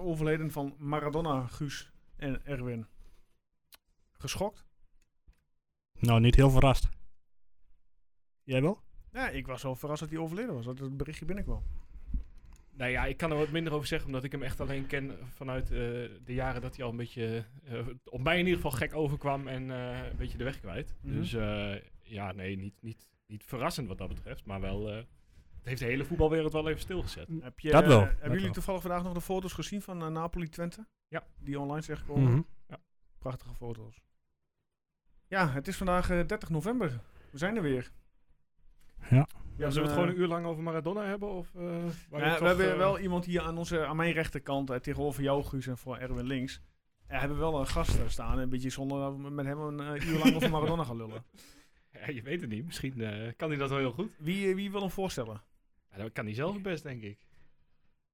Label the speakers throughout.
Speaker 1: overleden van Maradona, Guus en Erwin. Geschokt?
Speaker 2: Nou, niet heel verrast. Jij wel?
Speaker 1: Ja, ik was wel verrast dat hij overleden was. Dat het berichtje binnenkwam.
Speaker 3: Nou ja, ik kan er wat minder over zeggen, omdat ik hem echt alleen ken vanuit eh, de jaren dat hij al een beetje, eh, op mij in ieder geval gek overkwam en eh, een beetje de weg kwijt.
Speaker 1: Mhm.
Speaker 3: Dus eh, ja, nee, niet, niet, niet verrassend wat dat betreft, maar wel, eh, het heeft de hele voetbalwereld wel even stilgezet.
Speaker 1: Heb je,
Speaker 2: Dat wel,
Speaker 1: eh,
Speaker 2: dat
Speaker 1: hebben jullie
Speaker 2: wel.
Speaker 1: toevallig vandaag nog de foto's gezien van eh, Napoli-Twente?
Speaker 3: Ja.
Speaker 1: Die online zijn gekomen.
Speaker 2: Mhm.
Speaker 1: Prachtige foto's. Ja, het is vandaag eh, 30 november. We zijn er weer.
Speaker 2: Ja.
Speaker 3: Ja, eh, zullen we het gewoon een uur lang over Maradona hebben? Of, eh, waar je
Speaker 1: Ja,
Speaker 3: toch,
Speaker 1: we hebben
Speaker 3: eh,
Speaker 1: wel iemand hier aan, onze, aan mijn rechterkant, eh, tegenover jou Guus en voor Erwin links. Eh, hebben we wel een gast eh, staan, een beetje zonder dat we met hem een eh, uur lang over Maradona gaan lullen.
Speaker 3: ja, je weet het niet, misschien eh, kan hij dat wel heel goed.
Speaker 1: Wie, eh, wie wil hem voorstellen?
Speaker 3: Ja, dat kan hij zelf het best, denk ik.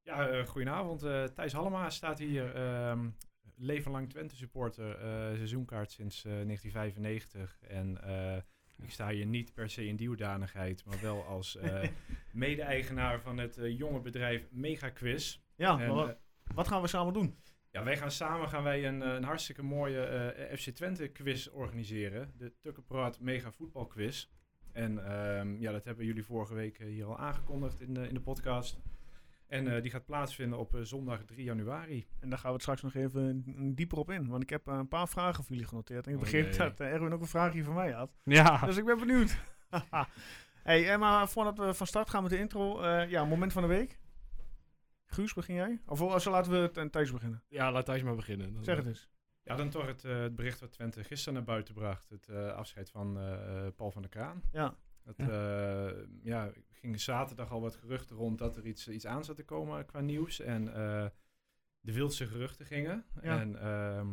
Speaker 4: Ja, eh, goedenavond. Eh, Thijs Hallema staat hier. ehm leven lang Twente supporter. eh, seizoenkaart sinds eh, 1995. En eh, ik sta hier niet per se in die hoedanigheid, maar wel als eh, mede-eigenaar van het eh, jonge bedrijf Mega Quiz.
Speaker 1: Ja,
Speaker 4: En,
Speaker 1: maar
Speaker 4: eh,
Speaker 1: wat- wat gaan we samen doen?
Speaker 4: ja, wij gaan samen gaan wij een, eh, een hartstikke mooie eh, FC Twente quiz organiseren. De Tukkenpraat Mega Voetbal Quiz. En ehm, ja, dat hebben jullie vorige week eh, hier al aangekondigd in de, in de podcast. En eh, die gaat plaatsvinden op eh, zondag 3 januari.
Speaker 1: En daar gaan we het straks nog even eh, dieper op in, want ik heb eh, een paar vragen voor jullie genoteerd. En ik
Speaker 3: Oh
Speaker 1: begreep
Speaker 3: jee.
Speaker 1: dat eh, Erwin ook een vraagje van mij had.
Speaker 2: Ja.
Speaker 1: Dus ik ben benieuwd. hey, eh, maar voordat we van start gaan met de intro, eh, ja, moment van de week. Guus, begin jij? Of eh, zo laten we het en Thijs beginnen.
Speaker 3: Ja, laat Thijs maar beginnen. Dan- eh,
Speaker 1: Zeg het eens.
Speaker 4: Oh, Ja, dan toch het, eh, het bericht wat Twente gisteren naar buiten bracht. Het eh, afscheid van eh, Paul van der Kraan.
Speaker 1: Ja.
Speaker 4: Dat,
Speaker 2: Ja.
Speaker 4: ja. ja, ging zaterdag al wat geruchten rond dat er iets, iets aan zat te komen qua nieuws. En eh, de wildste geruchten gingen.
Speaker 1: Ja.
Speaker 4: En ehm,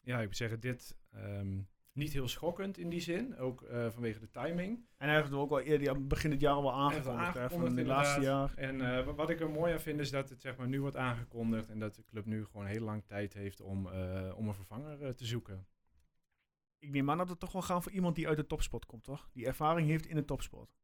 Speaker 4: ja, ik moet zeggen, dit ehm, niet heel schokkend in die zin. Ook eh, vanwege de timing.
Speaker 1: En eigenlijk ook al eerder, ja, begin dit jaar al wel aangekondigd.
Speaker 4: Eigenlijk
Speaker 1: hè, Van
Speaker 4: aangekondigd,
Speaker 1: het laatste
Speaker 4: inderdaad.
Speaker 1: jaar.
Speaker 4: En eh, wa- wat ik er mooi aan vind is dat het zeg maar, nu wordt aangekondigd en dat de club nu gewoon heel lang tijd heeft om, eh, om een vervanger eh, te zoeken.
Speaker 1: Ik neem aan dat we toch wel gaan voor iemand die uit de topspot komt, toch? Die ervaring heeft in de topspot.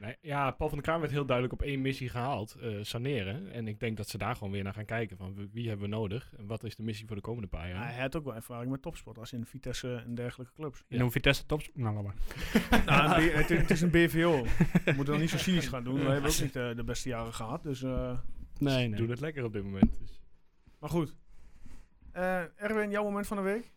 Speaker 3: Nee, ja, Paul van der Kraan werd heel duidelijk op één missie gehaald, eh, saneren. En ik denk dat ze daar gewoon weer naar gaan kijken van wie- wie hebben we nodig en wat is de missie voor de komende paar
Speaker 1: Maar
Speaker 3: jaar.
Speaker 1: hij had ook wel ervaring met topspot, als in Vitesse en dergelijke clubs.
Speaker 2: En hoe Vitesse tops... Nou, laat maar.
Speaker 1: nou, een B- het, het is een BVO. We moeten dat niet zo cynisch gaan doen. We hebben ook niet eh, de beste jaren gehad. Dus, eh,
Speaker 2: Nee,
Speaker 3: Doen
Speaker 2: nee.
Speaker 3: het lekker op dit moment. Dus.
Speaker 1: maar goed. Eh, Erwin, jouw moment van de week?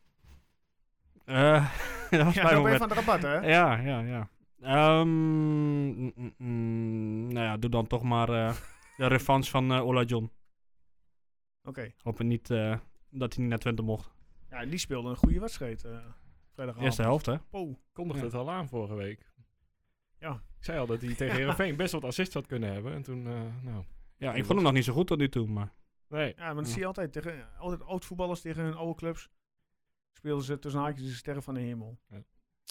Speaker 2: Eh, dat was
Speaker 1: Ja,
Speaker 2: mijn
Speaker 1: zo ben je
Speaker 2: moment.
Speaker 1: van
Speaker 2: Eh.
Speaker 1: de rabat, hè?
Speaker 2: Ja, ja, ja. Ehm, mm, mm, mm, nou ja, doe dan toch maar eh, de revanche van eh Ola John.
Speaker 1: Oké.
Speaker 2: Hopen niet eh, dat hij niet naar Twente mocht.
Speaker 1: Ja, die speelde een goede wedstrijd eh vrijdagavond.
Speaker 2: Eerste helft, hè?
Speaker 1: Oh,
Speaker 3: Kondigde
Speaker 2: Ja.
Speaker 3: het al aan vorige week.
Speaker 1: Ja.
Speaker 3: Ik zei al dat hij tegen Heerenveen best wat assists had kunnen hebben. En toen, eh, nou,
Speaker 2: Ja, ik vond hem nog niet zo goed tot nu toe, maar...
Speaker 3: nee.
Speaker 1: Ja, maar dat
Speaker 2: Ja.
Speaker 1: zie je altijd. Tegen, altijd oud-voetballers tegen hun oude clubs speelden ze tussen haakjes de sterren van de hemel.
Speaker 3: Ja.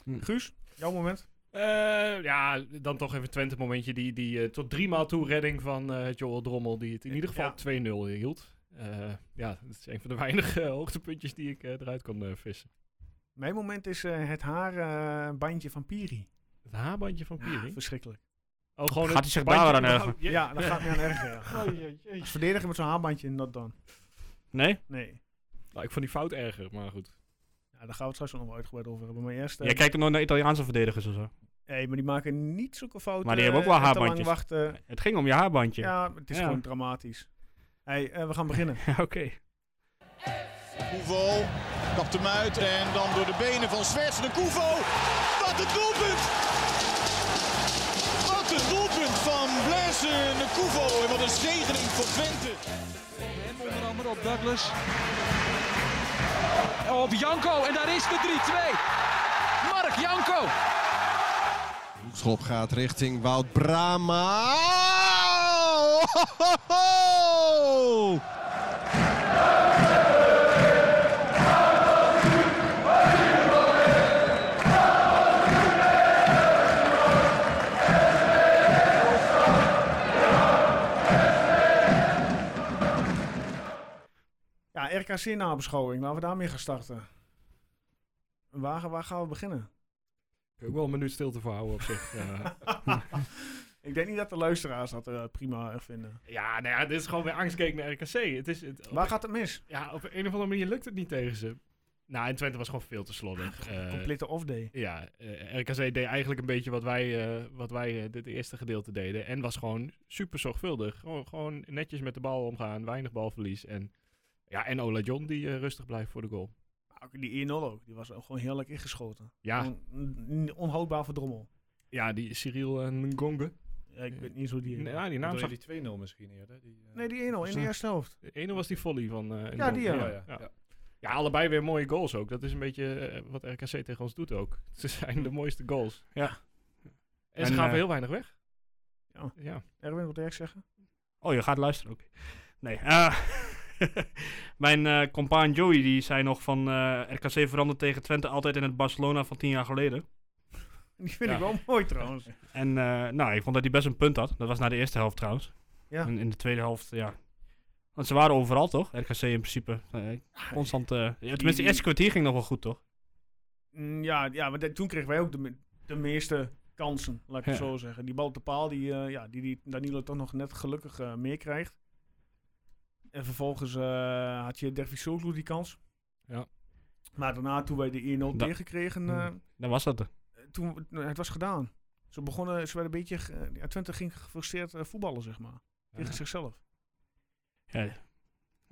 Speaker 2: Hm.
Speaker 1: Guus, jouw moment?
Speaker 3: Eh, ja, dan toch even Twente momentje. Die, die eh, tot drie maal toe redding van eh, Joel Drommel. Die het in ieder geval
Speaker 1: Ja.
Speaker 3: 2-0 hield. Eh, ja, dat is een van de weinige eh, hoogtepuntjes die ik eh, eruit kon eh, vissen.
Speaker 1: Mijn moment is eh, het haarbandje van Piri.
Speaker 3: Het haarbandje van Piering.
Speaker 1: Verschrikkelijk.
Speaker 3: Oh, gewoon
Speaker 2: Gaat
Speaker 3: het
Speaker 2: hij zich
Speaker 3: bandje
Speaker 2: daar aan
Speaker 3: überhaupt?
Speaker 1: Ja, dat gaat me aan erger. Ja.
Speaker 3: Oh, jee, jee.
Speaker 1: Als verdediger met zo'n haarbandje, not dan.
Speaker 2: Nee?
Speaker 1: Nee.
Speaker 3: Nou, ik vond die fout erger, maar goed.
Speaker 1: Ja, daar gaan we het straks nog wel uitgebreid over hebben. Maar eerst... eh,
Speaker 2: Jij kijkt er nooit naar Italiaanse verdedigers of zo.
Speaker 1: nee, maar die maken niet zulke fouten.
Speaker 2: Maar die hebben ook
Speaker 1: eh,
Speaker 2: wel
Speaker 1: en te lang
Speaker 2: haarbandjes.
Speaker 1: wachten.
Speaker 2: Het ging om je haarbandje.
Speaker 1: Ja, het is
Speaker 2: Ja.
Speaker 1: gewoon dramatisch. Hey, eh, we gaan beginnen.
Speaker 2: Oké.
Speaker 5: Koevo kapt hem uit en dan door de benen van Zwerts de Koevo. Wat een doelpunt! Wat een doelpunt van Blaise de Koevo en wat een zegening voor Twente.
Speaker 6: Hem onder andere op Douglas. Op Janko en daar is de 3-2. Mark Janko.
Speaker 5: Schop gaat richting Wout Brama.
Speaker 1: Ja, RKC nabeschouwing. Laten we daarmee gaan starten. Waar, waar gaan we beginnen? eh.
Speaker 3: Ik heb ook wel een minuut stilte voor houden op zich. Ja.
Speaker 1: Ik denk niet dat de luisteraars dat eh, prima eh, vinden.
Speaker 3: Ja, nou ja, dit is gewoon weer angstkeek naar RKC. Het is, het,
Speaker 1: Waar gaat het mis?
Speaker 3: ja, op een of andere manier lukt het niet tegen ze. Nou, en Twente was gewoon veel te slordig. Eh,
Speaker 1: Complete off-day.
Speaker 3: ja, eh, RKC deed eigenlijk een beetje wat wij, eh, wat wij eh, dit eerste gedeelte deden. En was gewoon super zorgvuldig. Gewoon, gewoon netjes met de bal omgaan, weinig balverlies. En, ja, en Ola John die eh, rustig blijft voor de goal.
Speaker 1: Maar ook Die 1-0 ook, die was ook gewoon heerlijk ingeschoten.
Speaker 3: Ja,
Speaker 1: Gewoon een Onhoudbaar voor Drommel.
Speaker 3: ja die Cyril eh, Ngonge.
Speaker 1: Ja, ik weet niet eens hoe die...
Speaker 3: Ja, die naam
Speaker 4: Bedoel
Speaker 3: zag...
Speaker 4: je die 2-0 misschien eerder? Die, eh,
Speaker 1: Nee, die 1-0 in de eerste helft.
Speaker 3: De ene was die volley van... eh,
Speaker 1: Ja, die,
Speaker 3: Ngonge.
Speaker 1: ja.
Speaker 4: ja.
Speaker 3: ja.
Speaker 4: ja.
Speaker 3: Ja, allebei weer mooie goals ook. Dat is een beetje eh, wat RKC tegen ons doet ook. Ze zijn de mooiste goals.
Speaker 2: Ja.
Speaker 3: En
Speaker 2: En,
Speaker 3: ze gaven
Speaker 2: eh,
Speaker 3: heel weinig weg.
Speaker 1: Ja.
Speaker 3: ja.
Speaker 1: Erwin, wat direct zeggen?
Speaker 2: Oh, je gaat luisteren ook. Nee. eh, mijn eh compaan Joey die zei nog van eh, RKC verandert tegen Twente altijd in het Barcelona van tien jaar geleden.
Speaker 1: Die vind
Speaker 3: Ja.
Speaker 1: ik wel mooi trouwens.
Speaker 2: En eh, nou, ik vond dat hij best een punt had. Dat was na de eerste helft trouwens.
Speaker 1: Ja.
Speaker 2: En in de tweede helft, ja. Want ze waren overal toch? RKC in principe. Eh, constant. eh, ja, tenminste, het eerste kwartier ging nog wel goed toch?
Speaker 1: Mm, Ja, ja maar de- toen kregen wij ook de, me- de meeste kansen, laat ik het
Speaker 2: Ja.
Speaker 1: zo zeggen. Die bal op de paal, die, eh, ja, die, die Danilo toch nog net gelukkig eh, meer krijgt. En vervolgens eh, had je Dervis Soglu die kans.
Speaker 3: Ja.
Speaker 1: Maar daarna, toen wij de 1-0
Speaker 2: Da-
Speaker 1: tegenkregen,
Speaker 2: Hmm.
Speaker 1: eh,
Speaker 2: Dan was dat er.
Speaker 1: toen, nou, het was gedaan. Ze begonnen, ze werden een beetje, ge- eh, ja, Twente ging gefrustreerd eh, voetballen, zeg maar. Tegen zichzelf.
Speaker 2: Ja. Dus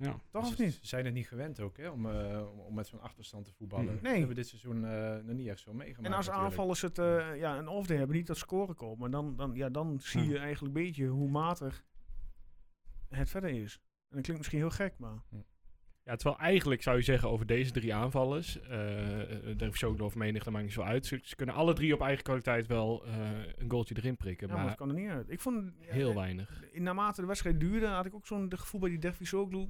Speaker 1: Toch
Speaker 4: Dus Ze-
Speaker 1: of niet?
Speaker 4: Ze zijn het niet gewend ook, hè, om, eh, om, om met zo'n achterstand te voetballen.
Speaker 2: Nee.
Speaker 4: Dat hebben we dit seizoen eh, nog niet echt zo meegemaakt.
Speaker 1: En als
Speaker 4: natuurlijk.
Speaker 1: aanvallers het, eh, ja, een off-day hebben, niet dat scoren komen. Maar dan, dan, ja, dan zie
Speaker 3: Hm.
Speaker 2: Ja.
Speaker 1: je eigenlijk een beetje hoe matig het verder is. En dat klinkt misschien heel gek, maar...
Speaker 3: ja, terwijl eigenlijk zou je zeggen over deze drie aanvallers, eh eh, Dervis Shogun of Menig, dat maakt niet zo uit. Ze, ze kunnen alle drie op eigen kwaliteit wel eh, een goaltje erin prikken,
Speaker 1: Ja, maar
Speaker 3: maar
Speaker 1: het kan er niet uit. Ik vond, ja,
Speaker 3: heel
Speaker 1: eh,
Speaker 3: weinig.
Speaker 1: in, naarmate de wedstrijd duurde, had ik ook zo'n de gevoel bij die Dervis Oglu.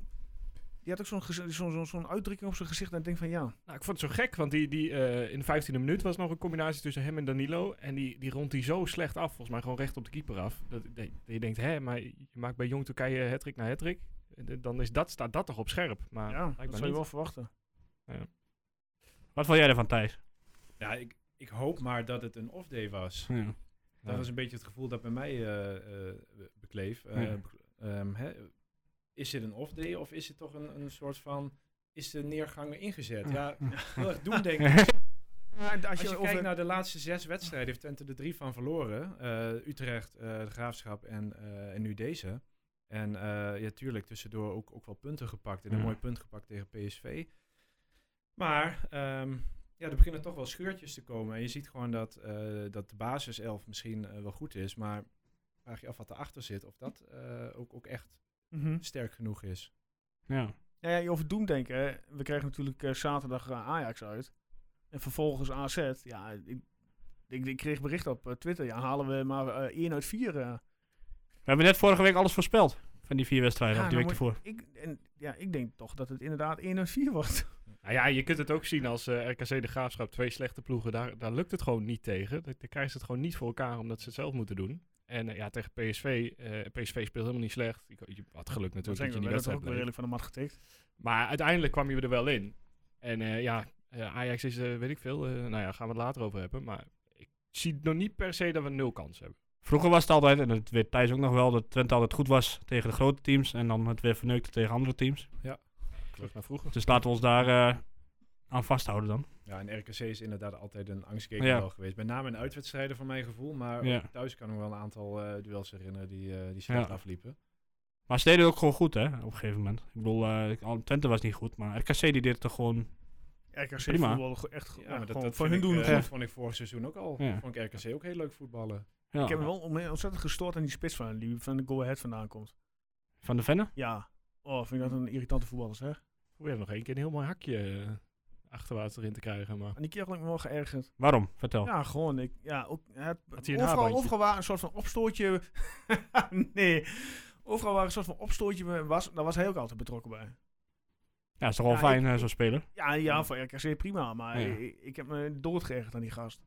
Speaker 1: Die had ook zo'n gez- zo'n zo'n zo'n uitdrukking op zijn gezicht. En ik denk van ja,
Speaker 3: Nou, ik vond het zo gek, want die, die, eh, in de 15e minuut was nog een combinatie tussen hem en Danilo. En die, die rond die zo slecht af, volgens mij gewoon recht op de keeper af. Dat, dat je denkt, hè, maar je maakt bij Jong Turkije hattrick na hattrick. Eh, Dan is dat, staat dat toch op scherp. Maar
Speaker 1: ja dat
Speaker 3: blijkbaar
Speaker 1: zou je
Speaker 3: niet.
Speaker 1: wel verwachten.
Speaker 2: Wat vond jij ervan, Thijs?
Speaker 4: Ja, ik, ik hoop maar dat het een off-day was.
Speaker 2: Ja.
Speaker 4: Dat
Speaker 2: Ja.
Speaker 4: was een beetje het gevoel dat bij mij eh, eh, bekleef. Eh,
Speaker 2: Ja.
Speaker 4: be- ehm, hè, is dit een off-day of is het toch een, een soort van... Is de neergang weer ingezet? Ja, heel erg doemdenken. Als je, kijkt naar de laatste zes wedstrijden, heeft Twente er drie van verloren. Eh, Utrecht, eh, de Graafschap en, eh, en nu deze. En eh, ja, tuurlijk, tussendoor ook, ook wel punten gepakt. En een
Speaker 2: Ja.
Speaker 4: mooi punt gepakt tegen PSV. Maar ehm, ja, er beginnen toch wel scheurtjes te komen. En je ziet gewoon dat, eh, dat de basiself misschien eh, wel goed is. Maar vraag je af wat erachter zit. Of dat eh, ook, ook echt
Speaker 1: Mhm.
Speaker 4: sterk genoeg is.
Speaker 2: ja.
Speaker 1: Ja, ja, je over Doem denken. hè. We krijgen natuurlijk eh, zaterdag eh, Ajax uit. En vervolgens AZ. Ja, ik, ik, ik kreeg bericht op eh, Twitter. Ja, halen we maar eh, één uit vier. eh.
Speaker 2: We hebben net vorige week alles voorspeld. Van die vier wedstrijden,
Speaker 1: Ja, nou
Speaker 2: of die
Speaker 1: dan
Speaker 2: week ervoor.
Speaker 1: Ik, en, ja, ik denk toch dat het inderdaad één uit vier wordt.
Speaker 3: Nou ja, je kunt het ook zien als eh, RKC de Graafschap, twee slechte ploegen, daar, daar lukt het gewoon niet tegen. Daar daar krijgen ze het gewoon niet voor elkaar omdat ze het zelf moeten doen. En eh, ja, tegen PSV, eh, PSV speelt helemaal niet slecht. Je, je had geluk natuurlijk
Speaker 1: denk
Speaker 3: dat, je
Speaker 1: ik,
Speaker 3: die
Speaker 1: we hebben toch
Speaker 3: wedstrijd
Speaker 1: ook wel
Speaker 3: bleef.
Speaker 1: redelijk van de mat getikt.
Speaker 3: Maar uiteindelijk kwam je er wel in. En eh, ja, eh, Ajax is, eh, weet ik veel, eh, nou ja, gaan we het later over hebben. Maar ik zie nog niet per se dat we nul kans hebben.
Speaker 2: Vroeger was het altijd, en dat weet Thijs ook nog wel, dat Twente altijd goed was tegen de grote teams. En dan het weer verneukte tegen andere teams.
Speaker 3: Terug naar vroeger.
Speaker 2: Dus laten we ons daar eh, aan vasthouden dan.
Speaker 4: Ja, en RKC is inderdaad altijd een angstkeker
Speaker 2: Ja.
Speaker 4: wel geweest. Met name in uitwedstrijden van mijn gevoel. Maar
Speaker 2: Ja.
Speaker 4: ook thuis kan ik me wel een aantal eh, duels herinneren die, eh, die slecht
Speaker 2: Ja.
Speaker 4: afliepen.
Speaker 2: Maar ze deden het ook gewoon goed, hè, op een gegeven moment. Ik bedoel, eh, al- Twente was niet goed, maar RKC die deed het toch gewoon...
Speaker 1: RKC
Speaker 2: Prima.
Speaker 1: voetbalde go- echt go-
Speaker 4: Ja,
Speaker 1: ja,
Speaker 4: maar dat,
Speaker 1: gewoon
Speaker 4: dat
Speaker 1: voor hun
Speaker 4: vind ik,
Speaker 1: doen.
Speaker 4: eh,
Speaker 1: goed.
Speaker 4: dat vond ik vorig seizoen ook al.
Speaker 2: Ja.
Speaker 4: Vond ik RKC ook heel leuk voetballen.
Speaker 2: Ja,
Speaker 1: Ik heb me wel on- ontzettend gestoord aan die spits van die van de Go Ahead vandaan komt.
Speaker 2: Van de Venne?
Speaker 1: Ja. Oh, vind
Speaker 4: Mm.
Speaker 1: ik dat een irritante voetballer, zeg.
Speaker 3: Probeer nog één keer een heel mooi hakje eh, achterwaarts erin te krijgen. Maar
Speaker 1: En die keer had ik me wel geërgerd.
Speaker 2: Waarom? Vertel.
Speaker 1: Ja, gewoon. Ik, ja, ook, het,
Speaker 3: Had hij een
Speaker 1: overal,
Speaker 3: haarbandje?
Speaker 1: overal waren een soort van opstootje. nee. Overal waren een soort van opstootje. Was, daar was hij ook altijd betrokken bij.
Speaker 2: Ja, is toch wel
Speaker 1: Ja,
Speaker 2: fijn,
Speaker 1: ik-
Speaker 2: eh, zo'n speler.
Speaker 1: Ja, ja, voor RKC prima. Maar
Speaker 2: Ja.
Speaker 1: ik, ik heb me doodgeërgerd aan die gast.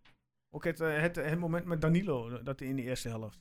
Speaker 1: Ook het, eh, het, het moment met Danilo. Dat hij in de eerste helft.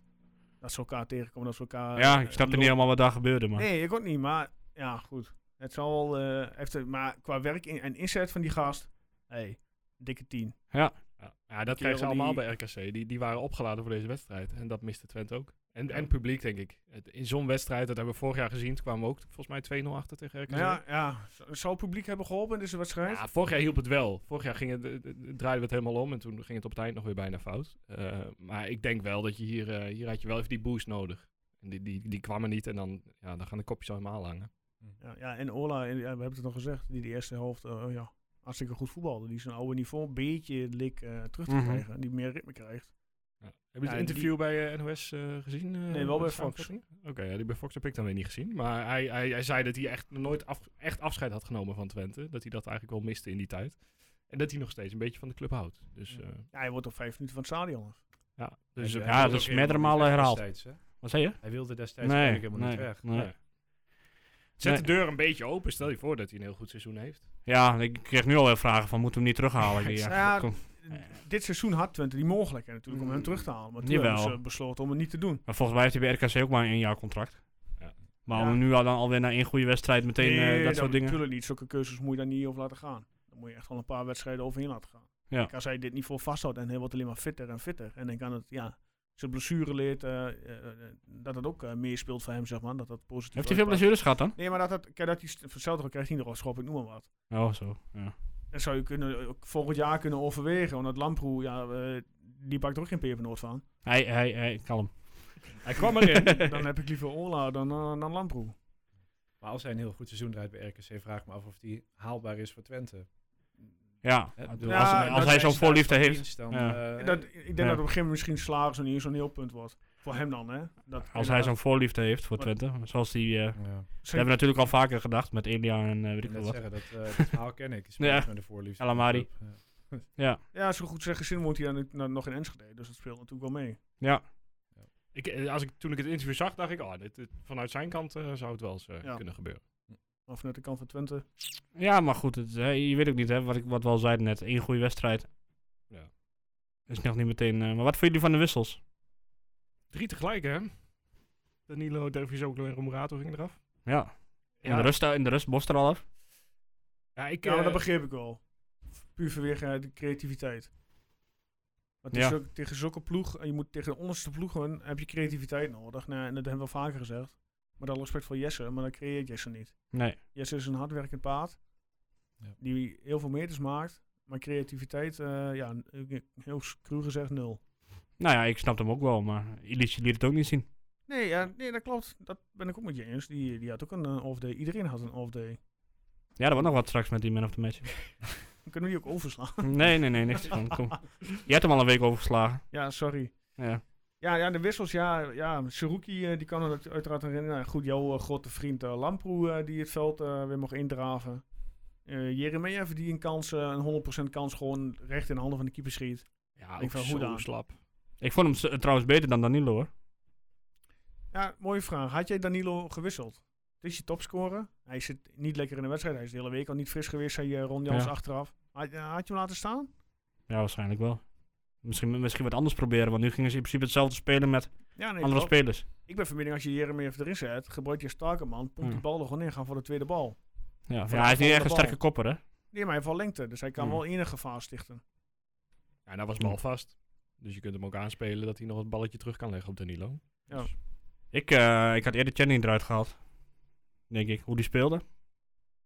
Speaker 1: Dat ze elkaar tegenkomen. Dat ze elkaar...
Speaker 2: ja,
Speaker 1: eh,
Speaker 2: ik snapte
Speaker 1: lo-
Speaker 2: niet helemaal wat daar gebeurde, maar...
Speaker 1: Nee, ik ook niet. Maar ja, goed. Het zal wel. eh, heeft, het- maar qua werk in- en inzet van die gast. Hey, dikke 10.
Speaker 2: Ja.
Speaker 3: Ja, ja dat
Speaker 1: Kerel
Speaker 3: krijgen ze allemaal
Speaker 1: die-
Speaker 3: bij RKC. Die, die waren opgeladen voor deze wedstrijd. En dat miste Twente ook. En,
Speaker 1: Ja.
Speaker 3: en publiek, denk ik. Het, in zo'n wedstrijd, dat hebben we vorig jaar gezien, toen kwamen we ook volgens mij 2-0 achter tegen RKC.
Speaker 1: Nou ja, ja, z- zou het publiek hebben geholpen in deze wedstrijd?
Speaker 3: Ja, vorig jaar hielp het wel. Vorig jaar ging het, eh, eh, draaiden we het helemaal om en toen ging het op het eind nog weer bijna fout. Eh, maar ik denk wel dat je hier, eh, hier had je wel even die boost nodig. En die, die, die kwam er niet en dan, ja, dan gaan de kopjes al helemaal hangen.
Speaker 1: Ja, ja, en Ola, en, ja, we hebben het nog gezegd, die de eerste helft eh, ja, hartstikke goed voetbalde. Die zijn oude niveau een beetje lik eh, terug te
Speaker 2: Mhm.
Speaker 1: krijgen. Die meer ritme krijgt.
Speaker 3: Ja. Heb je
Speaker 1: Ja,
Speaker 3: het
Speaker 1: en
Speaker 3: interview bij eh, NOS eh, gezien? eh,
Speaker 1: Nee, wel
Speaker 3: de
Speaker 1: bij Fox.
Speaker 3: samenvatting? Oké, ja, die bij Fox heb ik dan weer niet gezien. Maar hij, hij, hij zei dat hij echt nog nooit af, echt afscheid had genomen van Twente. Dat hij dat eigenlijk wel miste in die tijd. En dat hij nog steeds een beetje van de club houdt. Dus eh,
Speaker 1: Ja, hij wordt op vijf minuten van het stadion. af.
Speaker 3: ja, dus,
Speaker 4: Hij-
Speaker 3: eh,
Speaker 4: hij
Speaker 2: ja, dat
Speaker 4: wilde ook
Speaker 2: is
Speaker 4: helemaal
Speaker 2: meerdere
Speaker 4: niet
Speaker 2: malen
Speaker 4: weg
Speaker 2: herhaald.
Speaker 4: destijds, hè?
Speaker 2: Wat zei je?
Speaker 4: Hij wilde destijds
Speaker 2: Nee,
Speaker 4: natuurlijk helemaal niet
Speaker 2: nee,
Speaker 4: weg.
Speaker 2: nee.
Speaker 3: Ja. Zet
Speaker 2: Nee.
Speaker 3: de deur een beetje open. Stel je voor dat hij een heel goed seizoen heeft.
Speaker 2: Ja, ik kreeg nu alweer vragen van, moeten we hem niet terughalen? Ik dacht,
Speaker 1: Ja,
Speaker 2: ja, kom.
Speaker 1: Dit seizoen had Twente die mogelijkheid natuurlijk om hem terug te halen. Maar toen
Speaker 2: Mm. Jawel.
Speaker 1: hebben ze besloten om het niet te doen.
Speaker 2: Maar volgens mij heeft hij bij RKC ook maar een jaar contract.
Speaker 3: Ja.
Speaker 2: Maar
Speaker 1: Ja.
Speaker 2: om hem nu al dan alweer na één goede wedstrijd meteen eh, dat soort dingen.
Speaker 1: Natuurlijk niet. Zulke keuzes moet je daar niet over laten gaan. Dan moet je echt wel een paar wedstrijden overheen laten gaan.
Speaker 2: Ja.
Speaker 1: Kijk, als hij dit niveau vasthoudt en hij wordt alleen maar fitter en fitter. En dan kan het, ja, zijn blessure leert, eh, eh, eh, dat het ook eh, meespeelt voor hem, zeg maar. Dat dat positief
Speaker 2: Heeft hij veel
Speaker 1: uitpakt.
Speaker 2: blessures gehad dan?
Speaker 1: Nee, maar dat, dat, kijk, dat die st- hetzelfde ook krijgt hij nog wel schop, ik noem maar wat.
Speaker 2: Oh, zo. Ja.
Speaker 1: Dat zou je kunnen, ook volgend jaar kunnen overwegen. Want dat Lamproe, ja, eh, die pakt er ook geen pepernoot van.
Speaker 2: Hij, hij, hij, kalm.
Speaker 3: Hij kwam erin.
Speaker 1: dan heb ik liever Ola dan, eh, dan Lamproe.
Speaker 4: Maar als hij een heel goed seizoen draait bij RKC, vraag ik me af of die haalbaar is voor Twente.
Speaker 2: Ja,
Speaker 4: Hè,
Speaker 2: ik
Speaker 4: bedoel,
Speaker 2: bedoel,
Speaker 1: Ja,
Speaker 2: als,
Speaker 1: dat
Speaker 2: als hij
Speaker 1: hij
Speaker 2: zo'n
Speaker 4: staat
Speaker 2: voorliefde
Speaker 4: van
Speaker 2: heeft,
Speaker 4: dienst, dan,
Speaker 2: ja.
Speaker 4: eh,
Speaker 1: Dat, ik denk
Speaker 2: Ja.
Speaker 1: dat op een gegeven moment misschien slagen zo'n hier zo'n heel punt wordt. Voor hem dan, hè. Dat,
Speaker 2: als hij
Speaker 1: dat-
Speaker 2: zo'n voorliefde heeft voor
Speaker 1: Maar-
Speaker 2: Twente, zoals die, eh,
Speaker 4: ja.
Speaker 2: dat hebben we natuurlijk al vaker gedacht met Elia en eh, weet ik
Speaker 4: Ik
Speaker 2: veel
Speaker 4: wil
Speaker 2: wat.
Speaker 4: zeggen, dat, eh dat verhaal ken ik.
Speaker 2: Ja.
Speaker 4: Ja. Met de voorliefde.
Speaker 2: El Amari.
Speaker 4: Ja.
Speaker 2: Ja,
Speaker 1: Ja, zo goed zeggen, zin woont hij dan nu- nog in Enschede. Dus dat speelt natuurlijk wel mee.
Speaker 2: ja.
Speaker 3: Ik, eh, als ik, toen ik het interview zag, dacht ik, oh, dit, dit- vanuit zijn kant eh, zou het wel eens eh,
Speaker 1: Ja.
Speaker 3: kunnen gebeuren.
Speaker 1: Maar vanuit de kant van Twente.
Speaker 2: ja maar goed, het, eh, je weet ook niet, hè, wat ik wat we al zeiden net. Eén goede wedstrijd.
Speaker 3: Ja.
Speaker 2: Is nog niet meteen. eh, maar wat vinden jullie van de wissels?
Speaker 3: Drie tegelijk, hè? Danilo, Dervisoglu en Romerato gingen eraf.
Speaker 2: Ja. In,
Speaker 3: Ja.
Speaker 2: De rust, in de rust Bos er al af.
Speaker 3: Ja, ik,
Speaker 1: Ja, maar
Speaker 3: eh,
Speaker 1: dat begreep ik wel. Puur vanwege eh, de creativiteit. Want het
Speaker 2: Ja.
Speaker 1: is ook- tegen zulke ploeg, en je moet tegen de onderste ploegen, heb je creativiteit nodig. Nou, en dat hebben we vaker gezegd. Met alle respect voor Jesse, maar dan creëert Jesse niet.
Speaker 2: Nee.
Speaker 1: Jesse is een hardwerkend paard.
Speaker 4: Ja.
Speaker 1: Die heel veel meters maakt. Maar creativiteit, eh, ja, n- heel s- cru gezegd nul.
Speaker 2: Nou ja, ik snap hem ook wel, maar Ilitje liet het ook niet zien.
Speaker 1: Nee, ja, nee, dat klopt. Dat ben ik ook met je eens. Die, die had ook een eh, off day. Iedereen had een off day.
Speaker 2: Ja, er wordt nog wat straks met die man of the match.
Speaker 1: Dan kunnen we die ook overslaan.
Speaker 2: nee, nee, nee, niks van. Kom. Je hebt hem al een week overgeslagen.
Speaker 1: Ja, sorry.
Speaker 2: Ja.
Speaker 1: Ja, ja, de wissels, ja. ja Saruki, eh, die kan het uiteraard herinneren. Nou, goed, jouw eh, grote vriend eh, Lamproe, eh, die het veld eh, weer mag indraven. Eh Jeremejeff, die een kans, eh, een 100% kans gewoon recht in de handen van de keeper schiet.
Speaker 3: ja,
Speaker 1: ik
Speaker 3: ook
Speaker 1: vind
Speaker 3: zo
Speaker 1: Hoeda.
Speaker 3: slap.
Speaker 2: Ik vond hem s- eh, trouwens beter dan Danilo hoor.
Speaker 1: Ja, mooie vraag. Had jij Danilo gewisseld? Het is je topscorer. Hij zit niet lekker in de wedstrijd. Hij is de hele week al niet fris geweest, zei eh, Ron Jans
Speaker 2: Ja.
Speaker 1: achteraf. Had, eh, had je hem laten staan?
Speaker 2: Ja, waarschijnlijk wel. Misschien, misschien wat anders proberen, want nu gingen ze in principe hetzelfde spelen met
Speaker 1: Ja, nee.
Speaker 2: andere
Speaker 1: klopt.
Speaker 2: spelers.
Speaker 1: Ik ben van mening, als je Jeremejeff erin zet, gebruik je sterke man, pomp die
Speaker 2: Ja.
Speaker 1: bal er gewoon in, ga voor de tweede bal.
Speaker 2: Ja,
Speaker 1: Van
Speaker 2: ja, hij is niet
Speaker 1: de
Speaker 2: echt een
Speaker 1: bal.
Speaker 2: sterke kopper hè.
Speaker 1: Nee, maar hij heeft wel lengte, dus hij kan
Speaker 2: Hmm.
Speaker 1: wel enige gevaar stichten.
Speaker 3: Ja, nou was
Speaker 1: Mm.
Speaker 3: bal vast. Dus je kunt hem ook aanspelen dat hij nog het balletje terug kan leggen op Danilo.
Speaker 2: Ik, eh, ik had eerder Channing eruit gehaald. Denk ik, hoe die speelde.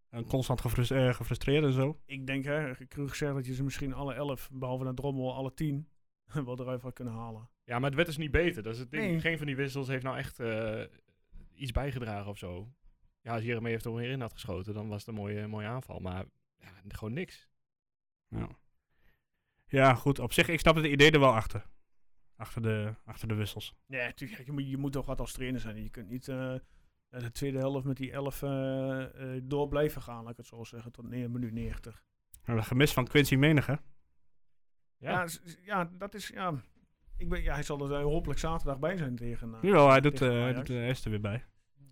Speaker 2: En constant gefrus- eh, gefrustreerd en zo.
Speaker 1: ik denk, hè, cru gezegd, dat je ze misschien alle elf, behalve naar Drommel, alle tien, wel eruit had kunnen halen.
Speaker 3: Ja, maar het werd dus niet beter. Dat is het ding.
Speaker 1: Nee.
Speaker 3: Geen van die wissels heeft nou echt eh, iets bijgedragen of zo. Ja, als Jeremy heeft er weer in had geschoten, dan was het een mooie, mooie aanval. Maar ja, gewoon niks.
Speaker 2: Ja. ja, goed. Op zich, ik snap het idee er wel achter. Achter de, achter de wissels.
Speaker 1: Nee, natuurlijk, je, moet- je moet toch wat als trainer zijn. Je kunt niet eh, de tweede helft met die elf eh, eh, door blijven gaan, laat ik het zo zeggen, tot ne- minuut 90.
Speaker 2: Maar het gemis van Quincy Menige.
Speaker 1: Ja, s- s- ja dat is, ja, ik ben, ja, hij zal er eh, hopelijk zaterdag bij zijn tegen. eh,
Speaker 2: Jawel, hij doet,
Speaker 1: tegen
Speaker 2: eh, hij
Speaker 1: Ajax.
Speaker 2: doet hij is er weer bij.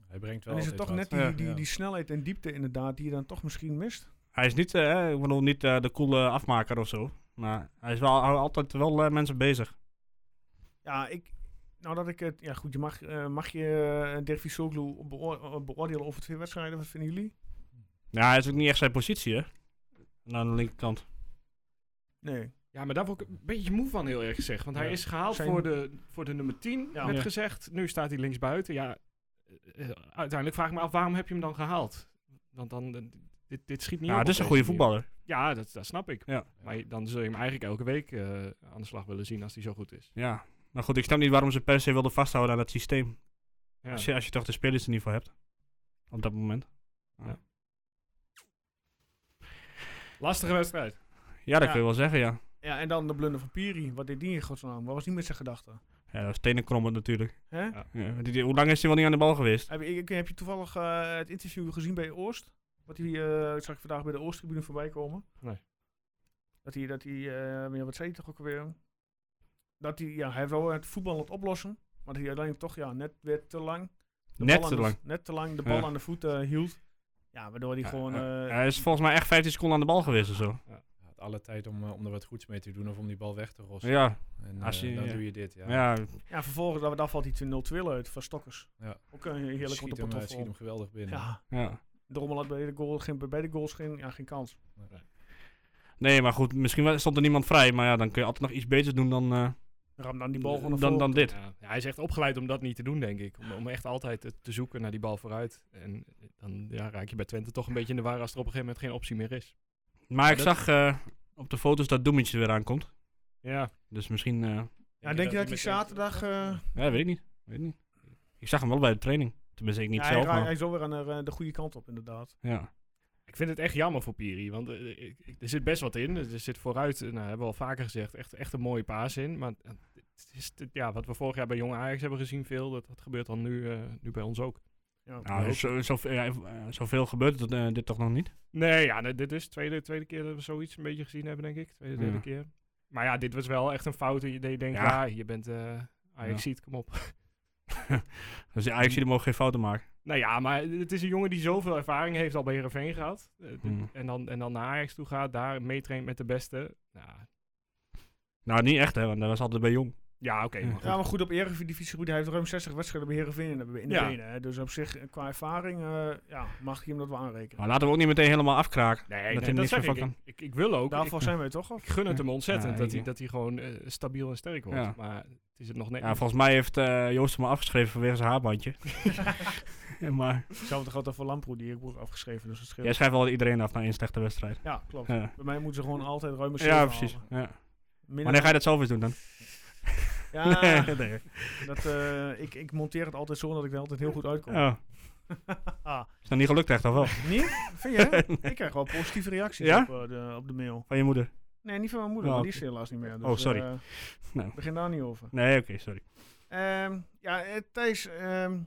Speaker 4: Hij brengt wel
Speaker 1: dan is het
Speaker 4: altijd
Speaker 1: toch
Speaker 4: wat.
Speaker 1: net die,
Speaker 2: Ja.
Speaker 1: die,
Speaker 4: Ja.
Speaker 1: die snelheid en diepte inderdaad die je dan toch misschien mist.
Speaker 2: Hij is niet, eh, ik bedoel, niet eh, de coole afmaker of zo. Maar hij is wel houdt altijd wel eh, mensen bezig.
Speaker 1: Ja, ik, nou dat ik het, ja goed, je mag, eh, mag je eh, Dervis Soglu beoor- beoordelen over twee wedstrijden, wat vinden jullie?
Speaker 2: Ja, hij is ook niet echt zijn positie, hè. Aan de linkerkant.
Speaker 1: Nee.
Speaker 3: Ja, maar daar word ik een beetje moe van, heel erg gezegd. Want hij
Speaker 1: Ja.
Speaker 3: is gehaald
Speaker 1: Zijn-
Speaker 3: voor, de, voor de nummer 10,
Speaker 1: Ja.
Speaker 3: werd
Speaker 1: Ja.
Speaker 3: gezegd. Nu staat hij linksbuiten. Ja, eh, eh, uiteindelijk vraag ik me af, waarom heb je hem dan gehaald? Want dan, eh, dit, dit schiet niet
Speaker 2: Ja,
Speaker 3: op
Speaker 2: dit is
Speaker 3: op
Speaker 2: een goede
Speaker 3: deze manier.
Speaker 2: voetballer.
Speaker 3: Ja, dat, dat snap ik.
Speaker 2: Ja.
Speaker 3: Maar dan zul je hem eigenlijk elke week eh, aan de slag willen zien als hij zo goed is.
Speaker 2: Ja. Maar goed, ik snap niet waarom ze per se wilden vasthouden aan dat systeem.
Speaker 3: Ja.
Speaker 2: Als, je, als je toch de spelers er niet voor hebt. Op dat moment.
Speaker 3: Lastige wedstrijd.
Speaker 2: Ja, dat
Speaker 1: Ja.
Speaker 2: kun je wel zeggen, ja.
Speaker 1: Ja, en dan de blunder van Piri. Wat deed die in godsnaam? Wat was die met zijn gedachten?
Speaker 2: Ja, dat is tenenkrommend natuurlijk.
Speaker 1: Hè?
Speaker 2: Ja, die- die- hoe lang is hij wel niet aan de bal geweest?
Speaker 1: Heb, je- ik- heb je toevallig eh, het interview gezien bij Oost? Wat hij, eh, zag ik vandaag bij de Oosttribune voorbij komen.
Speaker 3: Nee.
Speaker 1: Dat hij, dat hij eh, ja, wat zei hij toch ook alweer? Dat hij, ja, hij wil het voetbal aan het oplossen. Maar dat hij uiteindelijk toch ja, net weer te lang. de bal
Speaker 2: Net
Speaker 1: aan
Speaker 2: te
Speaker 1: de-
Speaker 2: lang.
Speaker 1: net te lang de bal
Speaker 2: Ja.
Speaker 1: aan de voet eh, hield. Ja, waardoor hij
Speaker 2: Ja,
Speaker 1: gewoon...
Speaker 2: ja.
Speaker 1: eh,
Speaker 2: Hij is volgens mij echt 15 seconden aan de bal geweest of zo.
Speaker 4: Ja, het alle tijd om, eh, om er wat goeds mee te doen of om die bal weg te rossen.
Speaker 2: Ja,
Speaker 4: En eh,
Speaker 2: Als je-
Speaker 4: dan
Speaker 2: ja.
Speaker 4: doe je dit. Ja.
Speaker 2: ja.
Speaker 1: ja, vervolgens, daar, daar valt hij 2 0 uit van Stokkers.
Speaker 4: Ja.
Speaker 1: Ook een heerlijk op
Speaker 4: schiet,
Speaker 1: de
Speaker 4: hem, eh, schiet
Speaker 1: pantoffel.
Speaker 4: hem geweldig binnen.
Speaker 1: Ja,
Speaker 2: ja.
Speaker 1: de rommel had bij de, goal, geen, bij de goals geen, ja, geen kans.
Speaker 2: Nee, maar goed, misschien wa- stond er niemand vrij. Maar ja, dan kun je altijd nog iets beters doen dan, eh,
Speaker 1: Ram dan die bal gewoon naar
Speaker 2: dan,
Speaker 1: voren.
Speaker 2: dan dit.
Speaker 3: Ja. Ja, hij is echt opgeleid om dat niet te doen, denk ik. Om, om echt altijd eh, te zoeken naar die bal vooruit. En eh, dan ja, raak je bij Twente toch een beetje in de war als er op een gegeven moment geen optie meer is.
Speaker 2: Maar ik
Speaker 3: dat-
Speaker 2: zag eh, op de foto's dat Doemetje er weer aankomt.
Speaker 3: Ja,
Speaker 2: Dus misschien... eh,
Speaker 1: Ja, denk je dat hij
Speaker 3: meteen-
Speaker 1: zaterdag... eh,
Speaker 2: ja, weet ik niet. Weet ik niet. Ik zag hem wel bij de training. Tenminste, ik niet
Speaker 1: ja,
Speaker 2: zelf,
Speaker 1: hij, ra-
Speaker 2: maar...
Speaker 1: hij is wel weer aan de, eh, de goede kant op, inderdaad.
Speaker 2: Ja.
Speaker 3: Ik vind het echt jammer voor Piri, want eh, ik- ik- er zit best wat in. Er zit vooruit, eh, nou, hebben we al vaker gezegd, echt, echt een mooie paas in. Maar eh, het is, het- ja, wat we vorig jaar bij Jong Ajax hebben gezien veel, dat, dat gebeurt dan nu, eh, nu bij ons ook.
Speaker 1: Ja.
Speaker 2: Nou,
Speaker 1: Ja,
Speaker 2: zo, zo, ja, eh, zoveel gebeurt het, eh, dit toch nog niet?
Speaker 3: Nee, ja, nee, dit is de tweede, tweede keer dat we zoiets een beetje gezien hebben, denk ik. Tweede, derde
Speaker 2: Ja.
Speaker 3: keer. Maar ja, dit was wel echt een fout. Je, je denkt, ja,
Speaker 2: Ja.
Speaker 3: je bent eh Ajax ziet, kom op.
Speaker 2: Dus ja, ik zie mogen geen fouten maken.
Speaker 3: nou ja, maar het is een jongen die zoveel ervaring heeft al bij Heerenveen gehad. Eh, dit-
Speaker 2: Hmm.
Speaker 3: en, dan, en dan naar Ajax toe gaat, daar meetraint met de beste. Nou,
Speaker 2: Nou, niet echt, hè, want dat was altijd bij Jong.
Speaker 3: ja, oké.
Speaker 2: Ja.
Speaker 3: maar goed.
Speaker 1: maar goed, op Eredivisie goed, hij heeft ruim 60 wedstrijden bij Heerenveen in de, in de
Speaker 3: Ja.
Speaker 1: benen. Hè. Dus op zich, eh, qua ervaring, eh, ja, mag je hem dat wel aanrekenen.
Speaker 2: Maar laten we ook niet meteen helemaal afkraken.
Speaker 3: Nee,
Speaker 2: hij
Speaker 3: nee,
Speaker 2: er
Speaker 3: dat
Speaker 2: niks
Speaker 3: zeg
Speaker 2: meer
Speaker 3: ik.
Speaker 2: van
Speaker 3: Ik, ik, ik wil ook.
Speaker 1: Daarvoor
Speaker 3: ik,
Speaker 1: zijn wij toch? Of?
Speaker 3: ik gun het hem ontzettend
Speaker 2: Ja,
Speaker 3: dat,
Speaker 2: ik-
Speaker 3: hij, dat hij gewoon eh, stabiel en sterk wordt.
Speaker 2: Ja.
Speaker 3: Maar het is het nog net.
Speaker 2: Ja,
Speaker 3: niet.
Speaker 2: volgens mij heeft eh, Joost hem afgeschreven vanwege zijn haarbandje. Ja, maar
Speaker 1: Hetzelfde geldt dan voor Lamproe, die ik ook afgeschreven. Dus het scheelt.
Speaker 2: jij schrijft wel iedereen af na één slechte wedstrijd.
Speaker 1: Ja, klopt.
Speaker 2: Ja,
Speaker 1: Bij mij moeten ze gewoon altijd ruime
Speaker 2: ja precies. Ja. Wanneer ga je dat zelf eens doen dan?
Speaker 1: Ja,
Speaker 2: Nee, nee.
Speaker 1: dat, eh, ik, ik monteer het altijd zo dat ik er altijd heel goed uitkom.
Speaker 2: Ja.
Speaker 1: Ah.
Speaker 2: Is Oh, dat niet gelukt echt, of wel?
Speaker 1: Nee? Vind je? Ik krijg wel positieve reacties
Speaker 2: Ja?
Speaker 1: op, eh, de, op de mail.
Speaker 2: Van je moeder?
Speaker 1: Nee, niet van mijn moeder,
Speaker 2: Oh,
Speaker 1: maar die is er helaas niet meer. Dus,
Speaker 2: Oh, sorry.
Speaker 1: eh,
Speaker 2: Nou.
Speaker 1: Begin daar niet over.
Speaker 2: Nee, oké, sorry.
Speaker 1: Ehm, ja, eh, Thijs, ehm,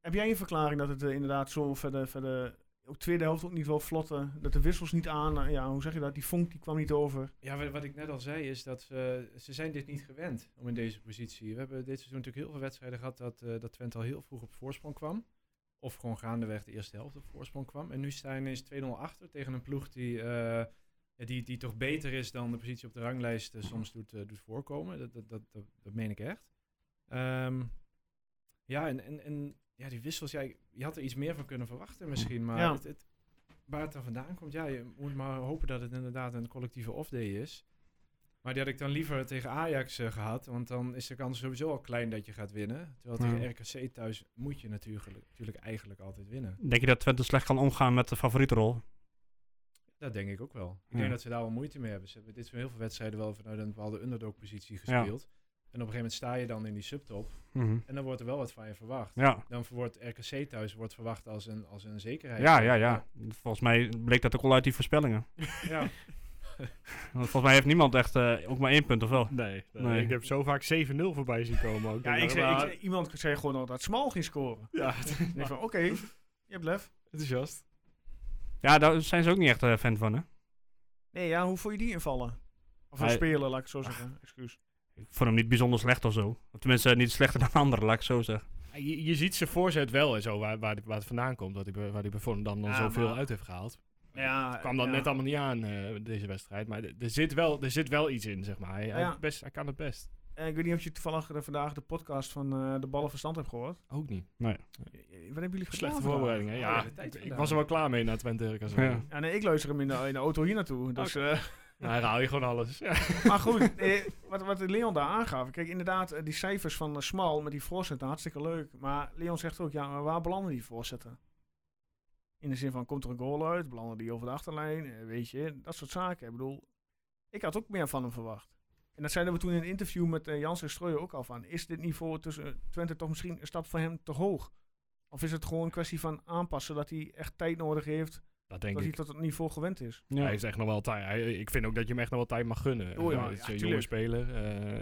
Speaker 1: heb jij een verklaring dat het eh, inderdaad zo verder, verder, ook tweede helft ook niet wel vlot, eh, dat de wissels niet aan, eh, ja, hoe zeg je dat, die vonk die kwam niet over.
Speaker 4: Ja, wa- wat ik net al zei is dat ze, ze zijn dit niet gewend om in deze positie. We hebben dit seizoen natuurlijk heel veel wedstrijden gehad dat, eh, dat Twente al heel vroeg op voorsprong kwam. Of gewoon gaandeweg de eerste helft op voorsprong kwam. En nu staan is 2-0 achter tegen een ploeg die, eh, ja, die, die toch beter is dan de positie op de ranglijst eh, soms doet, eh, doet voorkomen. Dat, dat, dat, dat, dat meen ik echt. Ehm, ja, en, en, en ja, die wissels, ja, je had er iets meer van kunnen verwachten misschien. Maar
Speaker 1: Ja.
Speaker 4: het, het, waar het dan vandaan komt, ja, je moet maar hopen dat het inderdaad een collectieve off-day is. Maar die had ik dan liever tegen Ajax eh, gehad, want dan is de kans sowieso al klein dat je gaat winnen. Terwijl
Speaker 2: Ja.
Speaker 4: tegen RKC thuis moet je natuurlijk, natuurlijk eigenlijk altijd winnen.
Speaker 2: Denk je dat Twente slecht kan omgaan met de favoriete rol?
Speaker 4: Dat denk ik ook wel. Ik
Speaker 2: Ja.
Speaker 4: denk dat ze daar wel moeite mee hebben. Ze hebben dit soort heel veel wedstrijden wel nou, vanuit een bepaalde underdog-positie gespeeld. En op een gegeven moment sta je dan in die subtop
Speaker 2: Mhm.
Speaker 4: en dan wordt er wel wat van je verwacht.
Speaker 2: Ja.
Speaker 4: Dan wordt RKC thuis wordt verwacht als een, als een zekerheid.
Speaker 2: Ja, ja, ja. Volgens mij bleek dat ook al uit die voorspellingen.
Speaker 4: ja.
Speaker 2: Want volgens mij heeft niemand echt eh, ook maar één punt, of wel?
Speaker 3: Nee, nee,
Speaker 2: Nee.
Speaker 3: ik heb zo vaak 7-0 voorbij zien komen. Ook
Speaker 1: Ja, ik zei, ik Ah.
Speaker 3: Maar-
Speaker 1: zei- iemand zei gewoon al dat Smal ging scoren.
Speaker 3: ja,
Speaker 1: Ik denk van, oké, je hebt lef.
Speaker 3: enthousiast.
Speaker 2: Ja, daar zijn ze ook niet echt eh, fan van, hè?
Speaker 1: Nee, ja, hoe voel je die invallen? Of
Speaker 2: Hij-
Speaker 1: spelen, laat ik het zo zeggen. Excuus.
Speaker 2: Ik vond hem niet bijzonder slecht of zo. Of tenminste, eh, niet slechter dan anderen, laat ik het zo zeggen.
Speaker 3: Je, je ziet zijn voorzet wel en zo, waar, waar, waar het vandaan komt. Dat hij, bij- waar hij bij Volendam dan
Speaker 1: Ja,
Speaker 3: zoveel
Speaker 1: maar-
Speaker 3: uit heeft gehaald.
Speaker 1: Ja,
Speaker 3: Het kwam dan
Speaker 1: ja.
Speaker 3: net allemaal niet aan, eh, deze wedstrijd. Maar d- er zit, wel, er zit wel iets in, zeg maar. Hij, hij
Speaker 1: Ja.
Speaker 3: best, hij kan het best.
Speaker 1: Eh, ik weet niet of je toevallig eh, vandaag de podcast van eh, De Ballen Verstand hebt gehoord.
Speaker 3: Ook niet.
Speaker 1: Eh, Wat hebben jullie gedaan
Speaker 3: Slechte
Speaker 1: vandaag?
Speaker 3: voorbereiding, hè?
Speaker 4: Oh, ja,
Speaker 3: Ja,
Speaker 4: de tijd
Speaker 3: ik, ik
Speaker 4: vandaag.
Speaker 3: was er wel klaar mee na Twente. Nou, RKC.
Speaker 2: Ja.
Speaker 4: Oh,
Speaker 1: Ja, nee, ik luister hem in de, in de auto hier naartoe. Dus eh,
Speaker 3: Nou, dan haal je gewoon alles. Ja.
Speaker 1: Maar goed, eh, wat, wat Leon daar aangaf. Kijk, inderdaad, eh, die cijfers van eh, Smal met die voorzetten, hartstikke leuk. Maar Leon zegt ook, ja, maar waar belanden die voorzetten? In de zin van, komt er een goal uit? Belanden die over de achterlijn? Eh, Weet je, dat soort zaken. Ik bedoel, ik had ook meer van hem verwacht. En dat zeiden we toen in een interview met eh, Jans en Strooijen ook al van. Is dit niveau tussen eh, Twente toch misschien een stap voor hem te hoog? Of is het gewoon een kwestie van aanpassen dat hij echt tijd nodig heeft,
Speaker 3: Dat denk
Speaker 1: dat hij
Speaker 3: ik.
Speaker 1: tot het niveau gewend is?
Speaker 2: Ja.
Speaker 3: Hij is echt nog wel tijd. Hij- Ik vind ook dat je hem echt nog wel tijd mag gunnen.
Speaker 1: Oh ja,
Speaker 3: Eh,
Speaker 1: ja,
Speaker 3: het is een jonge
Speaker 1: tuurlijk.
Speaker 3: speler.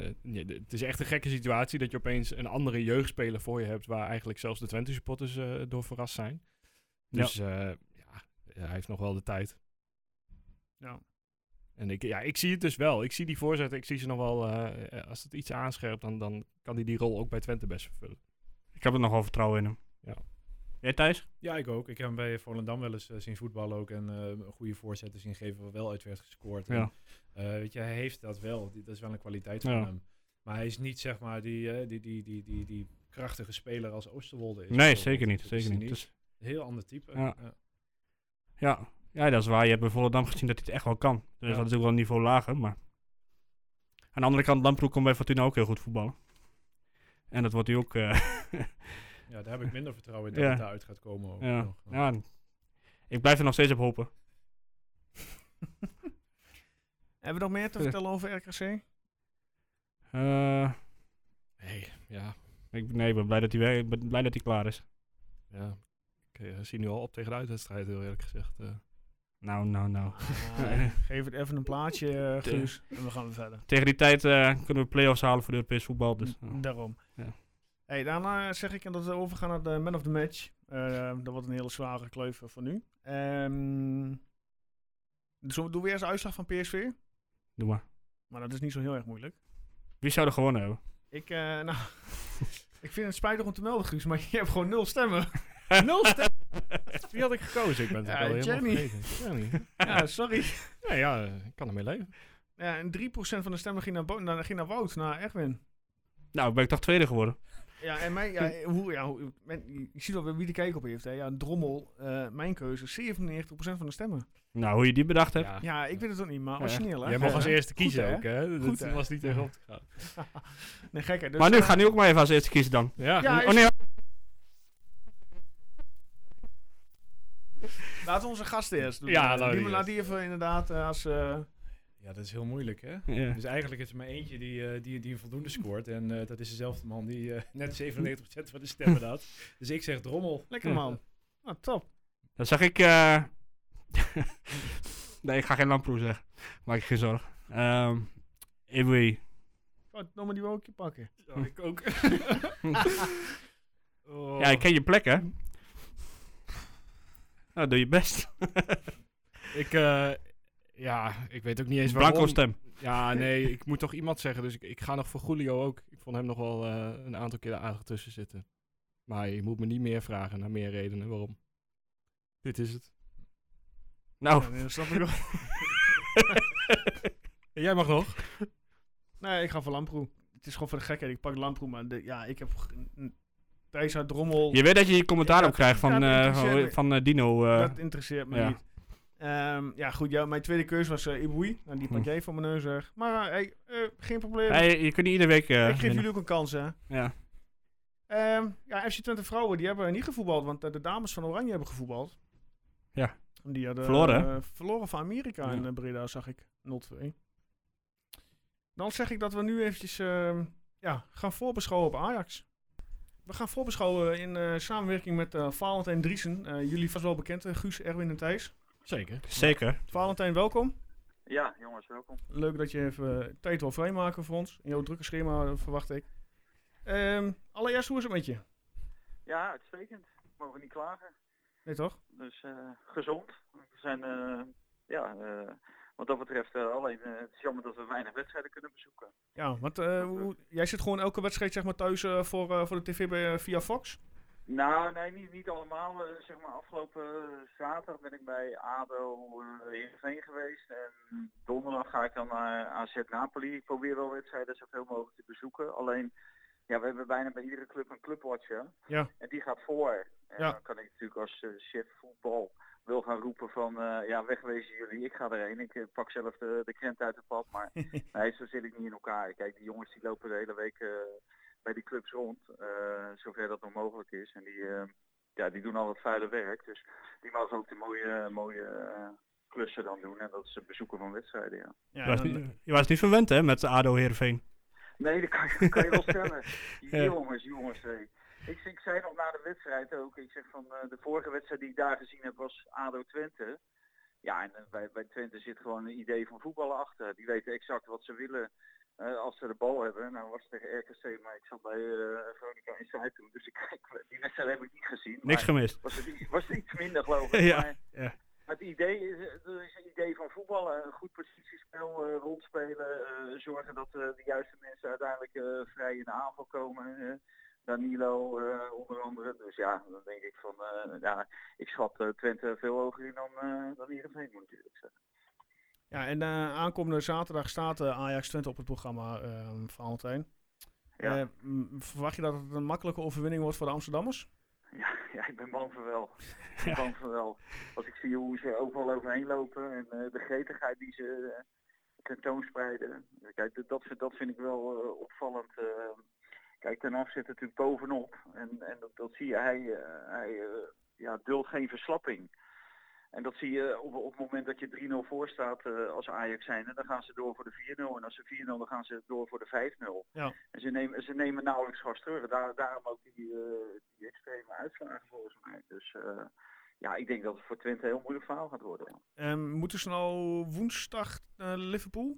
Speaker 3: eh, ja, d- het is echt een gekke situatie dat je opeens een andere jeugdspeler voor je hebt... waar eigenlijk zelfs de Twente supporters eh, door verrast zijn.
Speaker 2: Ja.
Speaker 3: Dus eh, ja, hij heeft nog wel de tijd.
Speaker 1: Ja.
Speaker 3: En ik, ja, ik zie het dus wel. Ik zie die voorzetten. Ik zie ze nog wel... eh, eh, als het iets aanscherpt, dan, dan kan hij die rol ook bij Twente best vervullen.
Speaker 2: Ik heb er nogal vertrouwen in hem.
Speaker 3: Ja.
Speaker 2: Jij Thijs?
Speaker 4: Ja, ik ook. Ik heb hem bij Volendam wel eens eh, zien voetballen ook. En eh, een goede voorzetten zien geven waar wel uit werd gescoord. En,
Speaker 2: Ja.
Speaker 4: eh, weet je, hij heeft dat wel. Die- Dat is wel een kwaliteit van
Speaker 2: Ja.
Speaker 4: hem. Maar hij is niet, zeg maar, die, eh, die, die, die, die, die krachtige speler als Oosterwolde is.
Speaker 2: Nee,
Speaker 4: bijvoorbeeld.
Speaker 2: zeker niet.
Speaker 4: Dat is
Speaker 2: Zeker
Speaker 4: hij
Speaker 2: niet. Dus,
Speaker 4: Een heel ander type.
Speaker 2: Ja.
Speaker 4: Ja.
Speaker 2: ja. ja, dat is waar. Je hebt bij Volendam gezien dat hij het echt wel kan. Dus dat is natuurlijk wel een niveau lager, maar... Aan de andere kant, Lamproek komt bij Fortuna ook heel goed voetballen. En dat wordt hij ook... eh,
Speaker 4: Ja, daar heb ik minder vertrouwen in dat
Speaker 2: Ja.
Speaker 4: het daaruit gaat komen. Ook
Speaker 2: ja.
Speaker 4: nog.
Speaker 2: ja, ik blijf er nog steeds op hopen.
Speaker 1: Hebben we nog meer te
Speaker 2: Ja.
Speaker 1: vertellen over RKC?
Speaker 2: Eh,
Speaker 3: Nee, ja.
Speaker 2: ik, nee, ik ben blij dat, hij, weer- ik ben blij dat hij klaar is.
Speaker 3: ja. Ik eh, zie nu al op tegen de uitwedstrijd, heel eerlijk gezegd. eh.
Speaker 2: Nou, nou, nou.
Speaker 1: Ah, geef het even een plaatje, eh, Guus. En we gaan weer verder.
Speaker 2: Tegen die tijd eh, kunnen we play-offs halen voor de Europees voetbal. Dus, eh.
Speaker 1: Daarom.
Speaker 2: Ja.
Speaker 1: Hey, daarna zeg ik dat we overgaan naar de man of the match. Eh, dat wordt een hele zware kleuf eh, voor nu. Ehm, dus doen we eerst de uitslag van PSV?
Speaker 2: Doe maar.
Speaker 1: Maar dat is niet zo heel erg moeilijk.
Speaker 2: Wie zou er gewonnen hebben?
Speaker 1: Ik, eh, nou, ik vind het spijtig om te melden, Guus, maar je hebt gewoon nul stemmen.
Speaker 3: Nul stemmen. Wie had ik gekozen? Ik ben het
Speaker 1: Ja,
Speaker 3: ook al helemaal
Speaker 1: Jenny.
Speaker 3: vergeten. Jenny.
Speaker 1: ja, sorry.
Speaker 3: Ja, ja, ik kan ermee leven.
Speaker 1: Ja, en 3% van de stemmen ging naar, Bo- naar, ging naar Wout, naar Erwin.
Speaker 2: Nou, ben ik toch tweede geworden.
Speaker 1: Ja, en mij, ja, hoe, ja, hoe, men- je ziet wel wie de kijk op heeft. Hè. Ja, Drommel, eh, mijn keuze, 97% van de stemmen.
Speaker 2: Nou, hoe je die bedacht hebt.
Speaker 3: Ja.
Speaker 1: Ja, ik weet het ook niet, maar
Speaker 2: Ja.
Speaker 1: origineel, hè?
Speaker 3: Jij mag
Speaker 1: Ja.
Speaker 3: als eerste kiezen
Speaker 1: hè?
Speaker 3: ook, hè?
Speaker 1: Goed,
Speaker 3: dat
Speaker 1: hè?
Speaker 3: was niet echt op te gaan.
Speaker 1: Nee, gek, hè? Dus,
Speaker 2: maar nu,
Speaker 1: eh,
Speaker 2: ga nu ook maar even als eerste kiezen dan.
Speaker 3: Ja,
Speaker 1: Ja,
Speaker 2: oh nee,
Speaker 1: Laten we onze gast eerst doen.
Speaker 3: Ja,
Speaker 1: Eh,
Speaker 3: nou,
Speaker 1: die,
Speaker 3: die
Speaker 1: laat die even inderdaad eh, als... eh,
Speaker 4: ja, dat is heel moeilijk, hè?
Speaker 2: Ja.
Speaker 4: Dus eigenlijk is er maar eentje die, eh, die, die een voldoende scoort. En eh, dat is dezelfde man die eh, net 97% van de stemmen had. Dus ik zeg drommel.
Speaker 1: lekker
Speaker 2: Ja.
Speaker 1: man. Nou, top.
Speaker 2: Dan zeg ik... eh, nee, ik ga geen lamproe zeggen. Maak je geen zorgen. Ehm Ibui.
Speaker 1: Wat nummer Oh, die we ook pakken?
Speaker 3: ik ook. Oh.
Speaker 2: Ja, ik ken je plek, hè? Nou, doe je best.
Speaker 3: Ik, eh, ja, ik weet ook niet eens waarom.
Speaker 2: Blanco stem.
Speaker 3: Ja, nee, ik moet toch iemand zeggen. Dus ik, ik ga nog voor Julio ook. Ik vond hem nog wel eh, een aantal keer aardig tussen zitten. Maar je moet me niet meer vragen naar meer redenen waarom. Dit is het.
Speaker 2: Nou,
Speaker 1: Ja, nee, dat snap ik wel.
Speaker 3: Jij mag nog.
Speaker 1: nee, ik ga voor Lamproe. Het is gewoon voor de gekheid. Ik pak Lamproe, maar de- ja, ik heb... g- n- Thijs uit Drommel,
Speaker 2: je weet dat je je commentaar
Speaker 1: Ja,
Speaker 2: op krijgt van,
Speaker 1: ja, dat
Speaker 2: eh, van,
Speaker 1: interesseert me.
Speaker 2: van, eh, Dino. eh.
Speaker 1: dat interesseert me
Speaker 2: ja.
Speaker 1: niet. Ehm, ja, goed. Ja, mijn tweede keuze was eh Ibui. Nou, die pak
Speaker 2: Hm.
Speaker 1: jij van mijn neus weg. Maar eh, hey, eh, geen probleem.
Speaker 2: Hey, je kunt niet iedere week... eh,
Speaker 1: ik geef
Speaker 2: winnen.
Speaker 1: jullie ook een kans, hè.
Speaker 2: Ja.
Speaker 1: Ehm, ja, FC Twente vrouwen, die hebben niet gevoetbald, want eh, de dames van Oranje hebben gevoetbald.
Speaker 2: Ja.
Speaker 1: Die hadden eh,
Speaker 2: Verloren,
Speaker 1: verloren van Amerika
Speaker 2: Ja.
Speaker 1: in eh, Breda, zag ik. 0-2. Dan zeg ik dat we nu eventjes ehm, ja, gaan voorbeschouwen op Ajax. We gaan voorbeschouwen in eh, samenwerking met eh, Valentijn Driesen. Eh, jullie vast wel bekend, eh, Guus, Erwin en Thijs.
Speaker 3: Zeker.
Speaker 2: Zeker.
Speaker 1: Valentijn, welkom.
Speaker 7: Ja, jongens, welkom.
Speaker 1: Leuk dat je even eh, tijd wil vrijmaken voor ons. In jouw drukke schema eh, verwacht ik. Ehm, allereerst, hoe is het met je?
Speaker 7: Ja, uitstekend. Mogen niet klagen.
Speaker 1: Nee, toch?
Speaker 7: Dus eh, gezond. We zijn, eh, ja, eh, wat dat betreft, eh, alleen eh, het is jammer dat we weinig wedstrijden kunnen bezoeken.
Speaker 1: Ja, want eh, hoe- hoe- jij zit gewoon elke wedstrijd zeg maar, thuis eh, voor, eh, voor de tv bij, eh, via Fox.
Speaker 7: Nou, nee, niet, niet allemaal. Eh, zeg maar, afgelopen eh, zaterdag ben ik bij ADO eh Heerenveen geweest. En donderdag ga ik dan naar AZ Napoli. Ik probeer wel wedstrijden zoveel mogelijk te bezoeken. Alleen, ja, we hebben bijna bij iedere club een clubwatcher.
Speaker 1: Ja.
Speaker 7: En die gaat voor. En
Speaker 1: Ja.
Speaker 7: dan kan ik natuurlijk als eh, chef voetbal wil gaan roepen van eh, ja, wegwezen jullie, ik ga erheen. Ik eh, pak zelf de, de krent uit het pad. Maar nee, zo zit ik niet in elkaar. Kijk, die jongens die lopen de hele week eh, bij die clubs rond, eh, zover dat nog mogelijk is. En die, eh, ja, die doen al het vuile werk. Dus die mogen ook de mooie, mooie eh, klussen dan doen. En dat is het bezoeken van wedstrijden, ja.
Speaker 1: Ja,
Speaker 2: Je was,
Speaker 1: dan-
Speaker 2: niet, je was niet verwend, hè, met ADO Heerenveen.
Speaker 7: Nee, dat kan, dat kan je wel stellen. Jongens, jongens. hé. Ik, ik zei nog na de wedstrijd ook, ik zeg van eh, de vorige wedstrijd die ik daar gezien heb was ADO Twente. Ja, en eh, bij, bij Twente zit gewoon een idee van voetballen achter. Die weten exact wat ze willen eh, als ze de bal hebben. Nou was het tegen RKC, maar ik zat bij eh Veronica Inside toen. Dus ik, ik- die wedstrijd heb ik niet gezien.
Speaker 2: Niks
Speaker 7: maar
Speaker 2: gemist.
Speaker 7: was het, was het iets minder geloof ik.
Speaker 2: Ja,
Speaker 7: maar
Speaker 2: ja.
Speaker 7: Het idee is, er is een idee van voetballen. Een goed positiespel, eh, rondspelen. eh, zorgen dat eh, de juiste mensen uiteindelijk eh, vrij in de aanval komen. eh. Danilo eh, onder andere. Dus ja, dan denk ik van... eh, ja, ik schat eh, Twente veel hoger in dan, eh dan Heerenveen moet ik eerlijk zeggen.
Speaker 1: ja, en eh, aankomende zaterdag staat eh, Ajax Twente op het programma eh, Valentijn.
Speaker 7: Ja.
Speaker 1: Eh, m- verwacht je dat het een makkelijke overwinning wordt voor de Amsterdammers?
Speaker 7: Ja, ja, ik ben bang voor wel. Ik ben bang voor wel. Als ik zie hoe ze overal overheen lopen en eh, de gretigheid die ze eh, tentoonspreiden. Kijk, dat- dat, vind- dat vind ik wel eh, opvallend. eh. kijk, ten af zit het natuurlijk bovenop. En, en dat, dat zie je, hij, eh, hij eh, ja, duldt geen verslapping. En dat zie je op, op het moment dat je 3-0 voor staat eh, als Ajax zijn. Dan gaan ze door voor de 4-0. En als ze 4-0, dan gaan ze door voor de 5-0.
Speaker 1: Ja.
Speaker 7: En ze nemen, ze nemen nauwelijks gas terug. Daar, daarom ook die, eh, die extreme uitslagen volgens mij. Dus eh, ja, ik denk dat het voor Twente een heel moeilijk verhaal gaat worden.
Speaker 1: Ehm, moeten ze nou woensdag eh, Liverpool?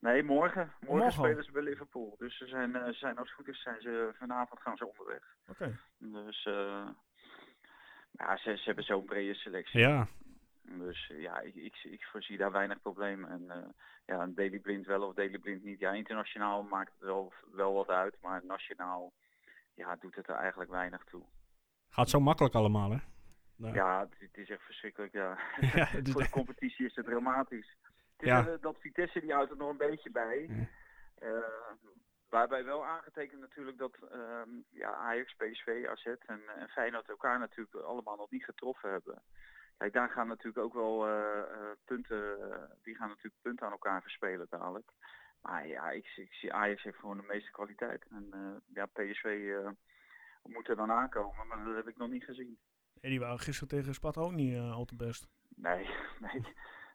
Speaker 7: Nee, morgen. Morgen
Speaker 1: Morgen?
Speaker 7: spelen ze bij Liverpool. Dus ze zijn, eh, ze zijn als het goed is, zijn ze, vanavond gaan ze onderweg.
Speaker 1: Oké.
Speaker 7: Dus eh, ja, ze, ze hebben zo'n brede selectie.
Speaker 2: Ja,
Speaker 7: Dus eh, ja, ik, ik, ik voorzie daar weinig problemen. En eh, ja, een Daily Blind wel of Daily Blind niet. Ja, internationaal maakt het wel, wel wat uit, maar nationaal ja, doet het er eigenlijk weinig toe.
Speaker 2: gaat zo makkelijk allemaal, hè. Ja.
Speaker 7: Ja, het, het is echt verschrikkelijk. Ja.
Speaker 2: Ja, het is-
Speaker 7: Voor de competitie is het dramatisch. Het is
Speaker 2: Ja.
Speaker 7: eh, dat Vitesse die houdt er nog een beetje bij. Eh, waarbij wel aangetekend natuurlijk dat ehm, ja, Ajax, PSV, AZ en, en Feyenoord elkaar natuurlijk allemaal nog niet getroffen hebben. Kijk, daar gaan natuurlijk ook wel eh, eh, punten, eh, die gaan natuurlijk punten aan elkaar verspelen dadelijk. Maar ja, ik, zie- ik zie Ajax heeft gewoon de meeste kwaliteit. En eh, ja, PSV eh, moet er dan aankomen, maar dat heb ik nog niet gezien.
Speaker 1: Nee, die waren gisteren tegen Sparta ook niet eh, al te best.
Speaker 7: Nee, nee.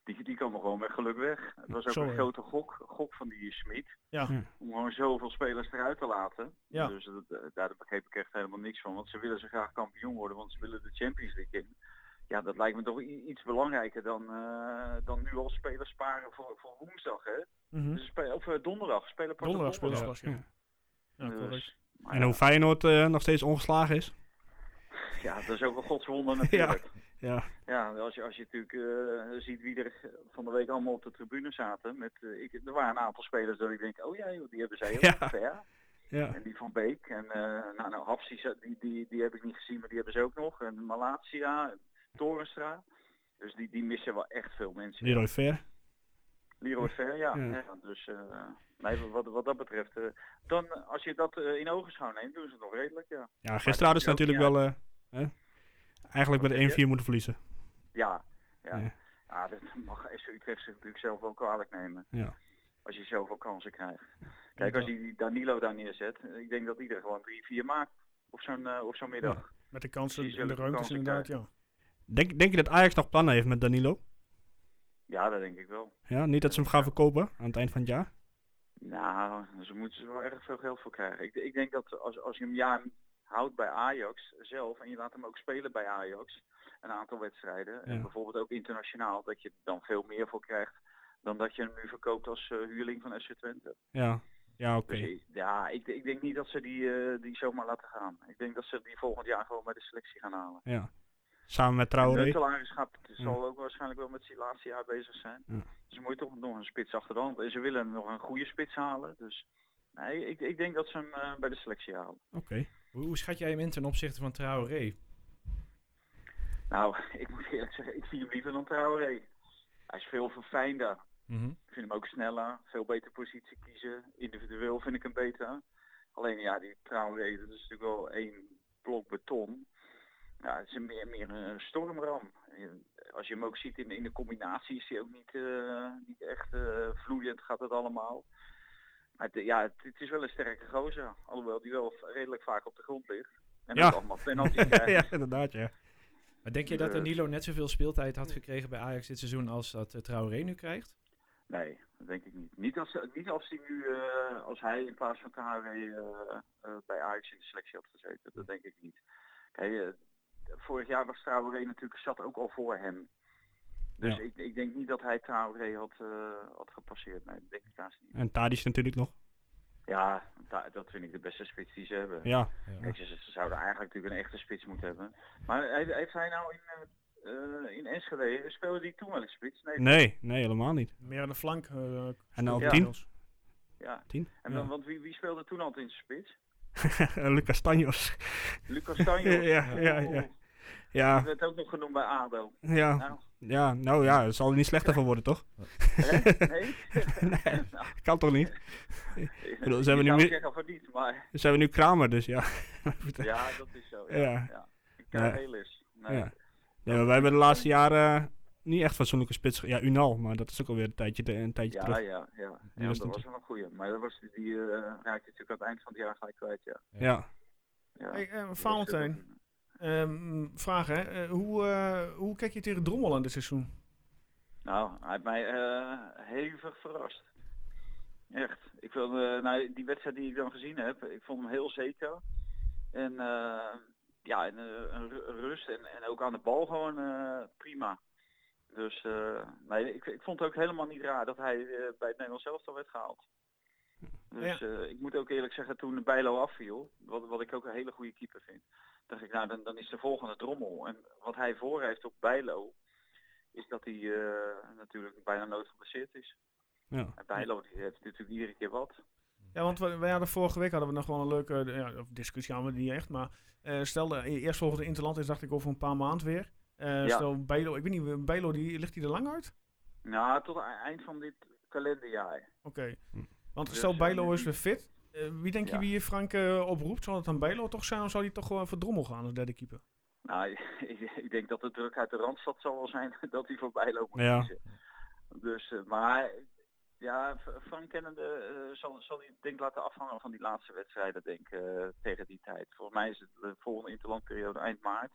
Speaker 7: Die, die kwam er gewoon met geluk weg. Het was ook
Speaker 1: Zo,
Speaker 7: een
Speaker 1: ja.
Speaker 7: grote gok, gok van die Smit.
Speaker 1: Ja.
Speaker 2: Hm.
Speaker 7: Om gewoon zoveel spelers eruit te laten.
Speaker 1: Ja.
Speaker 7: Dus dat, eh, daar begreep ik echt helemaal niks van. Want ze willen ze graag kampioen worden, want ze willen de Champions League in. Ja, dat lijkt me toch i- iets belangrijker dan, eh, dan nu al spelers sparen voor, voor woensdag. Hè?
Speaker 1: Mhm.
Speaker 7: Dus spe- of eh, donderdag. Spelen pas op
Speaker 1: Donderdag spelen ze pas, ja.
Speaker 2: Ja.
Speaker 1: Ja, correct.
Speaker 7: Dus, maar
Speaker 2: En
Speaker 7: ja,
Speaker 2: hoe Feyenoord eh, nog steeds ongeslagen is.
Speaker 7: ja, dat is ook een godswonder natuurlijk.
Speaker 2: Ja,
Speaker 7: Ja, als je, als je natuurlijk eh, ziet wie er van de week allemaal op de tribune zaten. Met, eh, ik, er waren een aantal spelers dat ik denk, oh ja, joh, die hebben zij ook.
Speaker 2: Ja.
Speaker 7: Ver.
Speaker 2: ja.
Speaker 7: En die van Beek. En eh nou, nou Hapsi, za- die, die, die heb ik niet gezien, maar die hebben ze ook nog. En Malatia, Torenstra. Dus die, die missen wel echt veel mensen.
Speaker 2: Leroy Ver.
Speaker 7: Leroy Ver, ja.
Speaker 2: Ja.
Speaker 7: ja, Dus eh, nee, wat, wat dat betreft. eh, dan, als je dat eh, in ogenschouw neemt, doen ze het nog redelijk, ja.
Speaker 2: Ja, gisteren hadden ze
Speaker 7: dat
Speaker 2: natuurlijk
Speaker 7: is ook
Speaker 2: wel... eh, hè, eigenlijk
Speaker 7: Wat
Speaker 2: met
Speaker 7: zeg
Speaker 2: 1-4 moeten verliezen.
Speaker 7: Ja, ja.
Speaker 2: Ja.
Speaker 7: ja. dat mag SC Utrecht zich natuurlijk zelf wel kwalijk nemen.
Speaker 2: Ja.
Speaker 7: Als je zoveel kansen krijgt. Kijk, als je die Danilo daar neerzet, eh, ik denk dat iedereen gewoon drie, vier maakt. Of zo'n eh, of zo'n middag.
Speaker 1: Met de kansen
Speaker 7: Precies,
Speaker 1: en de
Speaker 7: welke
Speaker 1: ruimtes
Speaker 7: kansen
Speaker 1: inderdaad, ja.
Speaker 2: Denk, denk je dat Ajax nog plannen heeft met Danilo?
Speaker 7: Ja, dat denk ik wel.
Speaker 2: Ja, niet dat ze hem gaan verkopen aan het eind van het jaar.
Speaker 7: Nou, ze moeten er wel erg veel geld voor krijgen. Ik, ik denk dat als, als je hem jaar houdt bij Ajax zelf en je laat hem ook spelen bij Ajax een aantal wedstrijden en
Speaker 2: Ja.
Speaker 7: bijvoorbeeld ook internationaal, dat je er dan veel meer voor krijgt dan dat je hem nu verkoopt als eh, huurling van SC Twente.
Speaker 2: Ja, ja oké.
Speaker 7: Dus ik- ja, ik, ik denk niet dat ze die, eh, die zomaar laten gaan. Ik denk dat ze die volgend jaar gewoon bij de selectie gaan halen.
Speaker 2: Ja. Samen met Traoré.
Speaker 7: Huntelaar is gaat- zal ook waarschijnlijk wel met zijn laatste jaar bezig zijn.
Speaker 2: Ja.
Speaker 7: Dus dan moet je toch nog een spits achter de hand. En ze willen nog een goede spits halen. Dus nee, ik, ik denk dat ze hem eh, bij de selectie halen.
Speaker 2: Oké.
Speaker 4: Hoe, hoe schat jij hem in ten opzichte van Traoré?
Speaker 7: Nou, ik moet eerlijk zeggen, ik zie hem liever dan Traoré. Hij is veel verfijnder.
Speaker 4: Mhm.
Speaker 7: Ik vind hem ook sneller, veel beter positie kiezen. Individueel vind ik hem beter. Alleen ja, die Traoré, dat is natuurlijk wel één blok beton. Ja, het is een meer, meer een stormram. Eh, als je hem ook ziet in, in de combinatie is hij ook niet, eh, niet echt eh, vloeiend gaat het allemaal. Maar het, ja, het, het is wel een sterke gozer. Alhoewel die wel redelijk vaak op de grond ligt. En
Speaker 2: Ja.
Speaker 7: ook allemaal penalty krijgt.
Speaker 2: ja, inderdaad, ja.
Speaker 4: Maar denk je dat Danilo net zoveel speeltijd had gekregen bij Ajax dit seizoen als dat eh, Traoré nu krijgt?
Speaker 7: Nee, dat denk ik niet. Niet als, niet als, hij, nu, eh, als hij in plaats van KHW eh, eh, bij Ajax in de selectie had gezeten. Dat denk ik niet. Kijk, eh, vorig jaar was Traoré natuurlijk zat ook al voor hem. Dus
Speaker 2: Ja.
Speaker 7: ik, ik denk niet dat hij Traoré had, eh, had gepasseerd. Nee, dat denk ik haast niet.
Speaker 2: En Tadic natuurlijk nog.
Speaker 7: Ja, da- dat vind ik de beste spits die ze hebben.
Speaker 2: Ja,
Speaker 7: Kijk, ze, ze zouden eigenlijk natuurlijk een echte spits moeten hebben. Maar heeft, heeft hij nou in, eh, eh, in Enschede, speelde die toen wel een spits? Nee.
Speaker 2: nee, nee, helemaal niet.
Speaker 1: Meer aan de flank. eh,
Speaker 2: En dan op
Speaker 7: Ja.
Speaker 2: 10?
Speaker 7: Ja.
Speaker 2: 10?
Speaker 7: En dan, want wie, wie speelde toen altijd in de spits?
Speaker 2: Lucas Tanjos.
Speaker 7: Lucas Tanjo.
Speaker 2: Ja, ja, ja. Ja,
Speaker 7: Dat werd ook nog genoemd bij ADO.
Speaker 2: ja,
Speaker 7: Nou,
Speaker 2: ja, nou ja, het zal er niet slechter van worden, toch?
Speaker 7: hè? nee?
Speaker 2: Kan toch niet? bedoel, ze hebben nu
Speaker 7: nu
Speaker 2: meer-
Speaker 7: zeggen van niet, maar
Speaker 2: Dus hebben we nu Kramer, dus ja.
Speaker 7: ja, dat is zo. Ja.
Speaker 2: Ja.
Speaker 7: ja. Ik ken
Speaker 2: Nee.
Speaker 7: heel eens. Nee.
Speaker 2: Ja. Nee, maar wij hebben de laatste jaren eh, niet echt fatsoenlijke spits. ge- Ja, Unal, maar dat is ook alweer een tijdje, te- een tijdje
Speaker 7: Ja, ja,
Speaker 2: terug.
Speaker 7: ja, ja.
Speaker 2: Die was
Speaker 7: dat
Speaker 2: niet-
Speaker 7: was wel een goeie. Maar dat was, die eh raakte natuurlijk aan het eind van het jaar gelijk kwijt, ja.
Speaker 2: Ja.
Speaker 7: ja.
Speaker 1: Hey, eh,
Speaker 7: Dat
Speaker 1: Valentijn,
Speaker 7: was-
Speaker 1: ehm, vraag hè. Eh, hoe, eh, hoe kijk je tegen Drommel aan dit seizoen?
Speaker 7: Nou, hij heeft mij eh hevig verrast. Echt. Ik wil, eh, nou, die wedstrijd die ik dan gezien heb, ik vond hem heel zeker. En eh, ja, en, eh, een ru- rust en, en ook aan de bal gewoon eh, prima. Dus eh, nee, ik, ik vond het ook helemaal niet raar dat hij eh, bij het Nederlands elftal werd gehaald. Dus eh, ik moet ook eerlijk zeggen, toen de Bijlo afviel, wat, wat ik ook een hele goede keeper vind, dacht ik, nou dan, dan is de volgende drommel. En wat hij voor heeft op Bijlo, is dat hij eh, natuurlijk bijna nooit geblesseerd is.
Speaker 2: Ja.
Speaker 7: En Bijlo die heeft natuurlijk iedere keer wat.
Speaker 1: Ja, want we- wij hadden vorige week hadden we nog wel een leuke eh, ja, of discussie, hadden we niet echt, maar eh stel de e- eerstvolgende Interland is, dacht ik, over een paar maanden weer. Eh,
Speaker 7: Ja.
Speaker 1: Stel Bijlo, ik weet niet, eh, Bijlo, die, ligt hij er lang uit?
Speaker 7: Nou, tot aan- eind van dit kalenderjaar.
Speaker 1: Oké. Want
Speaker 7: Dus Ja,
Speaker 1: stel
Speaker 7: ze
Speaker 1: Bijlo
Speaker 7: hebben
Speaker 1: is weer fit. eh, wie denk je
Speaker 7: Ja.
Speaker 1: wie hier Frank eh, oproept? Zal het dan Bijlo toch zijn of zou die toch gewoon voor Drommel gaan als derde keeper?
Speaker 7: Nou, ik, ik denk dat de druk uit de Randstad zal wel zijn dat hij voor Bijlo moet
Speaker 2: Ja.
Speaker 7: kiezen. Dus, eh, maar ja, F- Frank kennende eh, zal, zal hij denk ik laten afhangen van die laatste wedstrijden denk ik, eh, tegen die tijd. Volgens mij is het de volgende interlandperiode eind maart.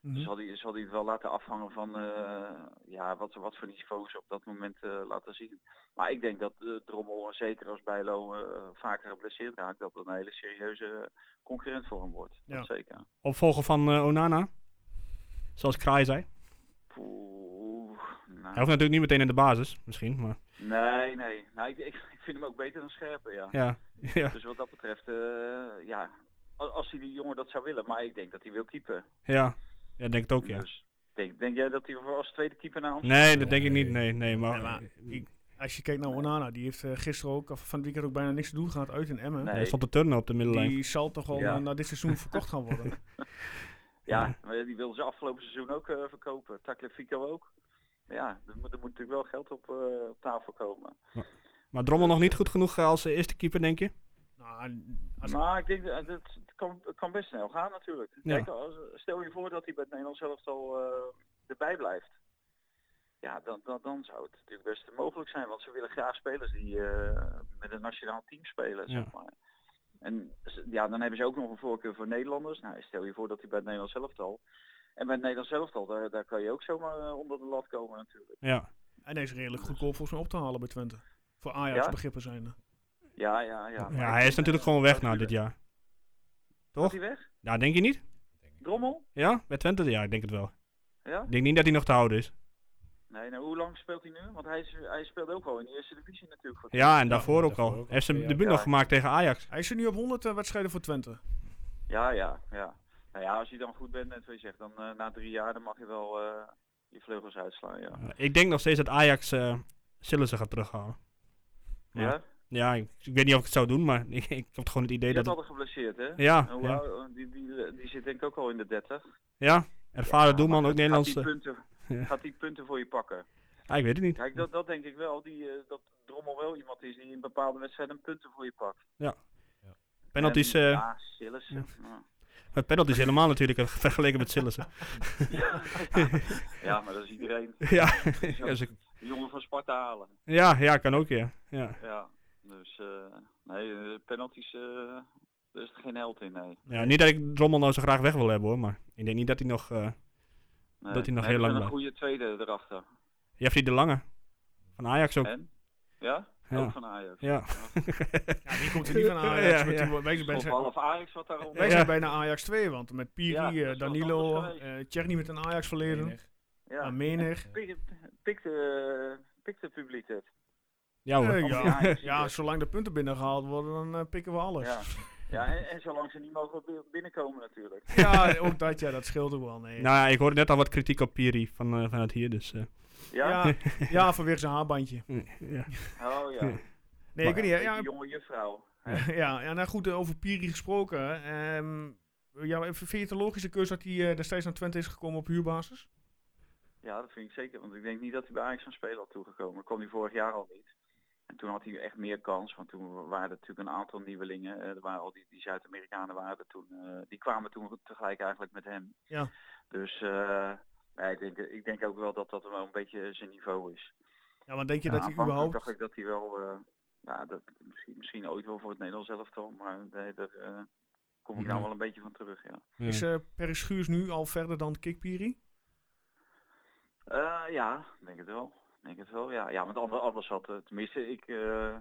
Speaker 7: Dus
Speaker 1: Mhm.
Speaker 7: Zal hij, zal hij het wel laten afhangen van eh, ja, wat, wat voor niveaus op dat moment eh, laten zien. Maar ik denk dat eh, Drommel, en zeker als Bijlo, eh, vaker geblesseerd raakt, dat dat een hele serieuze concurrent voor hem wordt.
Speaker 1: Ja.
Speaker 7: Dat zeker.
Speaker 2: Opvolger van eh, Onana. Zoals Kraai zei.
Speaker 7: Poeh, nou,
Speaker 2: Hij hoeft natuurlijk niet meteen in de basis, misschien, maar
Speaker 7: Nee, nee. Nou, ik, ik, ik vind hem ook beter dan Scherpen, ja.
Speaker 2: ja. Ja,
Speaker 7: Dus wat dat betreft, eh, ja, a- als hij die jongen dat zou willen. Maar ik denk dat hij wil keeper.
Speaker 2: ja. Ja, denk het ook, ja.
Speaker 7: Dus denk, denk jij dat hij voor als tweede keeper naar Amsterdam...
Speaker 2: Nee, dat denk ik niet, nee, nee, maar...
Speaker 1: Nee, maar ik- als je kijkt naar Onana, die heeft eh, gisteren ook, of van het weekend ook bijna niks te doen gehad uit in Emmen.
Speaker 7: Nee.
Speaker 2: Hij stond te turnen op de middenlijn.
Speaker 1: Die zal toch wel
Speaker 7: Ja.
Speaker 1: eh, na dit seizoen verkocht gaan worden.
Speaker 7: Ja, maar die wilden ze afgelopen seizoen ook eh, verkopen. Tagliafico ook. Ja, er moet, er moet natuurlijk wel geld op, eh, op tafel komen.
Speaker 2: Maar Drommel nog niet goed genoeg eh, als eh, eerste keeper, denk je?
Speaker 1: nou, als,
Speaker 7: Maar ik denk eh, dat dat het kan, het kan best snel gaan natuurlijk.
Speaker 2: Ja.
Speaker 7: Kijk, als, stel je voor dat hij bij het Nederlands elftal eh erbij blijft. Ja, dan, dan, dan zou het natuurlijk best mogelijk zijn. Want ze willen graag spelers die eh, met een nationaal team spelen,
Speaker 2: Ja.
Speaker 7: zeg maar. En ze- ja, dan hebben ze ook nog een voorkeur voor Nederlanders. Nou, stel je voor dat hij bij het Nederlands elftal... En bij het Nederlands elftal, daar, daar kan je ook zomaar eh, onder de lat komen natuurlijk.
Speaker 2: Ja.
Speaker 1: en deze is redelijk goedkoop volgens mij op te halen bij Twente. Voor Ajax
Speaker 7: Ja?
Speaker 1: begrippen zijn er.
Speaker 7: Ja, ja, ja.
Speaker 2: Ja, hij is natuurlijk gewoon weg na dit jaar.
Speaker 7: Gaat
Speaker 2: Toch?
Speaker 7: hij weg?
Speaker 2: Ja, denk je niet?
Speaker 7: Drommel?
Speaker 2: Ja? Bij Twente? Ja, ik denk het wel.
Speaker 7: Ja?
Speaker 2: Ik denk niet dat hij nog te houden is.
Speaker 7: Nee, nou, hoe lang speelt hij nu? Want hij, is, hij speelde ook al in de eerste divisie natuurlijk. Voor
Speaker 2: Ja, en daarvoor ook al.
Speaker 3: daarvoor
Speaker 2: Hij
Speaker 3: ook al,
Speaker 2: heeft zijn
Speaker 3: ja.
Speaker 2: debuut nog
Speaker 7: Ja.
Speaker 2: gemaakt tegen Ajax.
Speaker 1: Hij is er nu op 100 eh, wedstrijden voor Twente.
Speaker 7: Ja, ja, ja. Nou ja, als je dan goed bent, net wat je zegt, dan eh, na drie jaar dan mag je wel eh, je vleugels uitslaan, ja.
Speaker 2: Uh, Ik denk nog steeds dat Ajax eh Sillissen gaat terughalen. Ja.
Speaker 7: Ja?
Speaker 2: Ja, ik, ik weet niet of ik het zou doen, maar ik, ik heb gewoon het idee
Speaker 7: Die
Speaker 2: dat...
Speaker 7: had
Speaker 2: het-
Speaker 7: altijd geblesseerd, hè?
Speaker 2: Ja,
Speaker 7: En hoe
Speaker 2: ja,
Speaker 7: oud- die, die, die zit denk ik ook al in de 30.
Speaker 2: ja. Ervaren
Speaker 7: Ja,
Speaker 2: doelman,
Speaker 7: maar
Speaker 2: ook
Speaker 7: gaat die
Speaker 2: Nederlandse.
Speaker 7: punten-
Speaker 2: Ja.
Speaker 7: Gaat die punten voor je pakken?
Speaker 2: Ah, ik weet het niet.
Speaker 7: Kijk, dat, dat denk ik wel. Die, eh, dat Drommel wel iemand is die in bepaalde wedstrijden punten voor je pakt.
Speaker 2: Penalties,
Speaker 7: En-
Speaker 2: eh,
Speaker 7: Ja, Sillissen. Ja.
Speaker 2: maar Met penalty is helemaal natuurlijk eh, vergeleken met Sillissen.
Speaker 7: Ja, ja, maar dat is iedereen.
Speaker 2: ja.
Speaker 7: Ja,
Speaker 2: Ja, ze-
Speaker 7: De jongen van Sparta halen.
Speaker 2: ja, ja, kan ook, ja. Ja,
Speaker 7: Ja, dus eh, nee, eh, penalties, eh daar is er geen held in, nee.
Speaker 2: ja niet dat ik Drommel nou zo graag weg wil hebben hoor, maar ik denk niet dat hij nog... eh
Speaker 7: nee.
Speaker 2: Dat hij nog
Speaker 7: Nee,
Speaker 2: heel
Speaker 7: er
Speaker 2: lang
Speaker 7: een goede tweede erachter.
Speaker 2: je hebt die De Lange. Van Ajax ook.
Speaker 7: En? Ja?
Speaker 2: Ja.
Speaker 7: Ook van Ajax.
Speaker 2: Ja.
Speaker 1: Ja, die komt er niet van Ajax.
Speaker 2: Ja,
Speaker 1: want
Speaker 2: ja.
Speaker 1: die wordt- Wij zijn
Speaker 7: Of
Speaker 1: bijna-
Speaker 7: half Ajax wat daarom.
Speaker 1: wij
Speaker 2: Ja.
Speaker 1: zijn bijna Ajax 2, want met Piri, eh,
Speaker 7: Ja, dat is wel
Speaker 1: Danilo,
Speaker 7: anders
Speaker 1: eh Tjerni met een Ajax verleden,
Speaker 7: Ja.
Speaker 1: Amener.
Speaker 7: Pik- Pikte, pikte het publiek het.
Speaker 2: Ja hoor.
Speaker 1: Eh,
Speaker 7: Of
Speaker 1: ja.
Speaker 7: Ajax
Speaker 1: Ja,
Speaker 7: het.
Speaker 1: zolang de punten binnengehaald worden, dan eh, pikken we alles.
Speaker 7: Ja,
Speaker 1: Ja,
Speaker 7: ja en, en zolang ze niet mogen bi- binnenkomen natuurlijk.
Speaker 1: ook dat, ja, dat scheelt ook wel. Nee.
Speaker 2: Nou ja, ik hoorde net al wat kritiek op Piri van, eh, vanuit hier, dus... eh,
Speaker 7: Ja?
Speaker 1: ja, ja, vanwege zijn haarbandje.
Speaker 2: ja.
Speaker 7: Oh ja.
Speaker 1: Nee, ik weet niet.
Speaker 7: Ja,
Speaker 1: hè, Ja,
Speaker 7: die jonge juffrouw.
Speaker 1: ja, ja, nou goed, eh, over Piri gesproken. ehm, ja, vind je het een logische keuze dat hij eh, destijds naar Twente is gekomen op huurbasis?
Speaker 7: Ja, dat vind ik zeker. Want ik denk niet dat hij bij Ajax van spelen had toegekomen. Dat kwam hij vorig jaar al niet. En toen had hij echt meer kans. Want toen waren er natuurlijk een aantal nieuwelingen. Eh, Er waren al die, die Zuid-Amerikanen waren er toen. eh, die kwamen toen tegelijk eigenlijk met hem.
Speaker 1: Ja.
Speaker 7: Dus eh, ja, ik, denk, ik denk ook wel dat dat wel een beetje zijn niveau is.
Speaker 1: Ja, want denk je
Speaker 7: Ja,
Speaker 1: dat hij
Speaker 7: aanvankelijk
Speaker 1: überhaupt...
Speaker 7: dacht ik dat hij wel... eh, ja, dat, misschien, misschien ooit wel voor het Nederlands elftal. Maar nee, daar eh, kom ik nou
Speaker 2: Ja.
Speaker 7: wel een beetje van terug, ja.
Speaker 1: Is eh Perry Schuurs nu al verder dan Kikpiri?
Speaker 7: Eh, ja, ik denk het wel. Ik Denk het wel, ja. Ja, want anders, anders had, eh, tenminste, ik, eh,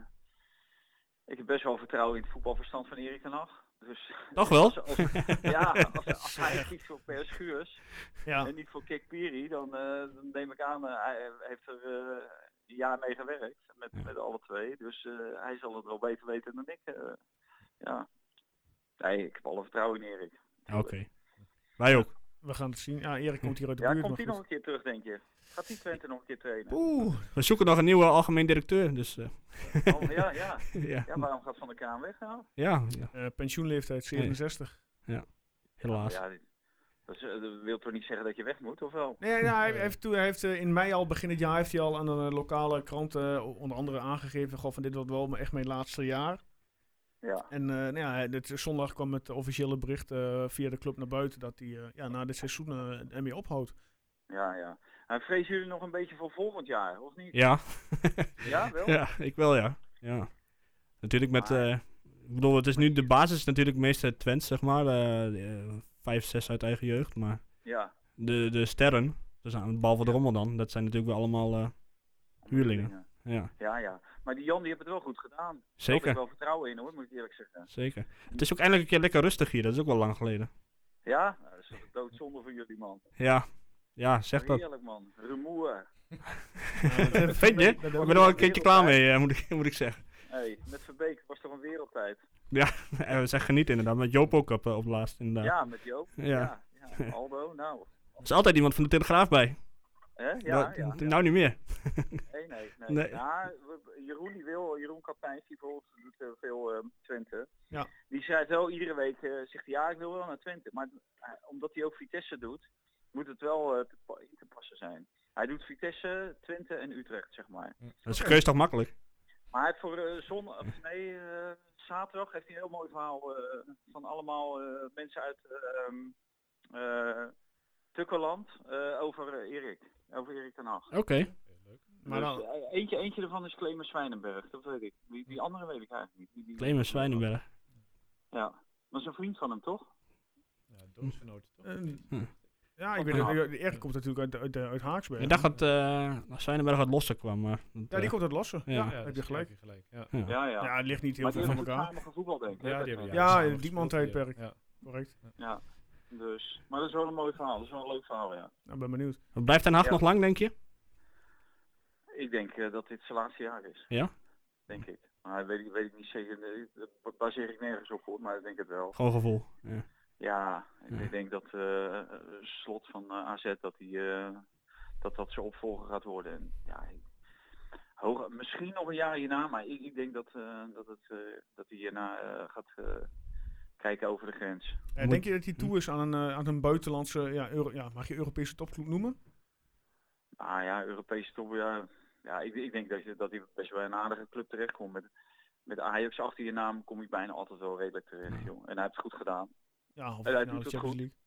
Speaker 7: ik heb best wel vertrouwen in het voetbalverstand van Erik ten Hag. Dus,
Speaker 2: Toch wel?
Speaker 7: Als, als- ja, als, als hij kiest voor Per Schuurs
Speaker 1: Ja.
Speaker 7: dus en niet voor Kik Piri, dan, eh, dan neem ik aan, eh, hij heeft er eh, een jaar mee gewerkt met,
Speaker 2: Ja.
Speaker 7: met alle twee. Dus eh, hij zal het wel beter weten dan ik. eh. ja. Nee, ik heb alle vertrouwen in Erik.
Speaker 2: Oké. Wij ook.
Speaker 1: We gaan het zien. Ja, Erik komt hier uit de
Speaker 7: Ja,
Speaker 1: buurt.
Speaker 7: komt
Speaker 1: maar
Speaker 7: hij nog
Speaker 1: goed.
Speaker 7: een keer terug, denk je? Gaat die Twente nog een keer trainen?
Speaker 1: Oeh,
Speaker 2: We zoeken nog een nieuwe algemeen directeur, dus... eh,
Speaker 7: Oh, ja, ja.
Speaker 2: ja.
Speaker 7: Ja, waarom gaat Van der Kraan weg nou?
Speaker 2: Ja, ja,
Speaker 1: eh, pensioenleeftijd 67.
Speaker 2: helaas.
Speaker 7: Ja, dit- dat, is, eh, dat wil toch niet zeggen dat je weg moet, of wel?
Speaker 1: Nee, nou, hij heeft, toen, hij heeft eh, in mei al, begin het jaar, heeft hij al aan een eh, lokale krant eh, onder andere aangegeven goh, van dit wordt wel echt mijn laatste jaar.
Speaker 7: Ja.
Speaker 1: En eh, nou ja, hij- dit, zondag kwam het officiële bericht eh, via de club naar buiten dat hij eh, ja, na dit seizoen eh, ermee ophoudt.
Speaker 7: Ja, ja. En vrezen jullie nog een beetje voor volgend jaar, of niet?
Speaker 2: Ja,
Speaker 7: Ja, wel?
Speaker 2: ja, ik wel, ja. ja. Natuurlijk met...
Speaker 7: Maar-
Speaker 2: eh, ik bedoel, het is nu de basis natuurlijk meeste Twents, zeg maar. eh, eh, Vijf, zes uit eigen jeugd, maar...
Speaker 7: Ja.
Speaker 2: De, de sterren, dus aan het bal van de rommel dan, dat zijn natuurlijk wel allemaal... eh, Huurlingen. ja,
Speaker 7: Ja, ja. Maar die Jan die heeft het wel goed gedaan. Daar had ik
Speaker 2: zeker.
Speaker 7: wel vertrouwen in hoor, moet ik eerlijk zeggen.
Speaker 2: Zeker. Het is ook eindelijk een keer lekker rustig hier, dat is ook wel lang geleden.
Speaker 7: Ja? Nou, dat is toch een doodzonde voor jullie man.
Speaker 2: Ja, ja zeg dat.
Speaker 7: Heerlijk man. Rumoer.
Speaker 2: Vind je? Ik
Speaker 1: Dat
Speaker 2: ben er wel een keertje klaar mee, eh, moet, ik, moet ik zeggen.
Speaker 7: Hey, met Verbeek was toch een wereldtijd?
Speaker 2: En Eh, we zeggen geniet inderdaad, met Joop ook op, eh, op laatst inderdaad.
Speaker 7: Ja, met Joop.
Speaker 2: Ja.
Speaker 7: Ja. ja. Aldo, nou.
Speaker 2: Er is altijd iemand van de Telegraaf bij.
Speaker 7: Hè? Ja,
Speaker 2: Dat-
Speaker 7: ja.
Speaker 2: Nou niet meer.
Speaker 7: Nee, nee, nee.
Speaker 2: Nee.
Speaker 7: Ja, we- Jeroen die wil, Jeroen Kapijs die bijvoorbeeld doet eh, veel ehm, Twente.
Speaker 1: Ja.
Speaker 7: Die schrijft wel iedere week, eh, zegt hij ja ik wil wel naar Twente. Maar eh, omdat hij ook Vitesse doet, moet het wel eh, te pa- in te passen zijn. Hij doet Vitesse, Twente en Utrecht, zeg maar.
Speaker 2: Dat is een keus toch makkelijk?
Speaker 7: Maar hij heeft voor eh, zon, of nee, eh, zaterdag heeft hij een heel mooi verhaal eh, van allemaal eh, mensen uit eh, ehm, eh, Tukkeland eh, over eh, Erik. Over Erik ten Hag.
Speaker 2: Oké.
Speaker 1: Maar
Speaker 7: Dus,
Speaker 1: dan,
Speaker 7: eh, eentje, eentje ervan is Clemens Zwijnenberg, dat weet ik. Die, die andere weet ik eigenlijk niet. Die, die-
Speaker 2: Clemens Zwijnenberg.
Speaker 7: Ja, dat is een vriend van hem, toch?
Speaker 4: Ja, doodgenoten toch?
Speaker 1: eh,
Speaker 2: Hm.
Speaker 1: ja, ik weet het. eh, Erik komt natuurlijk uit, uit, eh, uit Haaksberg.
Speaker 2: Ik dacht dat eh Zwijnenberg wat losser kwam, maar... dat,
Speaker 1: ja, die
Speaker 2: eh,
Speaker 1: komt uit Lossen.
Speaker 2: Ja.
Speaker 1: Ja,
Speaker 2: Ja,
Speaker 1: heb
Speaker 4: dat
Speaker 1: je
Speaker 4: is
Speaker 1: gelijk.
Speaker 4: gelijk. Ja,
Speaker 2: Ja.
Speaker 7: Ja, ja.
Speaker 1: Ja, het ligt niet heel
Speaker 7: maar
Speaker 1: ver
Speaker 7: die
Speaker 1: van
Speaker 7: hebben
Speaker 1: elkaar.
Speaker 7: samen gevoetbald, denk ik. hè?
Speaker 4: ja,
Speaker 7: Dat-
Speaker 4: die hebben
Speaker 1: Ja,
Speaker 4: samen
Speaker 1: die
Speaker 4: gespeeld,
Speaker 1: Mantijdperk.
Speaker 4: Ja.
Speaker 1: Correct.
Speaker 7: ja. Dus, maar dat is wel een mooi verhaal. Dat is wel een leuk verhaal, ja.
Speaker 1: Ik Nou, ben benieuwd.
Speaker 2: Blijft Den Haag
Speaker 7: Ja.
Speaker 2: nog lang, denk je?
Speaker 7: Ik denk eh, dat dit zijn laatste jaar is.
Speaker 2: Ja?
Speaker 7: Denk ik. Maar weet ik, weet ik niet zeker. eh, Dat baseer ik nergens op, hoor. Maar ik denk het wel.
Speaker 2: Gewoon gevoel. Ja.
Speaker 7: Ja, ik
Speaker 2: Ja.
Speaker 7: denk dat eh, eh, slot van eh, AZ dat die eh, dat dat zijn opvolger gaat worden. En, ja, ik- hoog, misschien nog een jaar hierna, maar ik, ik denk dat eh, dat het eh, dat hij hierna eh, gaat eh, kijken over de grens.
Speaker 1: Eh,
Speaker 2: Moet- Hm.
Speaker 1: denk je dat hij toe is aan een, eh, aan een buitenlandse, ja, Euro- ja, mag je Europese topclub noemen?
Speaker 7: Ah ja, Europese top, ja, ja ik, ik denk dat je dat hij best wel in een aardige club terechtkomt. Met, met Ajax achter je naam kom je bijna altijd wel redelijk terecht, joh. En hij heeft het goed gedaan.
Speaker 1: Ja, halve
Speaker 7: En hij
Speaker 1: finale
Speaker 7: doet het
Speaker 1: Champions
Speaker 7: goed.
Speaker 1: League.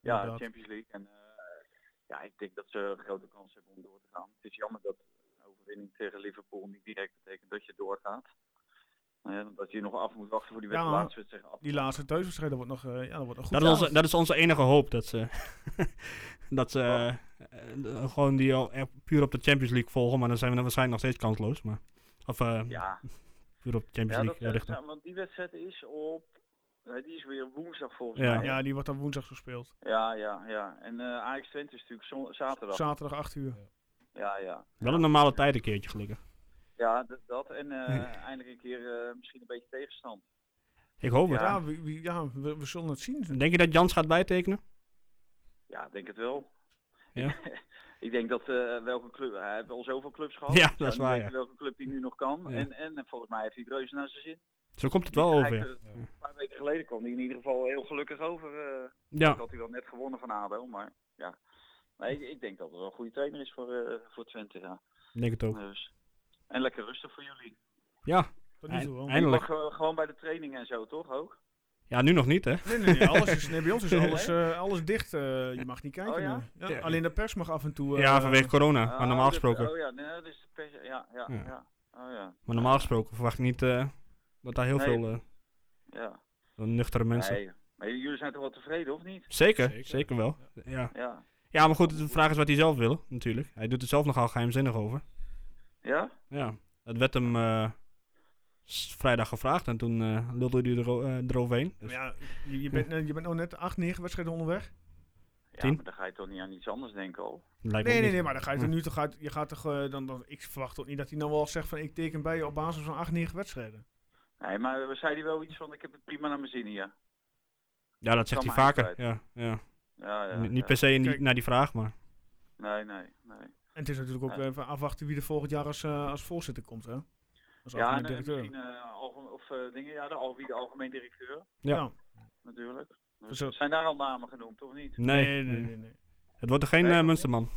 Speaker 7: Ja,
Speaker 1: Inderdaad.
Speaker 7: Champions League. En eh, ja, ik denk dat ze grote kans hebben om door te gaan. Het is jammer dat een overwinning tegen Liverpool niet direct betekent dat je doorgaat. Eh, omdat je nog af moet wachten voor die
Speaker 1: Ja,
Speaker 7: wedstrijd. laatste wedstrijd tegen
Speaker 1: Die
Speaker 7: Atletico.
Speaker 1: laatste thuiswedstrijd, dat wordt nog, eh, ja, dat wordt nog goed.
Speaker 2: Dat is, onze, dat is onze enige hoop. Dat ze, dat ze eh, eh, gewoon die al echt puur op de Champions League volgen. Maar dan zijn we dan waarschijnlijk nog steeds kansloos. Maar, of eh,
Speaker 7: Ja,
Speaker 2: puur op de
Speaker 7: ja,
Speaker 2: Champions
Speaker 7: dat,
Speaker 2: League richten.
Speaker 7: ja, want die wedstrijd is op... eh, die is weer woensdag volgens
Speaker 2: Ja.
Speaker 7: mij.
Speaker 1: Ja, die wordt dan woensdag gespeeld.
Speaker 7: Ja, ja, ja. En eh Ajax Twente is natuurlijk zon- zaterdag.
Speaker 1: Zaterdag 8 uur.
Speaker 7: ja, ja.
Speaker 2: Wel een normale tijd een keertje gelukkig.
Speaker 7: Ja, d- dat. En eh, eindelijk een keer eh, misschien een beetje tegenstand.
Speaker 2: Ik hoop het.
Speaker 1: Ja, wie- wie- ja we, we zullen het zien.
Speaker 2: Denk je dat Jans gaat bijtekenen?
Speaker 7: Ja, ik denk het wel.
Speaker 2: Ja.
Speaker 7: ik denk dat eh, welke club, hij heeft al zoveel clubs gehad.
Speaker 2: Ja,
Speaker 7: Ik zou
Speaker 2: dat is
Speaker 7: niet
Speaker 2: waar,
Speaker 7: weten Welke club die nu nog kan.
Speaker 2: Ja.
Speaker 7: En, en volgens mij heeft hij het reuze naar zijn zin.
Speaker 2: Zo komt het wel
Speaker 7: Hij
Speaker 2: over. ja.
Speaker 7: heeft, eh, Een paar weken geleden kwam hij in ieder geval heel gelukkig over. eh. Ik
Speaker 2: Ja,
Speaker 7: had hij wel net gewonnen van ADO, maar ja. Nee, ik, ik denk dat het wel een goede trainer is voor, eh, voor Twente. Ja.
Speaker 2: ik denk het ook.
Speaker 7: Dus. En lekker rustig voor jullie.
Speaker 2: Ja,
Speaker 1: Tot nu toe wel.
Speaker 7: Je
Speaker 2: eindelijk.
Speaker 7: mag eh, gewoon bij de training en zo, toch ook?
Speaker 2: Ja, nu nog niet hè.
Speaker 1: Nee, nee, nee, alles is, nee, bij ons is alles, eh, alles dicht. eh, je mag niet kijken
Speaker 7: Oh, ja?
Speaker 1: nu. Ja,
Speaker 2: Ja.
Speaker 1: Alleen de pers mag af en toe... eh,
Speaker 2: Ja, vanwege corona.
Speaker 7: Ah,
Speaker 2: Maar normaal
Speaker 7: dat-
Speaker 2: gesproken.
Speaker 7: oh ja, nee, dat is de pers- ja, ja,
Speaker 2: Ja.
Speaker 7: ja. Oh ja,
Speaker 2: Maar normaal gesproken verwacht ik niet eh, dat daar heel
Speaker 7: Nee.
Speaker 2: veel
Speaker 7: ja.
Speaker 2: eh, nuchtere mensen.
Speaker 7: Nee, maar jullie zijn toch wel tevreden, of niet?
Speaker 2: Zeker, zeker,
Speaker 3: Zeker.
Speaker 2: wel. Ja.
Speaker 7: Ja.
Speaker 2: ja, maar goed, de vraag is wat hij zelf wil, natuurlijk. Hij doet er zelf nogal geheimzinnig over.
Speaker 7: Ja?
Speaker 2: Ja, het werd hem eh, s- vrijdag gevraagd en toen eh lulde hij er, eh, eroverheen. Dus-
Speaker 1: maar ja, je, je bent, net- je bent nog net 8, 9 wedstrijden onderweg.
Speaker 7: Ja,
Speaker 2: Tien?
Speaker 7: maar dan ga je toch niet aan iets anders denken al.
Speaker 2: lijkt me
Speaker 1: Nee,
Speaker 2: ook
Speaker 1: nee,
Speaker 2: niet.
Speaker 1: nee, maar dan ga je er nu toch uit. Je gaat toch, eh, dan, dan, ik verwacht toch niet dat hij nou wel zegt van ik teken bij je op basis van 8, 9 wedstrijden.
Speaker 7: Nee, maar we zeiden wel iets van ik heb het prima naar mijn zin hier.
Speaker 2: Ja, dat zegt
Speaker 7: Kan
Speaker 2: hij
Speaker 7: maar
Speaker 2: vaker. Ja, ja.
Speaker 7: Ja, ja,
Speaker 2: N-
Speaker 7: ja.
Speaker 2: niet per se in die-
Speaker 1: Kijk.
Speaker 2: naar die vraag, maar
Speaker 7: Nee, nee, nee.
Speaker 1: En het is natuurlijk ook eh,
Speaker 7: Ja.
Speaker 1: even afwachten wie er volgend jaar als, eh, als voorzitter komt, hè? Als
Speaker 7: Ja,
Speaker 1: algemeen
Speaker 7: en, en
Speaker 1: directeur.
Speaker 7: misschien eh, algemeen, of eh, dingen, ja, de, al, wie de algemeen directeur,
Speaker 2: Ja.
Speaker 1: Nou,
Speaker 7: natuurlijk. Dus
Speaker 1: Zo.
Speaker 7: zijn daar al namen genoemd, of niet?
Speaker 2: nee.
Speaker 1: nee, nee, nee, nee.
Speaker 2: Het wordt er geen
Speaker 7: Nee,
Speaker 2: eh,
Speaker 7: toch
Speaker 2: Munsterman.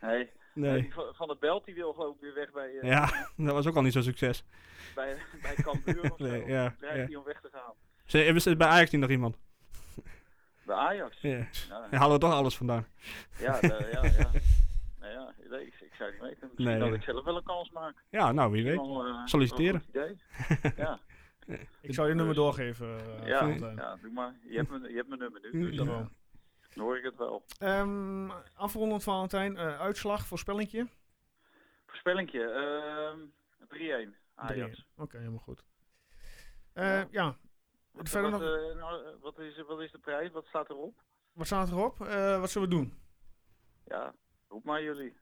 Speaker 7: nee.
Speaker 2: Nee.
Speaker 7: Die Van van der Belt die wil geloof ik weer weg bij, eh,
Speaker 2: Ja, dat was ook al niet zo'n succes.
Speaker 7: bij, bij Cambuur of zo.
Speaker 2: Nee, ja,
Speaker 7: Dreigt
Speaker 2: ja.
Speaker 7: die om weg te gaan.
Speaker 2: Ze- Er is bij Ajax niet nog iemand.
Speaker 7: Bij Ajax.
Speaker 2: Ja.
Speaker 7: Nou,
Speaker 2: Daar halen we toch alles vandaan.
Speaker 7: Ja, de- ja, ja. Nou ja, nee, ik, ik zou het niet weten. Misschien
Speaker 2: Nee,
Speaker 7: dat
Speaker 2: ja.
Speaker 7: ik zelf wel een kans maak.
Speaker 2: Ja, nou, wie weet.
Speaker 7: Wel, eh,
Speaker 2: Solliciteren.
Speaker 7: wel een goed idee. ja,
Speaker 1: Ik zou je nummer doorgeven. eh,
Speaker 7: ja,
Speaker 1: Valentijn.
Speaker 7: ja, doe maar. Je hebt mijn, je hebt mijn nummer nu, dus
Speaker 1: Dat
Speaker 7: dan
Speaker 1: wel.
Speaker 7: hoor ik het wel.
Speaker 1: Ehm, afrondend Valentijn, eh, uitslag, voorspellingje. 3-1.
Speaker 7: Voorspellingje, ehm 3-1 Ajax.
Speaker 1: Oké, helemaal goed. Eh,
Speaker 7: Ja.
Speaker 1: ja,
Speaker 7: Wat,
Speaker 1: Verder
Speaker 7: wat,
Speaker 1: nog-
Speaker 7: eh, nou, eh, wat, is, wat is de prijs? Wat staat erop?
Speaker 1: wat staat erop? Eh, wat zullen we doen?
Speaker 7: Ja, roep maar jullie.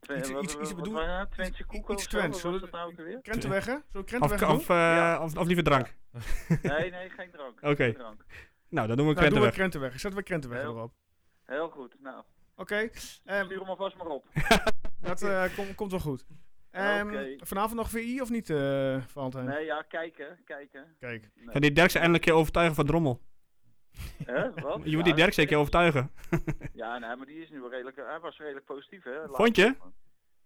Speaker 7: Twe-
Speaker 1: Iets-
Speaker 7: wat-
Speaker 1: iets-
Speaker 7: wat-
Speaker 1: iets
Speaker 7: wat
Speaker 1: bedoel-
Speaker 7: waren dat? Twentse
Speaker 1: iets-
Speaker 7: koeken
Speaker 1: iets
Speaker 7: of zo?
Speaker 1: Twents,
Speaker 7: Wat was
Speaker 1: zullen
Speaker 7: dat
Speaker 1: we-
Speaker 7: nou ook weer?
Speaker 1: Krentenweg, hè? Zullen we
Speaker 2: Of,
Speaker 1: Krentenweg
Speaker 2: of,
Speaker 1: doen?
Speaker 2: eh,
Speaker 7: Ja.
Speaker 2: of, of liever drank.
Speaker 7: Nee, nee, geen drank.
Speaker 2: Oké.
Speaker 7: geen drank.
Speaker 2: Nou, dan doen we
Speaker 1: nou, doen we
Speaker 2: Krentenweg.
Speaker 1: Krentenweg. Zetten we Krentenweg
Speaker 7: Heel-
Speaker 1: erop.
Speaker 7: Heel goed, nou.
Speaker 1: Oké, ehm,
Speaker 7: Stuur hem alvast maar op.
Speaker 1: dat eh, kom- komt wel goed. Ehm,
Speaker 7: Oké.
Speaker 1: Vanavond nog VI of niet, eh Valentijn?
Speaker 7: Nee, ja, kijken, kijken.
Speaker 1: Kijk.
Speaker 2: Kan die Derksen eindelijk een keer overtuigen van Drommel?
Speaker 7: Hè, wat?
Speaker 2: Je moet
Speaker 7: Ja,
Speaker 2: die Derksen een keer overtuigen.
Speaker 7: Ja, nee, maar die is nu wel redelijk, eh, hij was redelijk positief, hè? laatst.
Speaker 2: Vond je?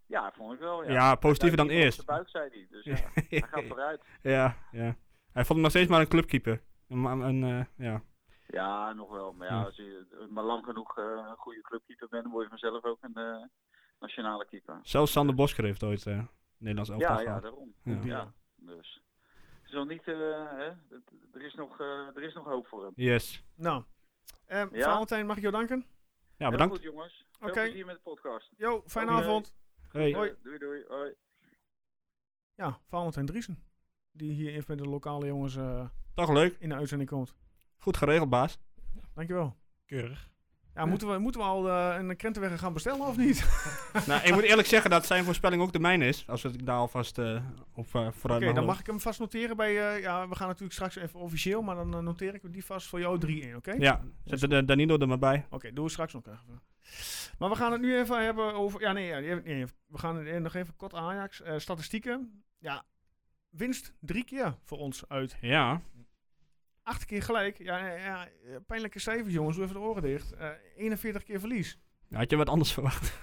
Speaker 7: Ja, vond ik wel, ja.
Speaker 2: Ja, positiever dan
Speaker 7: Hij heeft
Speaker 2: eerst.
Speaker 7: iets op zijn buik, zei hij. Dus ja, hij gaat vooruit.
Speaker 2: Ja, ja. Hij vond hem nog steeds maar een clubkeeper. Een, een, een, eh, ja.
Speaker 7: Ja, nog wel. Maar ja,
Speaker 2: Ja.
Speaker 7: als je maar lang genoeg eh, een goede clubkeeper bent, dan word je vanzelf ook een eh, nationale keeper.
Speaker 2: Zelfs Sander Bosker heeft ooit eh Nederlands elftal
Speaker 7: Ja, ja,
Speaker 2: gehad.
Speaker 7: daarom.
Speaker 2: Ja.
Speaker 7: Ja. dus. Het is nog niet, eh, hè? het- er, is nog, eh, er is nog hoop voor hem.
Speaker 2: Yes.
Speaker 1: Nou, ehm,
Speaker 7: Ja?
Speaker 1: Valentijn, mag ik jou danken?
Speaker 2: Ja,
Speaker 7: Heel
Speaker 2: bedankt.
Speaker 7: goed, jongens. Veel
Speaker 1: Oké.
Speaker 7: plezier met de podcast.
Speaker 1: Jo, fijne
Speaker 7: Oké.
Speaker 1: avond.
Speaker 2: Hey.
Speaker 1: Hoi.
Speaker 7: Doei, doei. Hoi.
Speaker 1: Ja, Valentijn Driesen. Die hier even met de lokale jongens eh,
Speaker 2: Toch leuk.
Speaker 1: in de uitzending komt.
Speaker 2: Goed geregeld, baas.
Speaker 1: Dankjewel.
Speaker 3: Keurig.
Speaker 1: Ja, moeten we, moeten we al eh, een krentenweg gaan bestellen of niet?
Speaker 2: nou, ik moet eerlijk zeggen dat zijn voorspelling ook de mijne is. Als ik daar alvast eh, op eh,
Speaker 1: Oké,
Speaker 2: vooruit mag
Speaker 1: dan
Speaker 2: lopen.
Speaker 1: mag ik hem vast noteren bij... eh, ja, we gaan natuurlijk straks even officieel, maar dan eh, noteer ik die vast voor jou 3-1, oké?
Speaker 2: Ja, zet de, de Danilo er maar bij.
Speaker 1: Oké, doen we straks nog even. Maar we gaan het nu even hebben over... Ja, nee, ja, die hebben- nee we gaan het- eh, nog even kort Ajax. Eh, statistieken. Ja, winst drie keer voor ons uit.
Speaker 2: Ja.
Speaker 1: Acht keer gelijk. Ja, eh, ja eh, pijnlijke cijfers, jongens. Doe even de oren dicht. Eh, 41 keer verlies.
Speaker 2: Had je wat anders verwacht?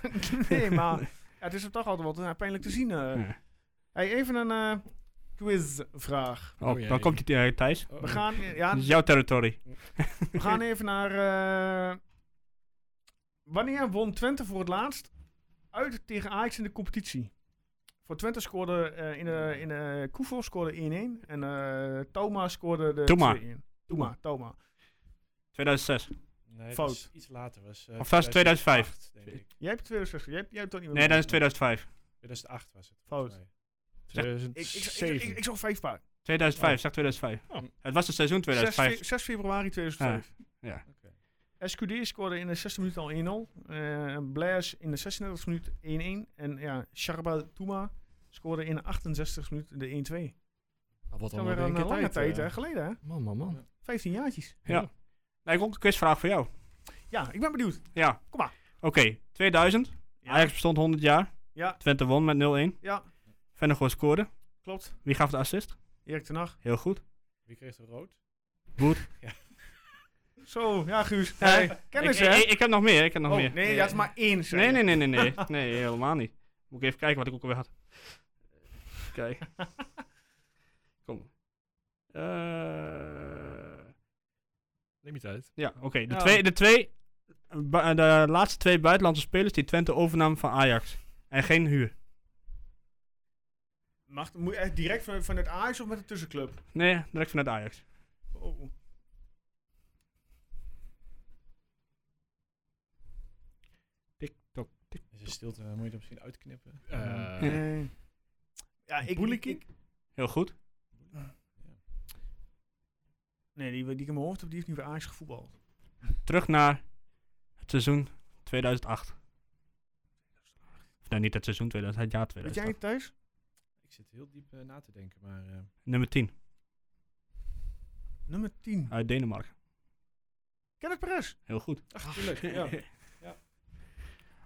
Speaker 1: nee, maar ja, het is er toch altijd wat eh, pijnlijk te zien. eh.
Speaker 2: Ja.
Speaker 1: Hey, even een eh, quizvraag.
Speaker 2: Oh,
Speaker 3: Oh,
Speaker 2: dan
Speaker 3: jee.
Speaker 2: komt hij Thijs.
Speaker 1: We gaan, ja,
Speaker 2: Dat is jouw territorie.
Speaker 1: we gaan even naar... eh, wanneer won Twente voor het laatst uit tegen Ajax in de competitie? Voor Twente scoorde eh, in de, in de Koevo scoorde 1-1 en eh Toma scoorde de
Speaker 2: Toma.
Speaker 1: 2-1. Toma, Toma.
Speaker 2: 2006.
Speaker 4: Nee,
Speaker 1: Fout.
Speaker 4: dat is iets later. Was, eh,
Speaker 2: Of dat is 2008,
Speaker 4: denk ik.
Speaker 1: Jij hebt 2006, jij hebt, jij hebt toch niet meer
Speaker 2: Nee, dat is
Speaker 1: meegedaan?
Speaker 2: 2005.
Speaker 4: 2008 was het.
Speaker 1: Fout.
Speaker 4: volgens mij.
Speaker 1: Ik, ik, ik,
Speaker 3: 2007.
Speaker 1: ik, ik zag vijf paar.
Speaker 2: 2005, zeg 2005.
Speaker 3: Oh.
Speaker 2: Het was het seizoen
Speaker 1: 6,
Speaker 2: 2005. Ah,
Speaker 1: februari 2005.
Speaker 2: Ja,
Speaker 4: Oké.
Speaker 1: SQD scoorde in de 16e minuut al 1-0. Eh Blaise in de 36e minuut 1-1. En ja, Sharba Touma scoorde in de 68e minuut de 1-2.
Speaker 3: Ah, Wat
Speaker 1: Dat is alweer een
Speaker 3: keer
Speaker 1: lange tijd
Speaker 3: eh.
Speaker 1: hè, geleden hè.
Speaker 3: Man, man, man.
Speaker 1: 15 jaartjes.
Speaker 2: Ja. Nou, ik heb ook een quizvraag voor jou.
Speaker 1: Ja, ik ben benieuwd.
Speaker 2: Ja.
Speaker 1: Kom maar.
Speaker 2: Oké, 2000.
Speaker 1: Ja.
Speaker 2: Ajax bestond 100 jaar.
Speaker 1: Ja.
Speaker 2: Twente won met 0-1.
Speaker 1: Ja,
Speaker 2: Vennegoor scoorde.
Speaker 1: klopt.
Speaker 2: Wie gaf de assist?
Speaker 1: Erik ten Hag.
Speaker 2: Heel goed.
Speaker 4: Wie kreeg er rood?
Speaker 1: Zo, ja Guus. Hey,
Speaker 2: Ik,
Speaker 1: kennis hè.
Speaker 2: ik, ik heb nog meer, ik heb nog
Speaker 1: Oh,
Speaker 2: meer.
Speaker 1: nee, dat is maar één. zei
Speaker 2: Nee,
Speaker 1: je.
Speaker 2: nee, nee, nee, nee. Nee, helemaal niet. Moet ik even kijken wat ik ook alweer had. Kijk. Kom. Eh,
Speaker 3: Neem je tijd.
Speaker 2: ja, oké. De,
Speaker 1: Ja.
Speaker 2: twee, de, twee, bu- de laatste twee buitenlandse spelers die Twente overnam van Ajax. En geen huur.
Speaker 1: Mag, moet je echt direct van, vanuit Ajax of met een tussenclub?
Speaker 2: Nee, direct vanuit Ajax.
Speaker 1: Oh.
Speaker 2: Tik-tok, tik.
Speaker 4: Is er stilte? eh, Moet je dat misschien uitknippen?
Speaker 3: Eh,
Speaker 1: Nee. Ja, ik, ik, ik,
Speaker 2: Heel goed.
Speaker 1: Nee, die, die ik in mijn hoofd heb, die heeft nu bij Ajax gevoetbald.
Speaker 2: Terug naar het seizoen 2008. Of nou, niet het seizoen 2000, het jaar
Speaker 1: Weet jij
Speaker 2: 2008.
Speaker 1: het thuis?
Speaker 4: Ik zit heel diep eh, na te denken, maar... eh,
Speaker 2: Nummer 10,
Speaker 1: Nummer 10.
Speaker 2: uit Denemarken.
Speaker 1: Kenneth Perez.
Speaker 2: Heel goed.
Speaker 4: Ach, tuurlijk. ja.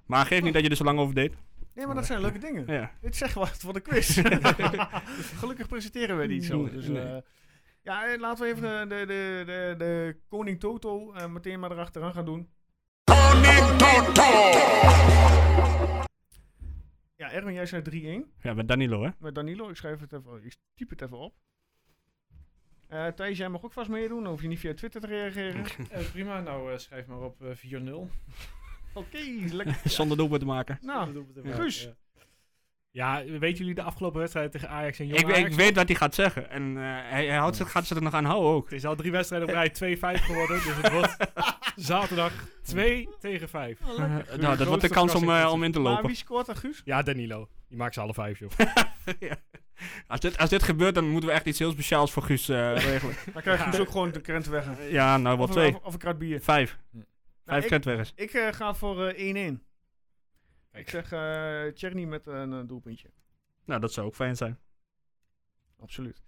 Speaker 2: Maar geef niet dat je er zo lang over deed.
Speaker 1: Nee, maar dat zijn leuke dingen.
Speaker 2: Ja.
Speaker 1: Dit zegt wat voor de quiz. Dus Gelukkig presenteren we niet zo. Dus, eh,
Speaker 2: Nee.
Speaker 1: ja, eh, laten we even eh, de, de, de, de koning Toto eh, meteen maar erachteraan gaan doen. Ja, Erwin, jij zei 3-1
Speaker 2: Ja, met Danilo, hè?
Speaker 1: met Danilo. Ik schrijf het even, oh, ik typ het even op. Eh Thijs, jij mag ook vast meedoen. Dan hoef je niet via Twitter te reageren. Oké,
Speaker 4: Eh, prima, nou eh, schrijf maar op eh, 4-0.
Speaker 1: lekker.
Speaker 2: Zonder doelpunt te maken.
Speaker 1: Nou,
Speaker 4: Dat bedoelt het wel,
Speaker 1: Guus.
Speaker 4: ja.
Speaker 3: Ja, weten jullie de afgelopen wedstrijd tegen Ajax en Jong
Speaker 2: Ik, ik
Speaker 3: Ajax?
Speaker 2: weet wat hij gaat zeggen. En eh, hij, hij houdt zich, gaat zich er nog aan houden ook.
Speaker 3: Het is al drie wedstrijden op rij 2-5 geworden, dus het wordt zaterdag 2 tegen 5.
Speaker 1: Oh, lekker.
Speaker 2: Eh, nou, dat wordt de kans om, eh, om in te
Speaker 1: Maar
Speaker 2: lopen.
Speaker 1: wie scoort dan, Guus?
Speaker 3: Ja, Danilo. Die maakt ze alle vijf, joh.
Speaker 2: Ja. als, dit, als dit gebeurt, dan moeten we echt iets heel speciaals voor Guus eh, regelen.
Speaker 1: Dan krijg je dus ook gewoon de krent weg. Of,
Speaker 2: ja, nou, wel
Speaker 1: een-
Speaker 2: twee.
Speaker 1: of, of een krat bier.
Speaker 2: Vijf.
Speaker 1: Nou,
Speaker 2: Vijf
Speaker 1: ik-
Speaker 2: kentweggers.
Speaker 1: Ik eh, ga voor eh, 1-1.
Speaker 3: Kijk.
Speaker 1: Ik zeg eh Tjerni met een eh, doelpuntje.
Speaker 2: Nou, dat zou ook fijn zijn.
Speaker 1: Absoluut.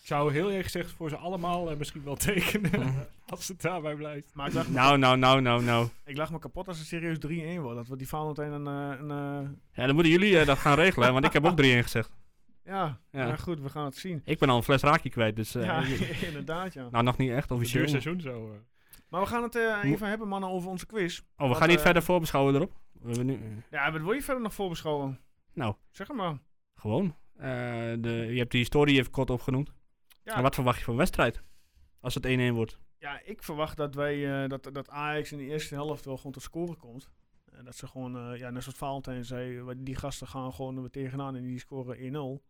Speaker 3: Ik zou heel eerlijk gezegd voor ze allemaal eh, misschien wel tekenen, als het daarbij blijft.
Speaker 1: Maar ik lag, me,
Speaker 2: Nou, nou, nou, nou, nou.
Speaker 1: ik lag me kapot als het serieus 3-1 wordt. Dat wordt die Valentijn een... eh, een eh,
Speaker 2: Ja, dan moeten jullie eh, dat gaan regelen, hè, want ik heb ook drie ingezegd.
Speaker 1: ja,
Speaker 2: Ja.
Speaker 1: maar goed, we gaan het zien.
Speaker 2: Ik ben al een fles raakje kwijt, dus... eh,
Speaker 1: ja,
Speaker 2: je-
Speaker 1: inderdaad, ja.
Speaker 2: nou, nog niet echt
Speaker 3: Het duurt
Speaker 2: officieel.
Speaker 3: seizoen zo. eh.
Speaker 1: Maar we gaan het eh,
Speaker 2: Mo-
Speaker 1: even hebben, mannen, over onze quiz.
Speaker 2: Oh, we
Speaker 1: Wat,
Speaker 2: gaan niet
Speaker 1: eh,
Speaker 2: verder voorbeschouwen erop. We hebben nu...
Speaker 1: Ja, wat wil je verder nog voorbeschouwen?
Speaker 2: Nou.
Speaker 1: Zeg het maar.
Speaker 2: Gewoon. Eh, de, je hebt die historie even kort opgenoemd.
Speaker 1: Ja.
Speaker 2: En wat verwacht je van wedstrijd? Als het 1-1 wordt.
Speaker 1: Ja, ik verwacht dat, wij, eh, dat, dat Ajax in de eerste helft wel gewoon tot scoren komt. En dat ze gewoon, eh, ja, net zoals Valentijn zei, eh, die gasten gaan gewoon er tegenaan en die scoren 1-0.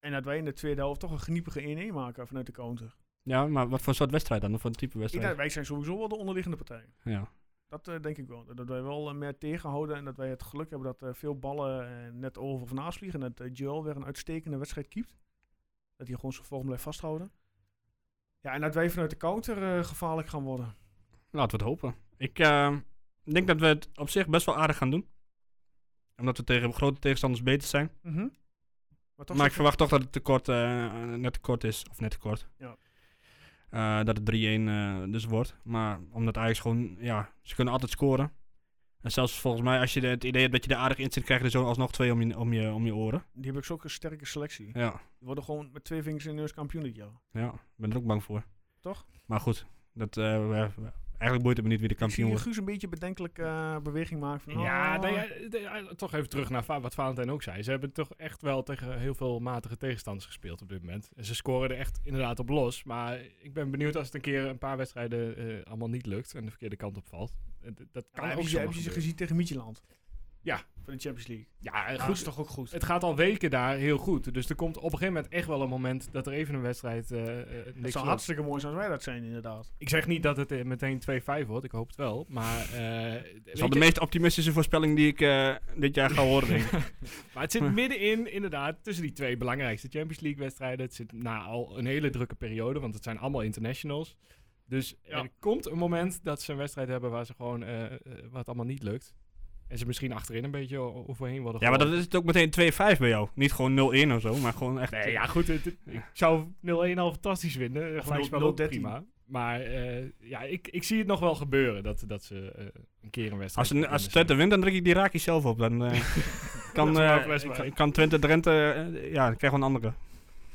Speaker 1: En dat wij in de tweede helft toch een geniepige 1-1 maken vanuit de counter.
Speaker 2: Ja, maar wat voor soort wedstrijd dan? Of voor een type
Speaker 1: Ik
Speaker 2: wedstrijd?
Speaker 1: denk, wij zijn sowieso wel de onderliggende partij.
Speaker 2: Ja.
Speaker 1: Dat eh, denk ik wel. Dat wij wel eh, meer tegenhouden en dat wij het geluk hebben dat eh, veel ballen eh, net over of naast vliegen. En dat eh, Joel weer een uitstekende wedstrijd keept. Dat hij gewoon zijn vorm blijft vasthouden. Ja, en dat wij vanuit de counter eh, gevaarlijk gaan worden.
Speaker 2: Laten we het hopen. Ik eh, denk dat we het op zich best wel aardig gaan doen. Omdat we tegen grote tegenstanders beter zijn.
Speaker 1: Mhm. Maar toch
Speaker 2: maar
Speaker 1: zeg
Speaker 2: ik verwacht toch dat het tekort, eh, net tekort is. Of net tekort.
Speaker 1: Ja.
Speaker 2: Eh, dat het 3-1 eh, dus wordt. Maar omdat Ajax gewoon... Ja, ze kunnen altijd scoren. En zelfs volgens mij, als je de- het idee hebt dat je er aardig in zit... krijg je er zo alsnog twee om je, om je, om je oren.
Speaker 1: je, die hebben ook zo'n sterke selectie.
Speaker 2: Ja.
Speaker 1: Die worden gewoon met twee vingers in de neus kampioen dit jaar.
Speaker 2: Ja, ik ben er ook bang voor.
Speaker 1: Toch?
Speaker 2: Maar goed, dat, eh, we- we- Eigenlijk boeit het me niet wie
Speaker 1: Ik
Speaker 2: de
Speaker 1: zie
Speaker 2: kampioen
Speaker 1: hier
Speaker 2: wordt.
Speaker 1: Guus een beetje bedenkelijke eh, beweging maken. Van,
Speaker 3: Ja,
Speaker 1: oh,
Speaker 3: nee, eh, nee, eh, toch even terug naar Va- wat Valentijn ook zei. Ze hebben toch echt wel tegen heel veel matige tegenstanders gespeeld op dit moment. En ze scoren er echt inderdaad op los. Maar ik ben benieuwd als het een keer een paar wedstrijden eh, allemaal niet lukt en de verkeerde kant op valt. En d- Dat
Speaker 1: Ja,
Speaker 3: kan ook
Speaker 1: hebben ze,
Speaker 3: zomaar
Speaker 1: hebben ze ze
Speaker 3: gebeuren.
Speaker 1: gezien tegen Midtjylland?
Speaker 3: Ja.
Speaker 1: Van de Champions League.
Speaker 3: Ja, eh,
Speaker 1: Dat
Speaker 3: goed.
Speaker 1: is toch ook goed.
Speaker 3: Het gaat al weken daar heel goed. Dus er komt op een gegeven moment echt wel een moment dat er even een wedstrijd eh, eh,
Speaker 1: Het
Speaker 3: niks
Speaker 1: zou
Speaker 3: loopt.
Speaker 1: hartstikke mooi zijn als wij dat zijn, inderdaad.
Speaker 3: Ik zeg niet dat het eh, meteen 2-5 wordt. Ik hoop het wel. Maar, eh,
Speaker 2: Dat
Speaker 3: weet
Speaker 2: is wel de
Speaker 3: je-
Speaker 2: meest optimistische voorspelling die ik eh, dit jaar ga horen, denk ik.
Speaker 3: Maar het zit middenin, inderdaad, tussen die twee belangrijkste Champions League-wedstrijden. Het zit na al een hele drukke periode, want het zijn allemaal internationals. Dus
Speaker 1: Ja.
Speaker 3: er komt een moment dat ze een wedstrijd hebben waar ze gewoon, eh, eh, waar het allemaal niet lukt. En ze misschien achterin een beetje o- overheen worden
Speaker 2: Ja, maar dat
Speaker 3: geholpen.
Speaker 2: is het ook meteen 2-5 bij jou. Niet gewoon 0-1 of zo, maar gewoon echt...
Speaker 3: Nee, ja, goed. het- het- ik zou 0-1 al fantastisch vinden. Eh, Gelijkspel ook
Speaker 1: 0-13.
Speaker 3: prima. Maar eh, ja, ik, ik zie het nog wel gebeuren dat, dat ze eh, een keer een
Speaker 2: Als,
Speaker 3: wedstrijd...
Speaker 2: een, als Twente wint, dan druk ik die Raki zelf op. Dan eh, kan,
Speaker 3: Dat is
Speaker 2: eh,
Speaker 3: wel best waar.
Speaker 2: kan Twente Drenthe... eh, ja, dan krijgen we een andere.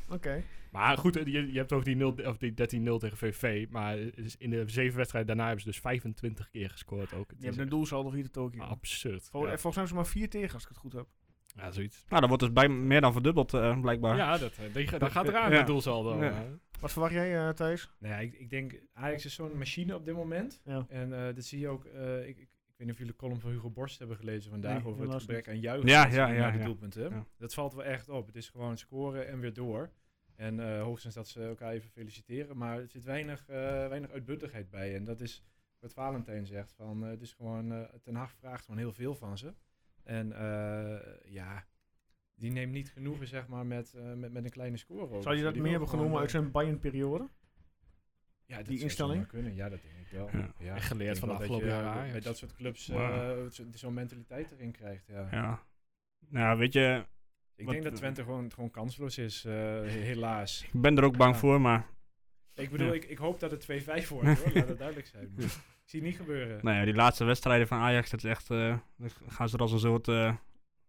Speaker 1: Oké.
Speaker 3: Maar goed, eh, je, je hebt het over die, 0, of die 13-0 tegen VV. Maar eh, is in de zeven wedstrijden daarna hebben ze dus 25 keer gescoord ook. Het
Speaker 1: Die
Speaker 3: is
Speaker 1: hebben een doelsaldo hier te Tokio.
Speaker 3: echt absurd.
Speaker 1: Vol- eh,
Speaker 3: ja.
Speaker 1: Volgens mij hebben ze maar vier tegen, als ik het goed heb.
Speaker 3: Ja, zoiets.
Speaker 2: Nou, dat wordt dus bij, meer dan verdubbeld, eh, blijkbaar.
Speaker 3: Ja, dat, eh, die, ga- dat gaat eraan,
Speaker 2: Ja.
Speaker 3: dat doelsaldo.
Speaker 2: Ja.
Speaker 3: eh.
Speaker 1: Wat verwacht jij, eh, Thijs?
Speaker 4: Nou ja, ik, ik denk, Ajax is zo'n machine op dit moment.
Speaker 1: Ja.
Speaker 4: En eh, dat zie je ook, eh, ik, ik, ik weet niet of jullie de column van Hugo Borst hebben gelezen vandaag
Speaker 1: Nee,
Speaker 4: over het
Speaker 1: helaas
Speaker 4: gebrek aan juichen.
Speaker 2: Ja,
Speaker 4: als ze
Speaker 2: ja,
Speaker 4: niet
Speaker 2: ja,
Speaker 4: maken
Speaker 2: ja.
Speaker 4: doelpunten.
Speaker 2: Ja.
Speaker 4: Dat valt wel echt op. Het is gewoon scoren en weer door. En eh, hoogstens dat ze elkaar even feliciteren. Maar er zit weinig, eh, weinig uitbundigheid bij. En dat is wat Valentijn zegt. Van, eh, het is gewoon, eh, Ten Hag vraagt gewoon heel veel van ze. En eh, ja, die neemt niet genoegen zeg maar, met, eh, met, met een kleine score. ook.
Speaker 1: Zou je dat meer
Speaker 4: Die wil
Speaker 1: hebben
Speaker 4: gewoon,
Speaker 1: genomen
Speaker 4: eh,
Speaker 1: uit zijn Bayern-periode?
Speaker 4: ja, dat
Speaker 1: Die
Speaker 4: zou
Speaker 1: instelling?
Speaker 4: zomaar kunnen, ja, dat denk ik wel.
Speaker 2: Ja.
Speaker 4: Ja.
Speaker 3: En
Speaker 4: ik
Speaker 3: geleerd
Speaker 4: denk
Speaker 3: van de
Speaker 4: wel dat
Speaker 3: afgelopen
Speaker 4: je eh,
Speaker 3: jaren,
Speaker 4: Bij
Speaker 3: Ajax.
Speaker 4: dat soort clubs eh,
Speaker 2: Wow.
Speaker 4: zo- zo'n mentaliteit erin krijgt, ja.
Speaker 2: Ja. Nou, weet je,
Speaker 4: Ik
Speaker 2: Wat-
Speaker 4: denk dat Twente gewoon, gewoon kansloos is, eh, he- helaas.
Speaker 2: ik ben er ook bang
Speaker 4: Ja.
Speaker 2: voor, maar...
Speaker 4: Ik bedoel,
Speaker 2: Ja.
Speaker 4: ik, ik hoop dat het 2-5 wordt, hoor. laat dat duidelijk zijn. Maar ik zie het niet gebeuren.
Speaker 2: Nou ja, die laatste wedstrijden van Ajax, dat is echt... eh, dan gaan ze er als een soort eh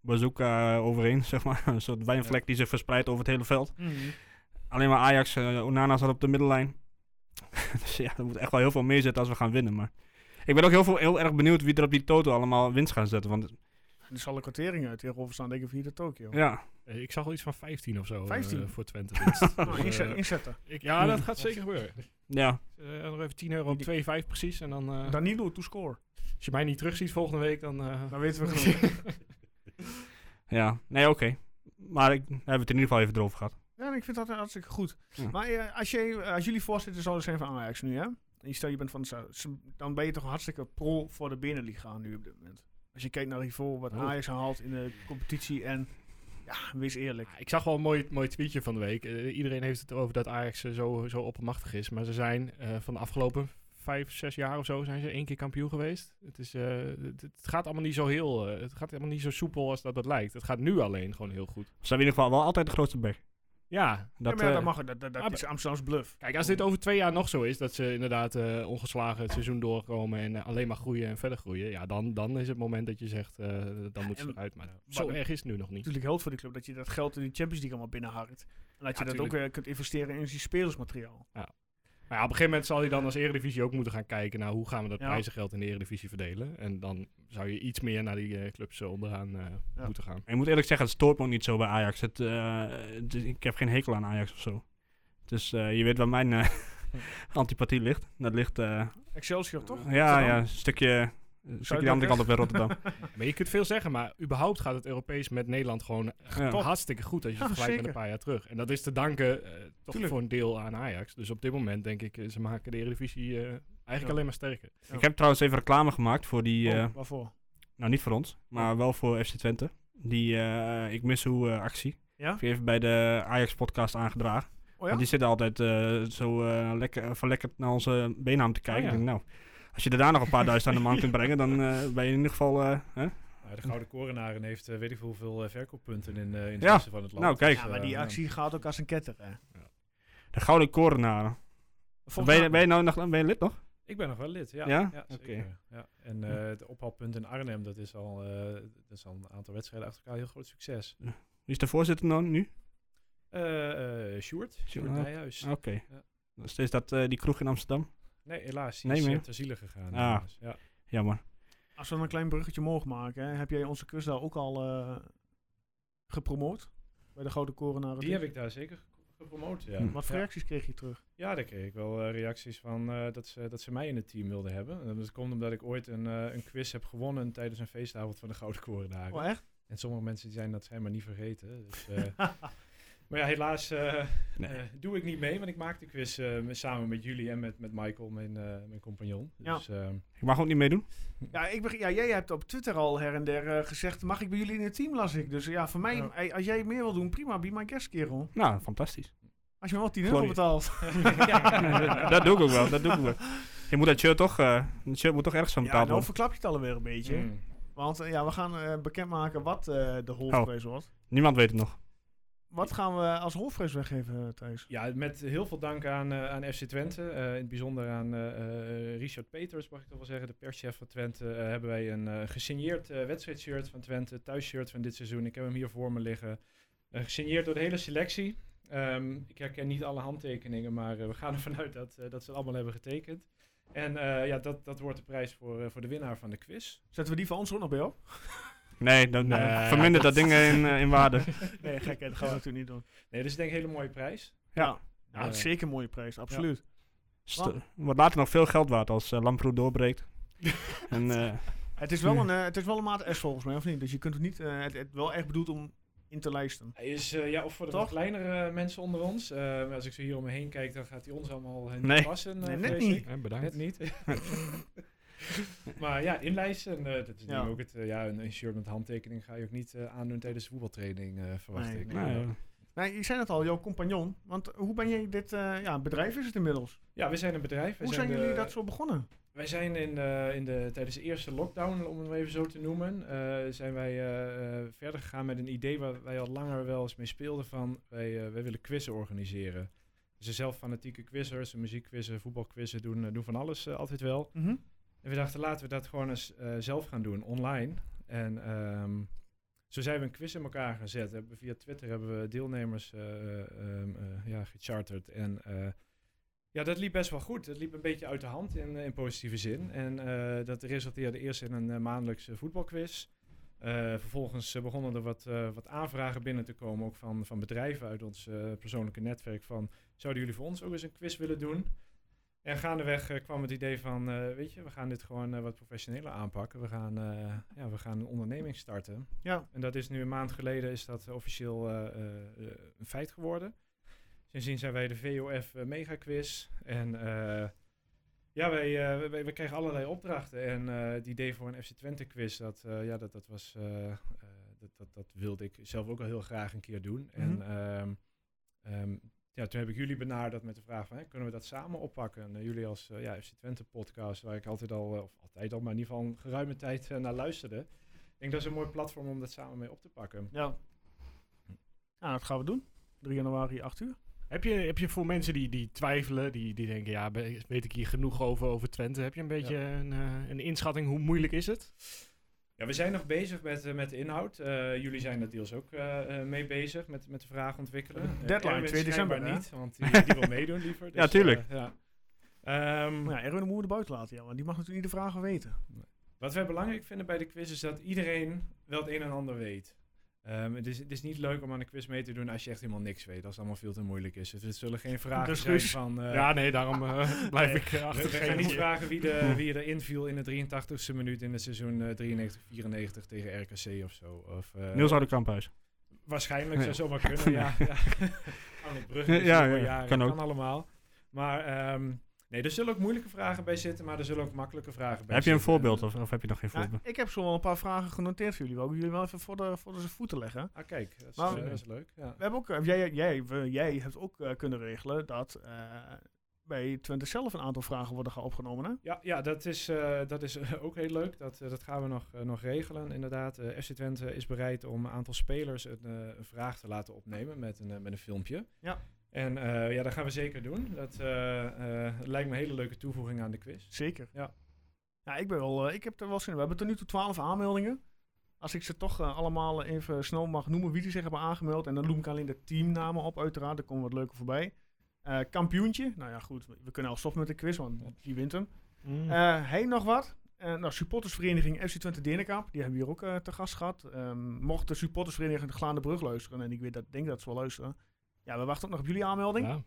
Speaker 2: bazooka eh, overheen, zeg maar. Een soort wijnvlek die zich verspreidt over het hele veld. Alleen maar Ajax, eh, Onana zat op de middenlijn. dus ja, er moet echt wel heel veel meer zitten als we gaan winnen. Maar ik ben ook heel, veel, heel erg benieuwd wie er op die toto allemaal winst gaan zetten. Want
Speaker 1: Er zal een kwartering uit tegenover staan, denk ik, hier de Tokio.
Speaker 2: ja,
Speaker 3: Eh, Ik zag al iets van 15 of zo eh,
Speaker 1: 15?
Speaker 3: voor Twente. winst.
Speaker 1: Nou,
Speaker 3: Dus,
Speaker 1: inzet-
Speaker 3: eh,
Speaker 1: inzetten.
Speaker 3: ik- ja, dat gaat zeker gebeuren.
Speaker 2: ja,
Speaker 3: Eh, nog even 10 euro op 2,5 precies. En dan, eh,
Speaker 1: Danilo to score.
Speaker 3: als je mij niet terugziet volgende week, dan... eh,
Speaker 1: Dan weten we genoeg.
Speaker 2: ja. Nee, oké. Maar ik, daar hebben we het in ieder geval even erover gehad.
Speaker 1: ja, ik vind dat hartstikke goed.
Speaker 2: Ja.
Speaker 1: Maar eh, als, jij, als jullie voorzitter zouden zijn van Ajax nu, hè? En je stel je bent van de Zuid, dan ben je toch hartstikke pro voor de binnenliga nu op dit moment. Als je kijkt naar het niveau wat
Speaker 3: Oh.
Speaker 1: Ajax haalt in de competitie en... Ja, wees eerlijk.
Speaker 3: Ja, Ik zag wel een mooi, mooi tweetje van de week. Eh, iedereen heeft het erover dat Ajax eh, zo, zo oppermachtig is. Maar ze zijn eh, van de afgelopen vijf, zes jaar of zo zijn ze één keer kampioen geweest. Het, is, eh, het, het gaat allemaal niet zo heel... eh, het gaat helemaal niet zo soepel als dat dat lijkt. Het gaat nu alleen gewoon heel goed.
Speaker 2: Ze hebben in ieder geval wel altijd de grootste bek.
Speaker 3: Ja.
Speaker 1: Dat,
Speaker 2: Dat,
Speaker 1: ja, maar ja,
Speaker 2: eh,
Speaker 1: dat mag. Dat, dat, dat
Speaker 3: maar-
Speaker 1: is Amsterdams bluff.
Speaker 3: Kijk, als dit over twee jaar nog zo is, dat ze inderdaad eh, ongeslagen het seizoen doorkomen en eh, alleen maar groeien en verder groeien, ja, dan, dan is het moment dat je zegt, eh, dan moet ze
Speaker 1: en-
Speaker 3: eruit. Maar
Speaker 1: Ja.
Speaker 3: zo
Speaker 1: Maar-
Speaker 3: erg is het nu nog niet.
Speaker 1: natuurlijk helpt voor die club dat je dat geld in de Champions League allemaal binnenharkt. En dat je
Speaker 3: Ja,
Speaker 1: dat ook
Speaker 3: tuurlijk.
Speaker 1: weer kunt investeren in die spelersmateriaal.
Speaker 3: Maar ja, op een gegeven moment zal hij dan als Eredivisie ook moeten gaan kijken naar hoe gaan we dat
Speaker 1: Ja.
Speaker 3: prijzengeld in de Eredivisie verdelen. En dan zou je iets meer naar die eh, clubs eh, onderaan eh,
Speaker 1: Ja.
Speaker 3: moeten gaan.
Speaker 2: Ik moet eerlijk zeggen, het stoort me ook niet zo bij Ajax. Het, eh, het is- ik heb geen hekel aan Ajax of zo. Dus eh, je weet waar mijn eh, antipathie ligt. Dat ligt... eh,
Speaker 1: Excelsior toch?
Speaker 2: ja,
Speaker 1: Rotterdam?
Speaker 2: ja, een stukje, een stukje de andere
Speaker 1: Zuidweg.
Speaker 2: kant op bij Rotterdam.
Speaker 3: Maar je kunt veel zeggen, maar überhaupt gaat het Europees met Nederland gewoon
Speaker 2: Ja.
Speaker 3: toch hartstikke goed als je het
Speaker 1: Ja,
Speaker 3: vergelijkt
Speaker 1: zeker.
Speaker 3: met een paar jaar terug. En dat is te danken eh, toch
Speaker 1: Tuurlijk.
Speaker 3: voor een deel aan Ajax. Dus op dit moment denk ik, eh, ze maken de Eredivisie eh, eigenlijk
Speaker 1: Ja.
Speaker 3: alleen maar sterker.
Speaker 2: Ik heb trouwens even reclame gemaakt voor die... eh,
Speaker 1: Oh, waarvoor?
Speaker 2: Nou, niet voor ons, maar wel voor FC Twente. Die eh, Ik Mis Hoe eh, actie.
Speaker 1: Ja?
Speaker 2: Heb ik even bij de Ajax-podcast aangedragen.
Speaker 1: Oh ja?
Speaker 2: Want die zitten altijd eh, zo eh, lekker, verlekkerd naar onze beennaam te kijken.
Speaker 3: Oh ja.
Speaker 2: Ik denk, nou, als je er daar nog een paar duizend aan de man kunt brengen, dan eh, ben je in ieder geval... eh, hè?
Speaker 4: Maar de Gouden Korenaren heeft eh, weet ik veel hoeveel eh, verkooppunten in, eh in het
Speaker 2: Ja.
Speaker 4: westen van het land.
Speaker 2: Nou, kijk.
Speaker 4: Dus,
Speaker 1: Ja, maar
Speaker 4: eh,
Speaker 1: die
Speaker 4: ja.
Speaker 1: actie gaat ook als een ketter. Hè.
Speaker 2: De Gouden Korenaren.
Speaker 1: Volgens
Speaker 2: Ben je,
Speaker 1: mij-
Speaker 2: ben je nou nog ben je lid nog?
Speaker 4: Ik ben nog wel lid, ja.
Speaker 2: Ja?
Speaker 4: zeker.
Speaker 2: Oké.
Speaker 4: Ja. En eh, het ophaalpunt in Arnhem, dat is, al, eh, dat is al een aantal wedstrijden achter elkaar een heel groot succes.
Speaker 2: Wie is de voorzitter nou nu?
Speaker 4: Eh eh Sjoerd, Ah, Sjoerd
Speaker 2: ah,
Speaker 4: Nijhuis.
Speaker 2: Oké.
Speaker 4: Ja.
Speaker 2: Dus is dat eh, die kroeg in Amsterdam?
Speaker 4: Nee, helaas. Die
Speaker 2: Nee
Speaker 4: is
Speaker 2: meer?
Speaker 4: eh, ter ziele gegaan.
Speaker 2: Ah.
Speaker 4: helaas. Ja.
Speaker 2: Jammer.
Speaker 1: Als we dan een klein bruggetje mogen maken, hè, heb jij onze quizdaal ook al eh, gepromoot? Bij de Grote Koren naar het
Speaker 4: Die heb
Speaker 1: Licht?
Speaker 4: ik daar zeker ge- gepromoot. Ja.
Speaker 2: Hm.
Speaker 1: Wat voor
Speaker 4: Ja.
Speaker 1: reacties kreeg je terug?
Speaker 4: Ja, daar kreeg ik wel eh, reacties van eh, dat, ze, dat ze mij in het team wilden hebben. En dat komt omdat ik ooit een, eh, een quiz heb gewonnen tijdens een feestavond van de Gouden Korendagen.
Speaker 1: Oh, echt?
Speaker 4: En sommige mensen die zijn dat zijn maar niet vergeten. Dus, eh, maar ja, helaas eh,
Speaker 2: Nee.
Speaker 4: eh, doe ik niet mee, want ik maak de quiz eh, met- samen met jullie en met, met Michael, mijn, eh, mijn compagnon.
Speaker 1: Ja.
Speaker 4: Dus, ehm,
Speaker 2: Ik mag ook niet meedoen.
Speaker 1: Ja, ik beg- ja, jij hebt op Twitter al her en der eh, gezegd, mag ik bij jullie in het team, las ik. Dus ja, voor mij,
Speaker 4: Ja.
Speaker 1: eh, als jij meer wil doen, prima, be my guest, kerel.
Speaker 2: Nou, fantastisch.
Speaker 1: Als je me wel 10 euro
Speaker 2: Sorry.
Speaker 1: betaalt.
Speaker 2: dat, dat doe ik ook wel. Dat doe ik ook wel. Je moet dat shirt toch, eh dat shirt moet toch ergens aan
Speaker 1: Ja,
Speaker 2: betaald
Speaker 1: nou
Speaker 2: worden.
Speaker 1: verklap je het alweer een beetje.
Speaker 4: mm.
Speaker 1: Want eh, ja, we gaan eh, bekendmaken wat eh, de
Speaker 2: Oh.
Speaker 1: hoofdprijs wordt.
Speaker 2: Niemand weet het nog.
Speaker 1: Wat gaan we als hoofdprijs weggeven, eh, Thijs?
Speaker 4: Ja, met heel veel dank aan, eh, aan FC Twente. eh, in het bijzonder aan eh, eh, Richard Peters, mag ik toch wel zeggen, de perschef van Twente. eh, hebben wij een eh, gesigneerd eh, wedstrijdshirt van Twente, thuisshirt van dit seizoen. Ik heb hem hier voor me liggen. Eh, gesigneerd door de hele selectie. Ehm, ik herken niet alle handtekeningen, maar eh, we gaan ervan uit dat, eh, dat ze het allemaal hebben getekend. En eh, ja, dat, dat wordt de prijs voor, eh, voor de winnaar van de quiz.
Speaker 1: Zetten we die van ons ook nog bij op?
Speaker 2: Nee, dan eh,
Speaker 1: Nee.
Speaker 2: vermindert dat ding eh, in, eh, in waarde.
Speaker 1: Nee, gek, hè, dat gaan we natuurlijk niet doen.
Speaker 4: Nee, dat is denk ik een hele mooie prijs.
Speaker 2: Ja.
Speaker 1: Ja, dat is zeker een mooie prijs, absoluut.
Speaker 2: St- Wordt later nog veel geld waard als eh Lamproe doorbreekt. en, eh,
Speaker 1: Het, is wel een, eh, het is wel een maat S volgens mij, of niet? Dus je kunt het niet, eh, het, het wel echt bedoeld om in te lijsten.
Speaker 4: Hij is eh, ja, of voor de
Speaker 1: Toch?
Speaker 4: wat kleinere mensen onder ons. Eh, maar als ik zo hier om me heen kijk, dan gaat hij ons allemaal eh, niet
Speaker 2: Nee.
Speaker 4: passen. eh,
Speaker 1: Nee, net
Speaker 4: vrees
Speaker 1: niet.
Speaker 4: ik.
Speaker 3: Eh, bedankt.
Speaker 4: Net niet. maar ja, inlijsten, eh, dat is
Speaker 1: Ja.
Speaker 4: nu ook het, eh, ja, een, een shirt met handtekening ga je ook niet eh, aandoen tijdens de voetbaltraining, eh, verwacht
Speaker 1: Nee,
Speaker 4: ik.
Speaker 1: nee.
Speaker 2: nou,
Speaker 4: Ja.
Speaker 2: ja.
Speaker 1: Nee, je zei het al, jouw compagnon. Want hoe ben jij dit, eh, ja, bedrijf is het inmiddels. eh,
Speaker 4: Ja, we zijn een bedrijf. We
Speaker 1: hoe zijn
Speaker 4: de-
Speaker 1: jullie dat zo begonnen?
Speaker 4: Wij zijn in de, in de, tijdens de eerste lockdown, om het maar even zo te noemen, eh, zijn wij eh, eh, verder gegaan met een idee waar wij al langer wel eens mee speelden van, wij, eh, wij willen quizzen organiseren. Ze zijn zelf fanatieke quizzers, muziekquizzen, voetbalquizzen, doen, eh, doen van alles eh, altijd wel.
Speaker 1: Mhm.
Speaker 4: En we dachten, laten we dat gewoon eens eh, zelf gaan doen, online. En ehm, zo zijn we een quiz in elkaar gaan zetten. Hebben we Via Twitter hebben we deelnemers eh, ehm, eh, ja, gecharterd. En eh, ja, dat liep best wel goed. Dat liep een beetje uit de hand in, eh, in positieve zin. En eh, dat resulteerde eerst in een eh, maandelijkse voetbalquiz. Eh, vervolgens eh, begonnen er wat, eh, wat aanvragen binnen te komen, ook van, van bedrijven uit ons eh, persoonlijke netwerk. Van, zouden jullie voor ons ook eens een quiz willen doen? En gaandeweg eh, kwam het idee van, eh, weet je, we gaan dit gewoon eh, wat professioneler aanpakken. We gaan, eh, ja, we gaan een onderneming starten.
Speaker 1: Ja.
Speaker 4: En dat is nu een maand geleden is dat officieel eh, eh, eh, een feit geworden. Sindsdien zijn wij de VOF eh, Mega Quiz. En eh, ja, wij, eh, wij, wij kregen allerlei opdrachten. En eh, het idee voor een FC Twente quiz, dat, eh, ja, dat, dat was... eh, eh, dat, dat, dat wilde ik zelf ook al heel graag een keer doen.
Speaker 1: Mhm.
Speaker 4: En ehm, ehm, ja, toen heb ik jullie benaderd met de vraag van, hè, kunnen we dat samen oppakken? En, eh, jullie als eh, ja, FC Twente podcast, waar ik altijd al, eh, of altijd al, maar in ieder geval een geruime tijd eh, naar luisterde. Ik denk dat is een mooi platform om dat samen mee op te pakken.
Speaker 1: Ja. Nou, dat gaan we doen. 3 januari, 8 uur.
Speaker 3: Heb je, heb je voor mensen die, die twijfelen, die, die denken, ja, be- weet ik hier genoeg over, over Twente, heb je een beetje een, eh, een inschatting, hoe moeilijk is het?
Speaker 4: Ja, we zijn nog bezig met, eh, met de inhoud. Eh, jullie zijn er deels ook eh, eh, mee bezig met, met de vraag ontwikkelen. Eh,
Speaker 1: Deadline,
Speaker 4: Erwin
Speaker 1: 2 december,
Speaker 4: schijnbaar
Speaker 1: hè?
Speaker 4: niet, want die, die wil meedoen liever.
Speaker 2: Ja, tuurlijk.
Speaker 4: eh, ja. Ehm,
Speaker 1: Maar ja, Erwin de Moer de buiten laten, ja, want die mag natuurlijk niet de vragen weten.
Speaker 4: Wat wij belangrijk vinden bij de quiz is dat iedereen wel het een en ander weet. Ehm, het, is, het is niet leuk om aan een quiz mee te doen als je echt helemaal niks weet. Als het allemaal veel te moeilijk is. Dus het zullen geen vragen
Speaker 1: Dus
Speaker 4: zijn
Speaker 1: Guus?
Speaker 4: van... eh,
Speaker 3: ja, nee, daarom eh, blijf ik eh,
Speaker 4: we-
Speaker 3: achter.
Speaker 4: we gaan niet
Speaker 3: Geen-
Speaker 4: vragen wie, de, wie er inviel in de 83ste minuut in het seizoen eh 93-94 tegen RKC of zo. Of, eh,
Speaker 2: Niels Oude Kamphuis.
Speaker 4: Waarschijnlijk
Speaker 2: Ja.
Speaker 4: zou zomaar kunnen, ja. ja. Arnold Brugge is
Speaker 2: Ja,
Speaker 4: ja,
Speaker 2: ja,
Speaker 4: jaren,
Speaker 2: kan
Speaker 4: kan,
Speaker 2: ook.
Speaker 4: allemaal. Maar ehm, nee, er zullen ook moeilijke vragen bij zitten, maar er zullen ook makkelijke vragen bij
Speaker 2: Heb je een
Speaker 4: zitten. eh.
Speaker 2: voorbeeld of, of heb je nog geen
Speaker 1: Ja,
Speaker 2: voorbeeld?
Speaker 1: ik heb zo wel een paar vragen genoteerd voor jullie. Wou ik jullie wel even voor de, voor de voeten leggen.
Speaker 4: Ah, kijk, dat is,
Speaker 1: Maar-
Speaker 4: eh, dat is leuk. Ja.
Speaker 1: We hebben ook, eh, jij, jij, we- jij hebt ook eh, kunnen regelen dat eh, bij Twente zelf een aantal vragen worden gaan opgenomen. Hè?
Speaker 4: Ja, ja dat is, eh, dat is eh, ook heel leuk. Dat, eh, dat gaan we nog, eh, nog regelen. Inderdaad, eh, FC Twente is bereid om een aantal spelers een, eh, een vraag te laten opnemen met een, eh, met een filmpje.
Speaker 1: Ja.
Speaker 4: En eh, ja, dat gaan we zeker doen. Dat eh, eh, lijkt me een hele leuke toevoeging aan de quiz.
Speaker 1: Zeker.
Speaker 4: Ja.
Speaker 1: Ja, ik, ben wel, eh, ik heb er wel zin in. We hebben tot nu toe 12 aanmeldingen. Als ik ze toch eh, allemaal even snel mag noemen wie die zich hebben aangemeld. En dan noem ik alleen de teamnamen op, uiteraard. Er komen wat leuke voorbij. Eh, Eh, kampioentje. Nou ja, goed. We kunnen al stoppen met de quiz, want die wint hem.
Speaker 3: Mm.
Speaker 1: Eh heen nog wat. Eh, nou, supportersvereniging FC Twente Denenkamp. Die hebben we hier ook eh, te gast gehad. Ehm, mocht de supportersvereniging de Glaande Brug luisteren. En ik weet dat, denk dat ze wel luisteren. Ja, we wachten ook nog op jullie aanmelding.
Speaker 3: Ja.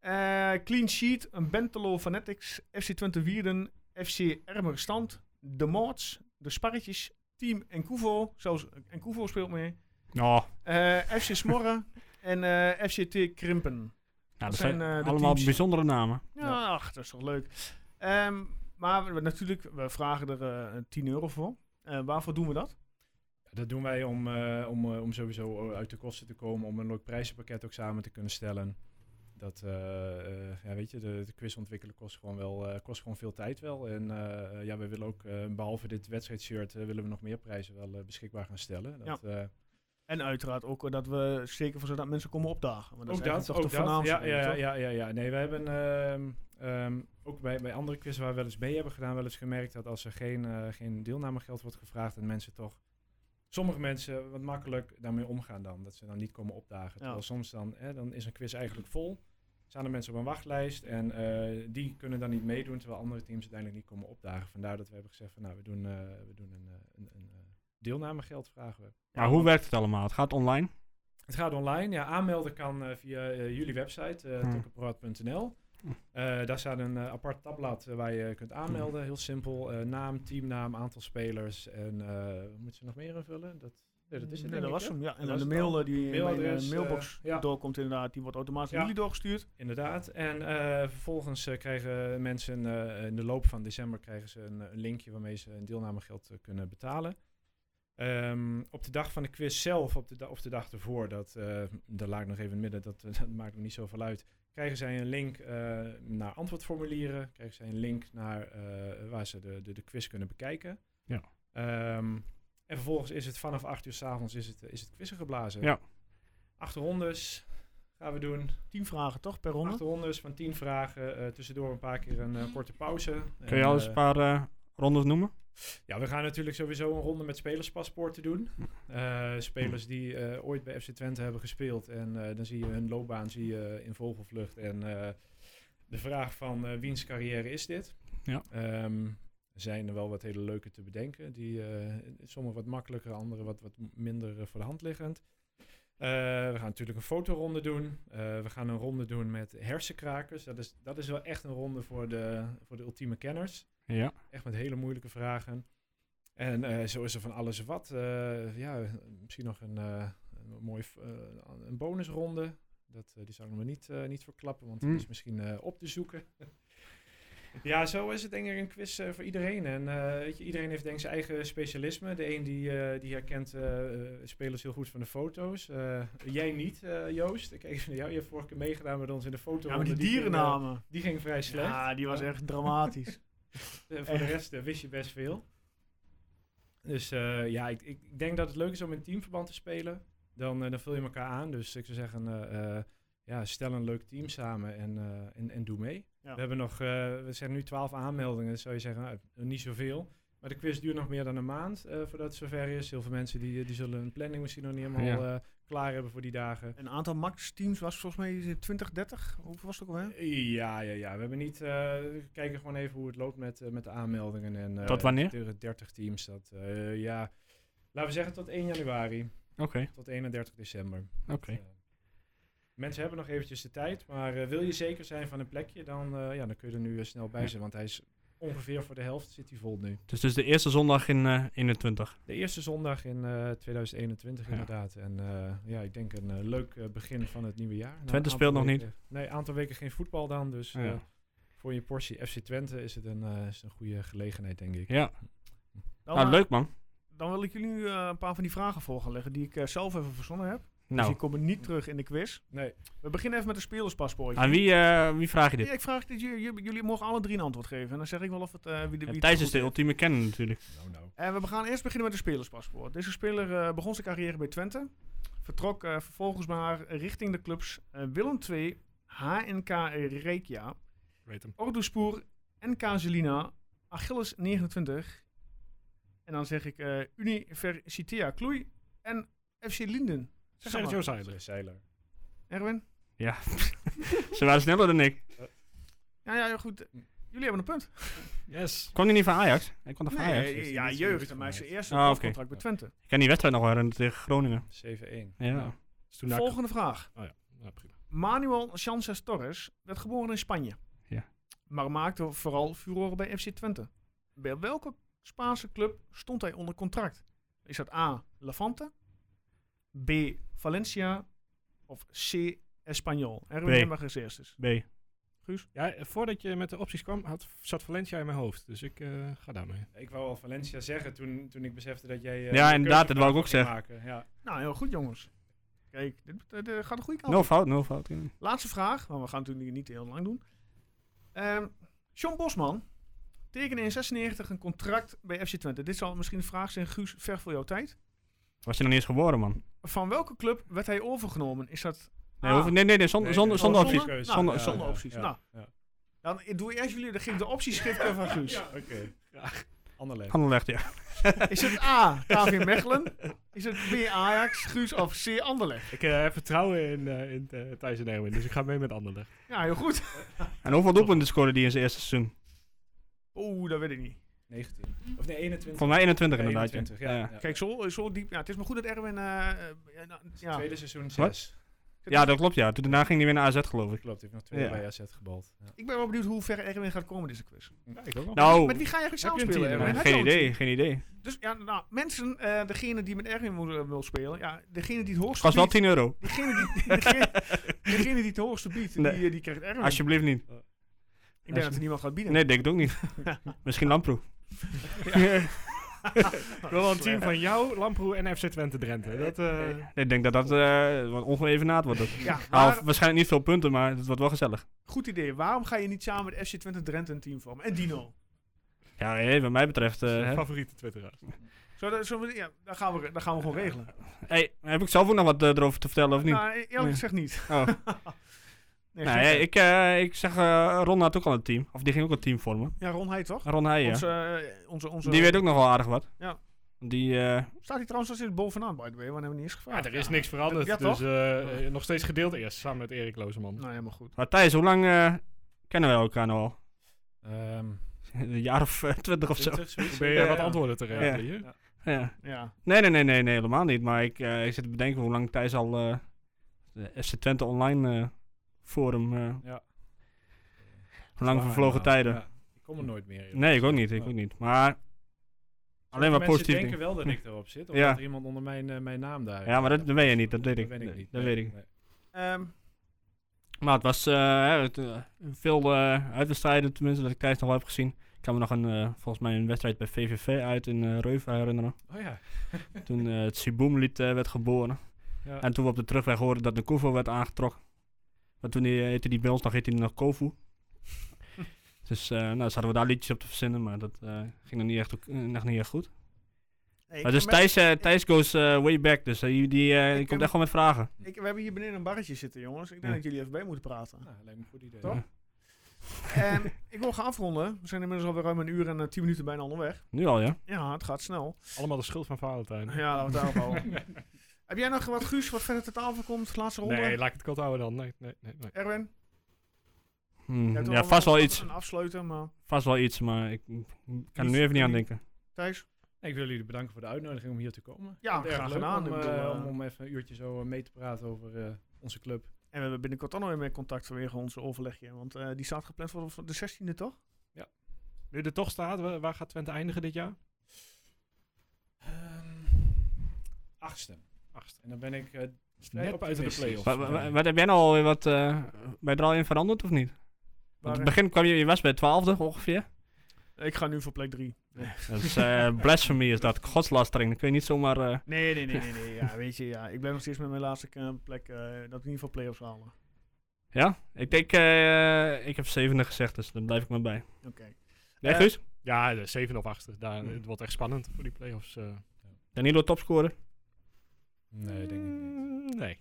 Speaker 1: Eh, clean Sheet, een Bentelo Fanatics, FC Twente Wierden, FC Ermerstand, De Moorts, De Sparretjes, Team Encuvo, zelfs Encuvo speelt mee,
Speaker 2: Oh,
Speaker 1: Eh, FC Smorre en eh FCT Krimpen.
Speaker 2: nou, dat
Speaker 1: zijn,
Speaker 2: zijn
Speaker 1: eh, de
Speaker 2: allemaal
Speaker 1: teams.
Speaker 2: bijzondere namen.
Speaker 1: Ja, Ach, dat is toch leuk. Ehm, maar we- we- natuurlijk, we vragen er eh 10 euro voor. Eh, waarvoor doen we dat?
Speaker 4: Dat doen wij om, eh, om, eh, om sowieso uit de kosten te komen, om een leuk prijzenpakket ook samen te kunnen stellen. Dat, eh, eh, ja, weet je, de, de quiz ontwikkelen kost gewoon, wel, eh, kost gewoon veel tijd wel. En eh, ja, we willen ook, eh, behalve dit wedstrijdshirt, eh, willen we nog meer prijzen wel eh, beschikbaar gaan stellen. Dat, eh,
Speaker 1: En uiteraard ook eh, dat we zeker voor zodat mensen komen opdagen. Want dat
Speaker 4: ook
Speaker 1: is
Speaker 4: dat,
Speaker 1: eigenlijk toch
Speaker 4: ook
Speaker 1: de
Speaker 4: dat.
Speaker 1: voornaamste
Speaker 4: Ja,
Speaker 1: reden,
Speaker 4: ja,
Speaker 1: toch?
Speaker 4: ja, ja, ja. Nee, we hebben ehm, ehm, ook bij, bij andere quizzen waar we wel eens mee hebben gedaan, wel eens gemerkt dat als er geen, eh, geen deelnamegeld wordt gevraagd, dat mensen toch, sommige mensen wat makkelijk daarmee omgaan dan. Dat ze dan niet komen opdagen. Terwijl soms dan, hè, dan is een quiz eigenlijk vol. Staan er mensen op een wachtlijst en eh, die kunnen dan niet meedoen, terwijl andere teams uiteindelijk niet komen opdagen. Vandaar dat we hebben gezegd van nou, we doen, eh, we doen een, eh, een, een eh, deelnamegeld vragen we.
Speaker 2: Maar hoe werkt het allemaal? Het gaat online.
Speaker 4: Het gaat online. Ja, aanmelden kan eh, via eh, jullie website, eh
Speaker 2: Hmm.
Speaker 4: tokkepraat.nl.
Speaker 2: Hmm.
Speaker 4: Eh, daar staat een eh, apart tabblad eh, waar je kunt aanmelden. Heel simpel. eh, naam, teamnaam, aantal spelers. En eh moeten ze nog meer invullen? Dat, nee, dat is
Speaker 1: Nee,
Speaker 4: het. denk
Speaker 1: dat
Speaker 4: ik,
Speaker 1: was
Speaker 4: hè?
Speaker 1: hem, ja. En
Speaker 4: was
Speaker 1: dan de
Speaker 4: het al.
Speaker 1: mail eh, die in mijn eh,
Speaker 4: Mailadres,
Speaker 1: mailbox
Speaker 4: eh, ja.
Speaker 1: doorkomt inderdaad, die wordt automatisch
Speaker 4: Ja.
Speaker 1: naar jullie doorgestuurd.
Speaker 4: Inderdaad. En eh, vervolgens eh, krijgen mensen eh, in de loop van december krijgen ze een, eh, een linkje waarmee ze een deelnamegeld eh, kunnen betalen. Ehm, op de dag van de quiz zelf, op de da- of de dag ervoor, dat, eh daar laat ik nog even in het midden, dat, eh, dat maakt me niet zoveel uit. Krijgen zij een link eh, naar antwoordformulieren? Krijgen zij een link naar eh, waar ze de, de, de quiz kunnen bekijken?
Speaker 2: Ja.
Speaker 4: Ehm, en vervolgens is het vanaf 8 uur s'avonds is het, eh, is het quizzen geblazen.
Speaker 2: Ja.
Speaker 4: Acht rondes gaan we doen.
Speaker 1: 10 vragen toch per ronde?
Speaker 4: Acht rondes van 10 vragen. eh, tussendoor een paar keer een eh, korte pauze.
Speaker 2: Kun je
Speaker 4: En,
Speaker 2: al eens
Speaker 4: eh,
Speaker 2: een paar eh, rondes noemen?
Speaker 4: ja, we gaan natuurlijk sowieso een ronde met spelerspaspoorten doen. Eh, spelers die eh, ooit bij FC Twente hebben gespeeld. En eh, dan zie je hun loopbaan zie je in vogelvlucht. En eh, de vraag van eh, wiens carrière is dit?
Speaker 2: Ja.
Speaker 4: Ehm, er zijn er wel wat hele leuke te bedenken. Die, eh, sommige wat makkelijker, andere wat, wat minder eh, voor de hand liggend. Eh, we gaan natuurlijk een fotoronde doen. Eh, we gaan een ronde doen met hersenkrakers. Dat is, dat is wel echt een ronde voor de, voor de ultieme kenners.
Speaker 2: Ja.
Speaker 4: Echt met hele moeilijke vragen. En eh, zo is er van alles wat. Eh, ja, misschien nog een, eh een mooie f- eh, een bonusronde. Dat, eh, die zou ik nog maar niet, eh, niet verklappen, want
Speaker 2: Hmm.
Speaker 4: die is misschien eh, op te zoeken. ja, zo is het denk ik een quiz eh, voor iedereen. En eh, weet je, iedereen heeft denk ik zijn eigen specialisme. De een die, eh, die herkent eh, eh, spelers heel goed van de foto's. Eh, jij niet, eh, Joost. Ik kijk even naar jou. Je hebt vorige keer meegedaan met ons in de foto.
Speaker 1: Ja, maar die
Speaker 4: Ging,
Speaker 1: dierennamen.
Speaker 4: eh, die ging vrij slecht.
Speaker 1: Ja, die was echt dramatisch.
Speaker 4: Eh, voor de
Speaker 1: Echt.
Speaker 4: rest eh, wist je best veel. Dus eh, ja, ik, ik ik denk dat het leuk is om in teamverband te spelen. Dan, eh, dan vul je elkaar aan. Dus ik zou zeggen, eh, eh, ja, stel een leuk team samen en, eh, en, en doe mee.
Speaker 1: Ja.
Speaker 4: We hebben nog, eh, we zijn nu twaalf aanmeldingen. Dan zou je zeggen, nou, niet zoveel. Maar de quiz duurt nog meer dan een maand eh, voordat het zover is. Heel veel mensen die, eh, die zullen hun planning misschien nog niet helemaal eh, klaar hebben voor die dagen.
Speaker 1: Een aantal max-teams was volgens mij 20, 30. Hoeveel was het ook alweer?
Speaker 4: Ja, ja, ja. We hebben niet. eh, we kijken gewoon even hoe het loopt met, eh, met de aanmeldingen. En, eh,
Speaker 2: Tot wanneer?
Speaker 4: de 30 teams. Dat, eh, ja. Laten we zeggen tot 1 januari.
Speaker 2: Oké.
Speaker 4: Tot 31 december.
Speaker 2: Oké.
Speaker 4: Eh, mensen hebben nog eventjes de tijd. Maar eh, wil je zeker zijn van een plekje, dan, eh, ja, dan kun je er nu eh, snel bij
Speaker 2: Ja.
Speaker 4: zijn. Want hij is ongeveer voor de helft zit hij vol nu.
Speaker 2: Dus, dus de eerste zondag in eh 21.
Speaker 4: De eerste zondag in eh, 2021
Speaker 2: Ja.
Speaker 4: inderdaad. En eh, ja, ik denk een eh, leuk eh, begin van het nieuwe jaar. Na een
Speaker 2: Twente
Speaker 4: aantal
Speaker 2: speelt nog niet.
Speaker 4: weken- Nee, een aantal weken geen voetbal dan. Dus
Speaker 2: Ja.
Speaker 4: eh, voor je portie FC Twente is het een, eh, is een goede gelegenheid, denk ik.
Speaker 2: Ja.
Speaker 1: Dan,
Speaker 2: nou,
Speaker 1: eh,
Speaker 2: leuk man.
Speaker 1: dan wil ik jullie nu eh, een paar van die vragen voor gaan leggen die ik eh, zelf even verzonnen heb. Dus
Speaker 2: Nou,
Speaker 1: die komen niet terug in de quiz.
Speaker 4: Nee,
Speaker 1: We beginnen even met een spelerspaspoortje.
Speaker 2: aan wie, eh, wie vraag je dit?
Speaker 1: Ja, ik vraag dat jullie, jullie, jullie mogen alle drie een antwoord geven. En dan zeg ik wel of het, eh, wie de
Speaker 2: Ja,
Speaker 1: wie het
Speaker 2: Thijs
Speaker 1: goed
Speaker 2: is de
Speaker 1: heeft.
Speaker 2: ultieme kenner natuurlijk.
Speaker 4: nou nou.
Speaker 1: En we gaan eerst beginnen met een spelerspaspoort. Deze speler eh, begon zijn carrière bij Twente. Vertrok eh, vervolgens maar richting de clubs eh, Willem II, HNK Rekia,
Speaker 3: Weet hem.
Speaker 1: Orduspoor, NK Zelina, Achilles 29. En dan zeg ik eh Universitea Kloei en FC Linden. Zeg het
Speaker 3: Sergio
Speaker 1: maar.
Speaker 3: Zeiler.
Speaker 4: Zeiler.
Speaker 1: Erwin?
Speaker 2: Ja, ze waren sneller dan ik.
Speaker 1: Ja, ja, goed. Jullie hebben een punt.
Speaker 3: Yes.
Speaker 2: Kwam die niet van Ajax? Hij kwam toch van Ajax?
Speaker 1: Nee, ja, jeugd. Maar zijn eerste
Speaker 2: Ah, oké.
Speaker 1: contract bij Twente.
Speaker 2: Ik kan die wedstrijd nog herinneren tegen Groningen.
Speaker 4: 7-1.
Speaker 2: Ja.
Speaker 3: Ja. Dus toen daar-
Speaker 1: Volgende vraag.
Speaker 3: Ja, prima.
Speaker 1: Manuel Sanchez Torres werd geboren in Spanje.
Speaker 2: Ja.
Speaker 1: Maar maakte vooral furoren bij FC Twente. Bij welke Spaanse club stond hij onder contract? Is dat A. Levante? B. Valencia? Of C. Espanyol? Erwin
Speaker 2: B.
Speaker 1: Hemmig is eerst. eens.
Speaker 2: B.
Speaker 3: Ja, eh, voordat je met de opties kwam, had, zat Valencia in mijn hoofd. Dus ik eh, ga daarmee.
Speaker 4: Ik wou al Valencia zeggen toen, toen ik besefte dat jij... eh,
Speaker 2: Ja,
Speaker 4: de
Speaker 2: inderdaad, dat wou ik ook
Speaker 4: keuzevraag
Speaker 2: zeggen.
Speaker 4: ging maken. Ja.
Speaker 1: Nou, heel goed jongens. Kijk, dit, dit, dit gaat de goede kant
Speaker 2: Nul
Speaker 1: op.
Speaker 2: fout, nul fout. Ja.
Speaker 1: Laatste vraag, want we gaan natuurlijk niet heel lang doen. Ehm John Bosman tekende in 96 een contract bij FC Twente. Dit zal misschien een vraag zijn, Guus, ver voor jouw tijd.
Speaker 2: Was je nog niet eens geboren, man?
Speaker 1: Van welke club werd hij overgenomen? Is dat...
Speaker 2: Nee,
Speaker 1: A,
Speaker 2: hoef- nee, Ah. nee, nee, zonder, zonder, zonder
Speaker 1: oh,
Speaker 2: opties.
Speaker 1: Nou,
Speaker 4: Keuze.
Speaker 2: Zonder- Ah,
Speaker 1: ja,
Speaker 2: zonder
Speaker 1: ja, opties.
Speaker 4: ja,
Speaker 1: Nou,
Speaker 4: ja.
Speaker 1: dan i- doe eerst jullie, dan geef ik de optieschrift even aan
Speaker 3: Dus-
Speaker 1: Guus.
Speaker 4: Oké. Anderlecht.
Speaker 2: Anderlecht, ja.
Speaker 1: Is het A, KV Mechelen? Is het B, Ajax, Guus of C, Anderlecht?
Speaker 3: Ik eh, heb vertrouwen in, eh, in eh, Thijs en Erwin, dus ik ga mee met Anderlecht.
Speaker 1: Ja, heel goed.
Speaker 2: En hoeveel doelpunten scoorde die in zijn eerste seizoen?
Speaker 1: Oeh, dat weet ik niet.
Speaker 4: 19. Of nee, 21.
Speaker 2: Volgens mij 21
Speaker 4: Ja,
Speaker 2: inderdaad.
Speaker 4: 21,
Speaker 2: ja. Ja.
Speaker 4: ja.
Speaker 1: Kijk, zo, zo diep... Ja, het is maar goed dat Erwin... eh, eh, ja, ja,
Speaker 4: Tweede seizoen
Speaker 2: Wat?
Speaker 4: 6.
Speaker 2: Ja, dat klopt, ja. Toen daarna ging hij weer naar AZ, geloof ik.
Speaker 4: Klopt, hij heeft nog twee
Speaker 2: Ja.
Speaker 4: bij AZ gebald. Ja.
Speaker 1: Ik ben wel benieuwd hoe ver Erwin gaat komen in deze quiz.
Speaker 4: ik ook nog.
Speaker 2: Nou,
Speaker 1: Met wie ga je eigenlijk samen
Speaker 3: Heb je een
Speaker 1: spelen?
Speaker 3: team,
Speaker 1: Erwin?
Speaker 2: ja,
Speaker 1: Heb je
Speaker 2: geen
Speaker 1: al een
Speaker 2: idee,
Speaker 1: team?
Speaker 2: geen idee.
Speaker 1: Dus ja, nou, mensen, eh, degene die met Erwin moet, wil spelen, ja, degene die het
Speaker 2: Het
Speaker 1: hoogste
Speaker 2: kost wel
Speaker 1: biedt,
Speaker 2: 10 euro.
Speaker 1: degene die, degene, degene die het hoogste biedt,
Speaker 2: Nee.
Speaker 1: die, eh, die krijgt Erwin.
Speaker 2: Alsjeblieft niet.
Speaker 1: ik denk dat er niemand gaat bieden.
Speaker 2: Nee, denk ik ook niet. Misschien Lamproe.
Speaker 3: Ik wil wel een team van jou, Lamproe en FC Twente Drenthe. Dat, eh,
Speaker 2: Nee, ik denk dat dat eh wat ongeëvenaard wordt. het.
Speaker 1: Ja,
Speaker 2: Nou,
Speaker 1: maar-
Speaker 2: waarschijnlijk niet veel punten, maar het wordt wel gezellig.
Speaker 1: goed idee. Waarom ga je niet samen met FC Twente Drenthe een team vormen? En Dino.
Speaker 2: Ja, hé, wat mij betreft... eh,
Speaker 3: dat is
Speaker 2: hè.
Speaker 3: mijn favoriete twitteraar.
Speaker 1: Zo, zo, ja, dan, gaan we, dan gaan we gewoon regelen.
Speaker 2: Hey, heb ik zelf ook nog wat eh, erover te vertellen, of niet?
Speaker 1: Nou, eerlijk
Speaker 2: Nee.
Speaker 1: gezegd niet.
Speaker 2: Oh.
Speaker 1: Nee,
Speaker 2: Nou,
Speaker 1: geen-
Speaker 2: ja, ik, eh, ik zeg, eh Ron had ook al een team. Of die ging ook een team vormen.
Speaker 1: ja, Ron Heij toch?
Speaker 2: Ron Heijen.
Speaker 1: Onze, eh, onze, onze,
Speaker 2: Die weet ook nog wel aardig wat.
Speaker 1: Ja.
Speaker 2: Die, eh,
Speaker 1: Staat hij trouwens als bovenaan, by the way? Want hebben we niet eens gevraagd.
Speaker 3: Maar er is niks veranderd,
Speaker 1: Ja, toch?
Speaker 3: dus eh, eh, nog steeds gedeeld eerst, samen met Erik Lozeman.
Speaker 1: Nou, helemaal goed.
Speaker 2: maar Thijs, hoe lang eh, kennen wij elkaar nou al?
Speaker 4: Ehm,
Speaker 2: Een jaar of eh, twintig of zo.
Speaker 4: 20, zoiets.
Speaker 3: Probeer je
Speaker 4: Ja,
Speaker 3: wat
Speaker 4: ja.
Speaker 3: antwoorden te regelen hier?
Speaker 2: Ja.
Speaker 1: Ja.
Speaker 2: Nee, nee, nee, nee, nee, helemaal niet. Maar ik, eh, ik zit te bedenken hoe lang Thijs al eh, de FC Twente online eh, forum. eh,
Speaker 4: Ja.
Speaker 2: Hoe lang
Speaker 4: Waar,
Speaker 2: vervlogen
Speaker 4: ja.
Speaker 2: tijden.
Speaker 4: Ja. Ik kom er nooit meer. in.
Speaker 2: Nee, ik ook niet. Ik
Speaker 4: Ja.
Speaker 2: ook niet. Maar alleen maar
Speaker 4: Mensen
Speaker 2: positief.
Speaker 4: denken
Speaker 2: dingen.
Speaker 4: wel dat ik erop zit. Of
Speaker 2: Ja.
Speaker 4: dat er iemand onder mijn, eh, mijn naam daar
Speaker 2: Ja, maar dat, dat weet je niet. Dat weet
Speaker 4: Dat
Speaker 2: ik.
Speaker 4: weet ik niet.
Speaker 2: Dat
Speaker 4: Nee,
Speaker 2: weet ik.
Speaker 4: nee.
Speaker 1: Ehm,
Speaker 2: Maar het was eh, het, eh, veel eh uitwedstrijden, tenminste, dat ik Thijs nog wel heb gezien. Ik kan me nog een, eh, volgens mij een wedstrijd bij VVV uit in eh Reuven herinneren.
Speaker 4: Oh ja.
Speaker 2: Toen eh, het Siboomlied eh, werd geboren.
Speaker 4: Ja.
Speaker 2: En toen we op de terugweg hoorden dat de Kovo werd aangetrokken. Maar toen die, eh, heette die bij ons nog, heette die nog Kofu. dus eh nou, zaten we daar liedjes op te verzinnen, maar dat eh, ging dan niet echt, ook- eh, nog niet echt goed.
Speaker 1: nee, ik
Speaker 2: maar
Speaker 1: ga
Speaker 2: dus
Speaker 1: met-
Speaker 2: Thijs, eh, Thijs goes eh, way back, dus eh, die, die, eh, die
Speaker 1: Ik
Speaker 2: komt
Speaker 1: heb-
Speaker 2: echt wel met vragen.
Speaker 1: Ik, we hebben hier beneden een barretje zitten, jongens. Ik denk
Speaker 2: Ja.
Speaker 1: dat jullie even bij moeten praten.
Speaker 4: Nou, lijkt me een goed idee.
Speaker 1: Toch? Ehm, ik wil gaan afronden. We zijn inmiddels alweer ruim een uur en eh, tien minuten bijna onderweg.
Speaker 2: Nu al, ja.
Speaker 1: Ja, het gaat snel.
Speaker 3: Allemaal de schuld van Valentijn.
Speaker 1: Ja, laten we het daarop houden. Heb jij nog wat, Guus, wat verder ter tafel komt? Laatste ronde?
Speaker 3: Nee, laat ik het kort houden dan. Nee, nee, nee. nee.
Speaker 1: Erwin?
Speaker 2: Hmm,
Speaker 1: Jij hebt
Speaker 2: ja,
Speaker 1: nog
Speaker 2: vast wel
Speaker 1: een-
Speaker 2: iets.
Speaker 1: Een afsluiten, maar
Speaker 2: Vast wel iets, maar ik mm, kan er
Speaker 4: Iets-
Speaker 2: nu even niet aan
Speaker 4: niet-
Speaker 2: denken.
Speaker 1: Thijs?
Speaker 4: Ik wil jullie bedanken voor de uitnodiging om hier te komen.
Speaker 1: Ja,
Speaker 4: Ik vond het
Speaker 1: graag
Speaker 4: erg leuk
Speaker 1: gedaan.
Speaker 4: Om,
Speaker 1: Ik bedoel,
Speaker 4: eh,
Speaker 1: eh,
Speaker 4: om, om even een uurtje zo eh, mee te praten over eh, onze club.
Speaker 1: En we hebben binnenkort dan nog weer meer contact vanwege onze overlegje. Want eh, die staat gepland voor voor de 16e, toch?
Speaker 3: Nu er toch staat, wa- waar gaat Twente eindigen dit jaar?
Speaker 4: Ehm, achtste.
Speaker 3: Achtste.
Speaker 4: En dan ben ik eh, vrij
Speaker 3: Net buiten de
Speaker 4: optimistisch.
Speaker 3: play-offs.
Speaker 2: Wa- wa- wa- Wat heb jij nou alweer wat eh, bij er al in veranderd of niet? Want in
Speaker 1: Waarin-
Speaker 2: het begin kwam je, je was bij 12e ongeveer.
Speaker 1: Ik ga nu voor plek 3.
Speaker 2: Dat is eh, blasphemy is dat, godslastering. Dan kun je niet zomaar... eh,
Speaker 1: Nee, nee, nee, nee. nee. Ja, weet je, ja, ik ben nog steeds met mijn laatste eh, plek eh, dat we in ieder geval play-offs halen.
Speaker 2: ja, ik denk, eh, ik heb 7e gezegd, dus daar blijf ik maar bij.
Speaker 1: Oké.
Speaker 2: Jij
Speaker 1: Eh,
Speaker 2: Guus?
Speaker 3: Ja, de zeven of achtste. Daar,
Speaker 2: Hmm.
Speaker 3: Het wordt echt spannend voor die play-offs. eh.
Speaker 2: Danilo topscorer.
Speaker 4: Nee, denk ik niet.
Speaker 3: Mm, Nee.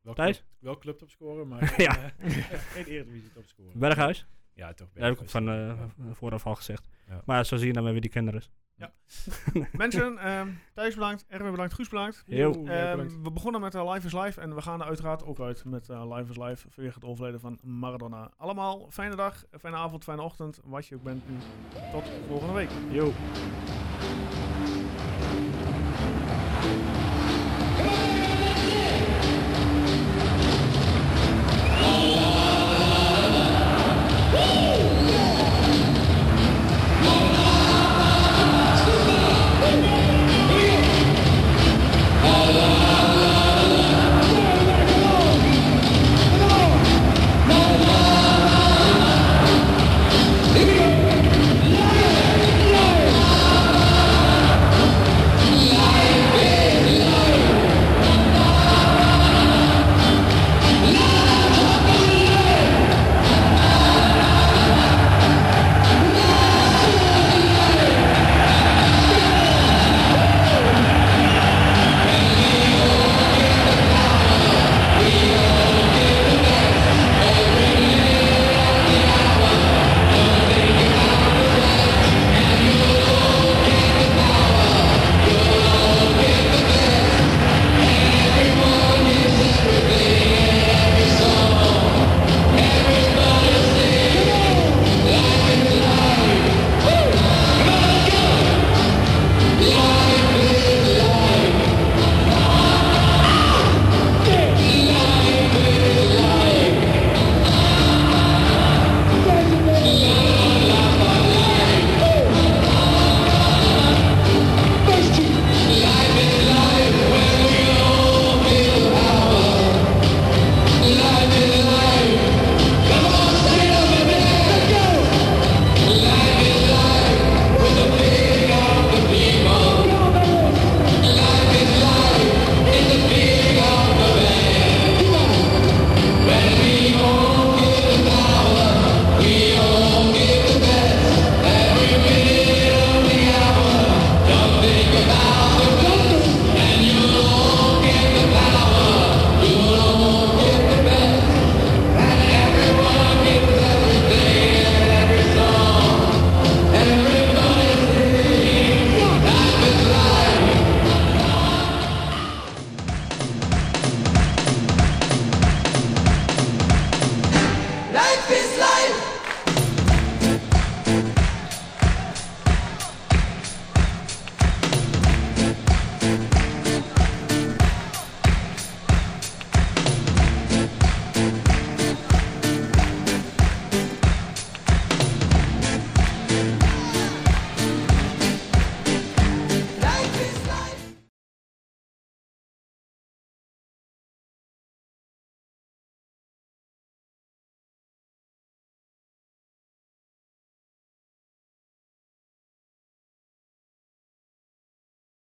Speaker 4: Wel
Speaker 2: Thijs?
Speaker 4: Club, wel club topscorer, maar
Speaker 2: Ja.
Speaker 4: eh, geen Eredivisie topscorer.
Speaker 2: Berghuis?
Speaker 4: Ik Ja, toch
Speaker 2: Dat heb ik ook van eh, vooraf al gezegd.
Speaker 4: Ja.
Speaker 2: Maar zo zie je dan weer wie die kenner is.
Speaker 1: Mensen, ehm Thijs bedankt, Erwin bedankt, Guus bedankt.
Speaker 2: Heel.
Speaker 3: Oeh, jij
Speaker 1: Ehm,
Speaker 3: bedankt.
Speaker 1: we begonnen met eh, Live is Live en we gaan er uiteraard ook uit met eh, Live is Live vanwege het overleden van Maradona. Allemaal fijne dag, fijne avond, fijne ochtend, wat je ook bent nu. Tot volgende week.
Speaker 2: Yo.
Speaker 5: Maradona,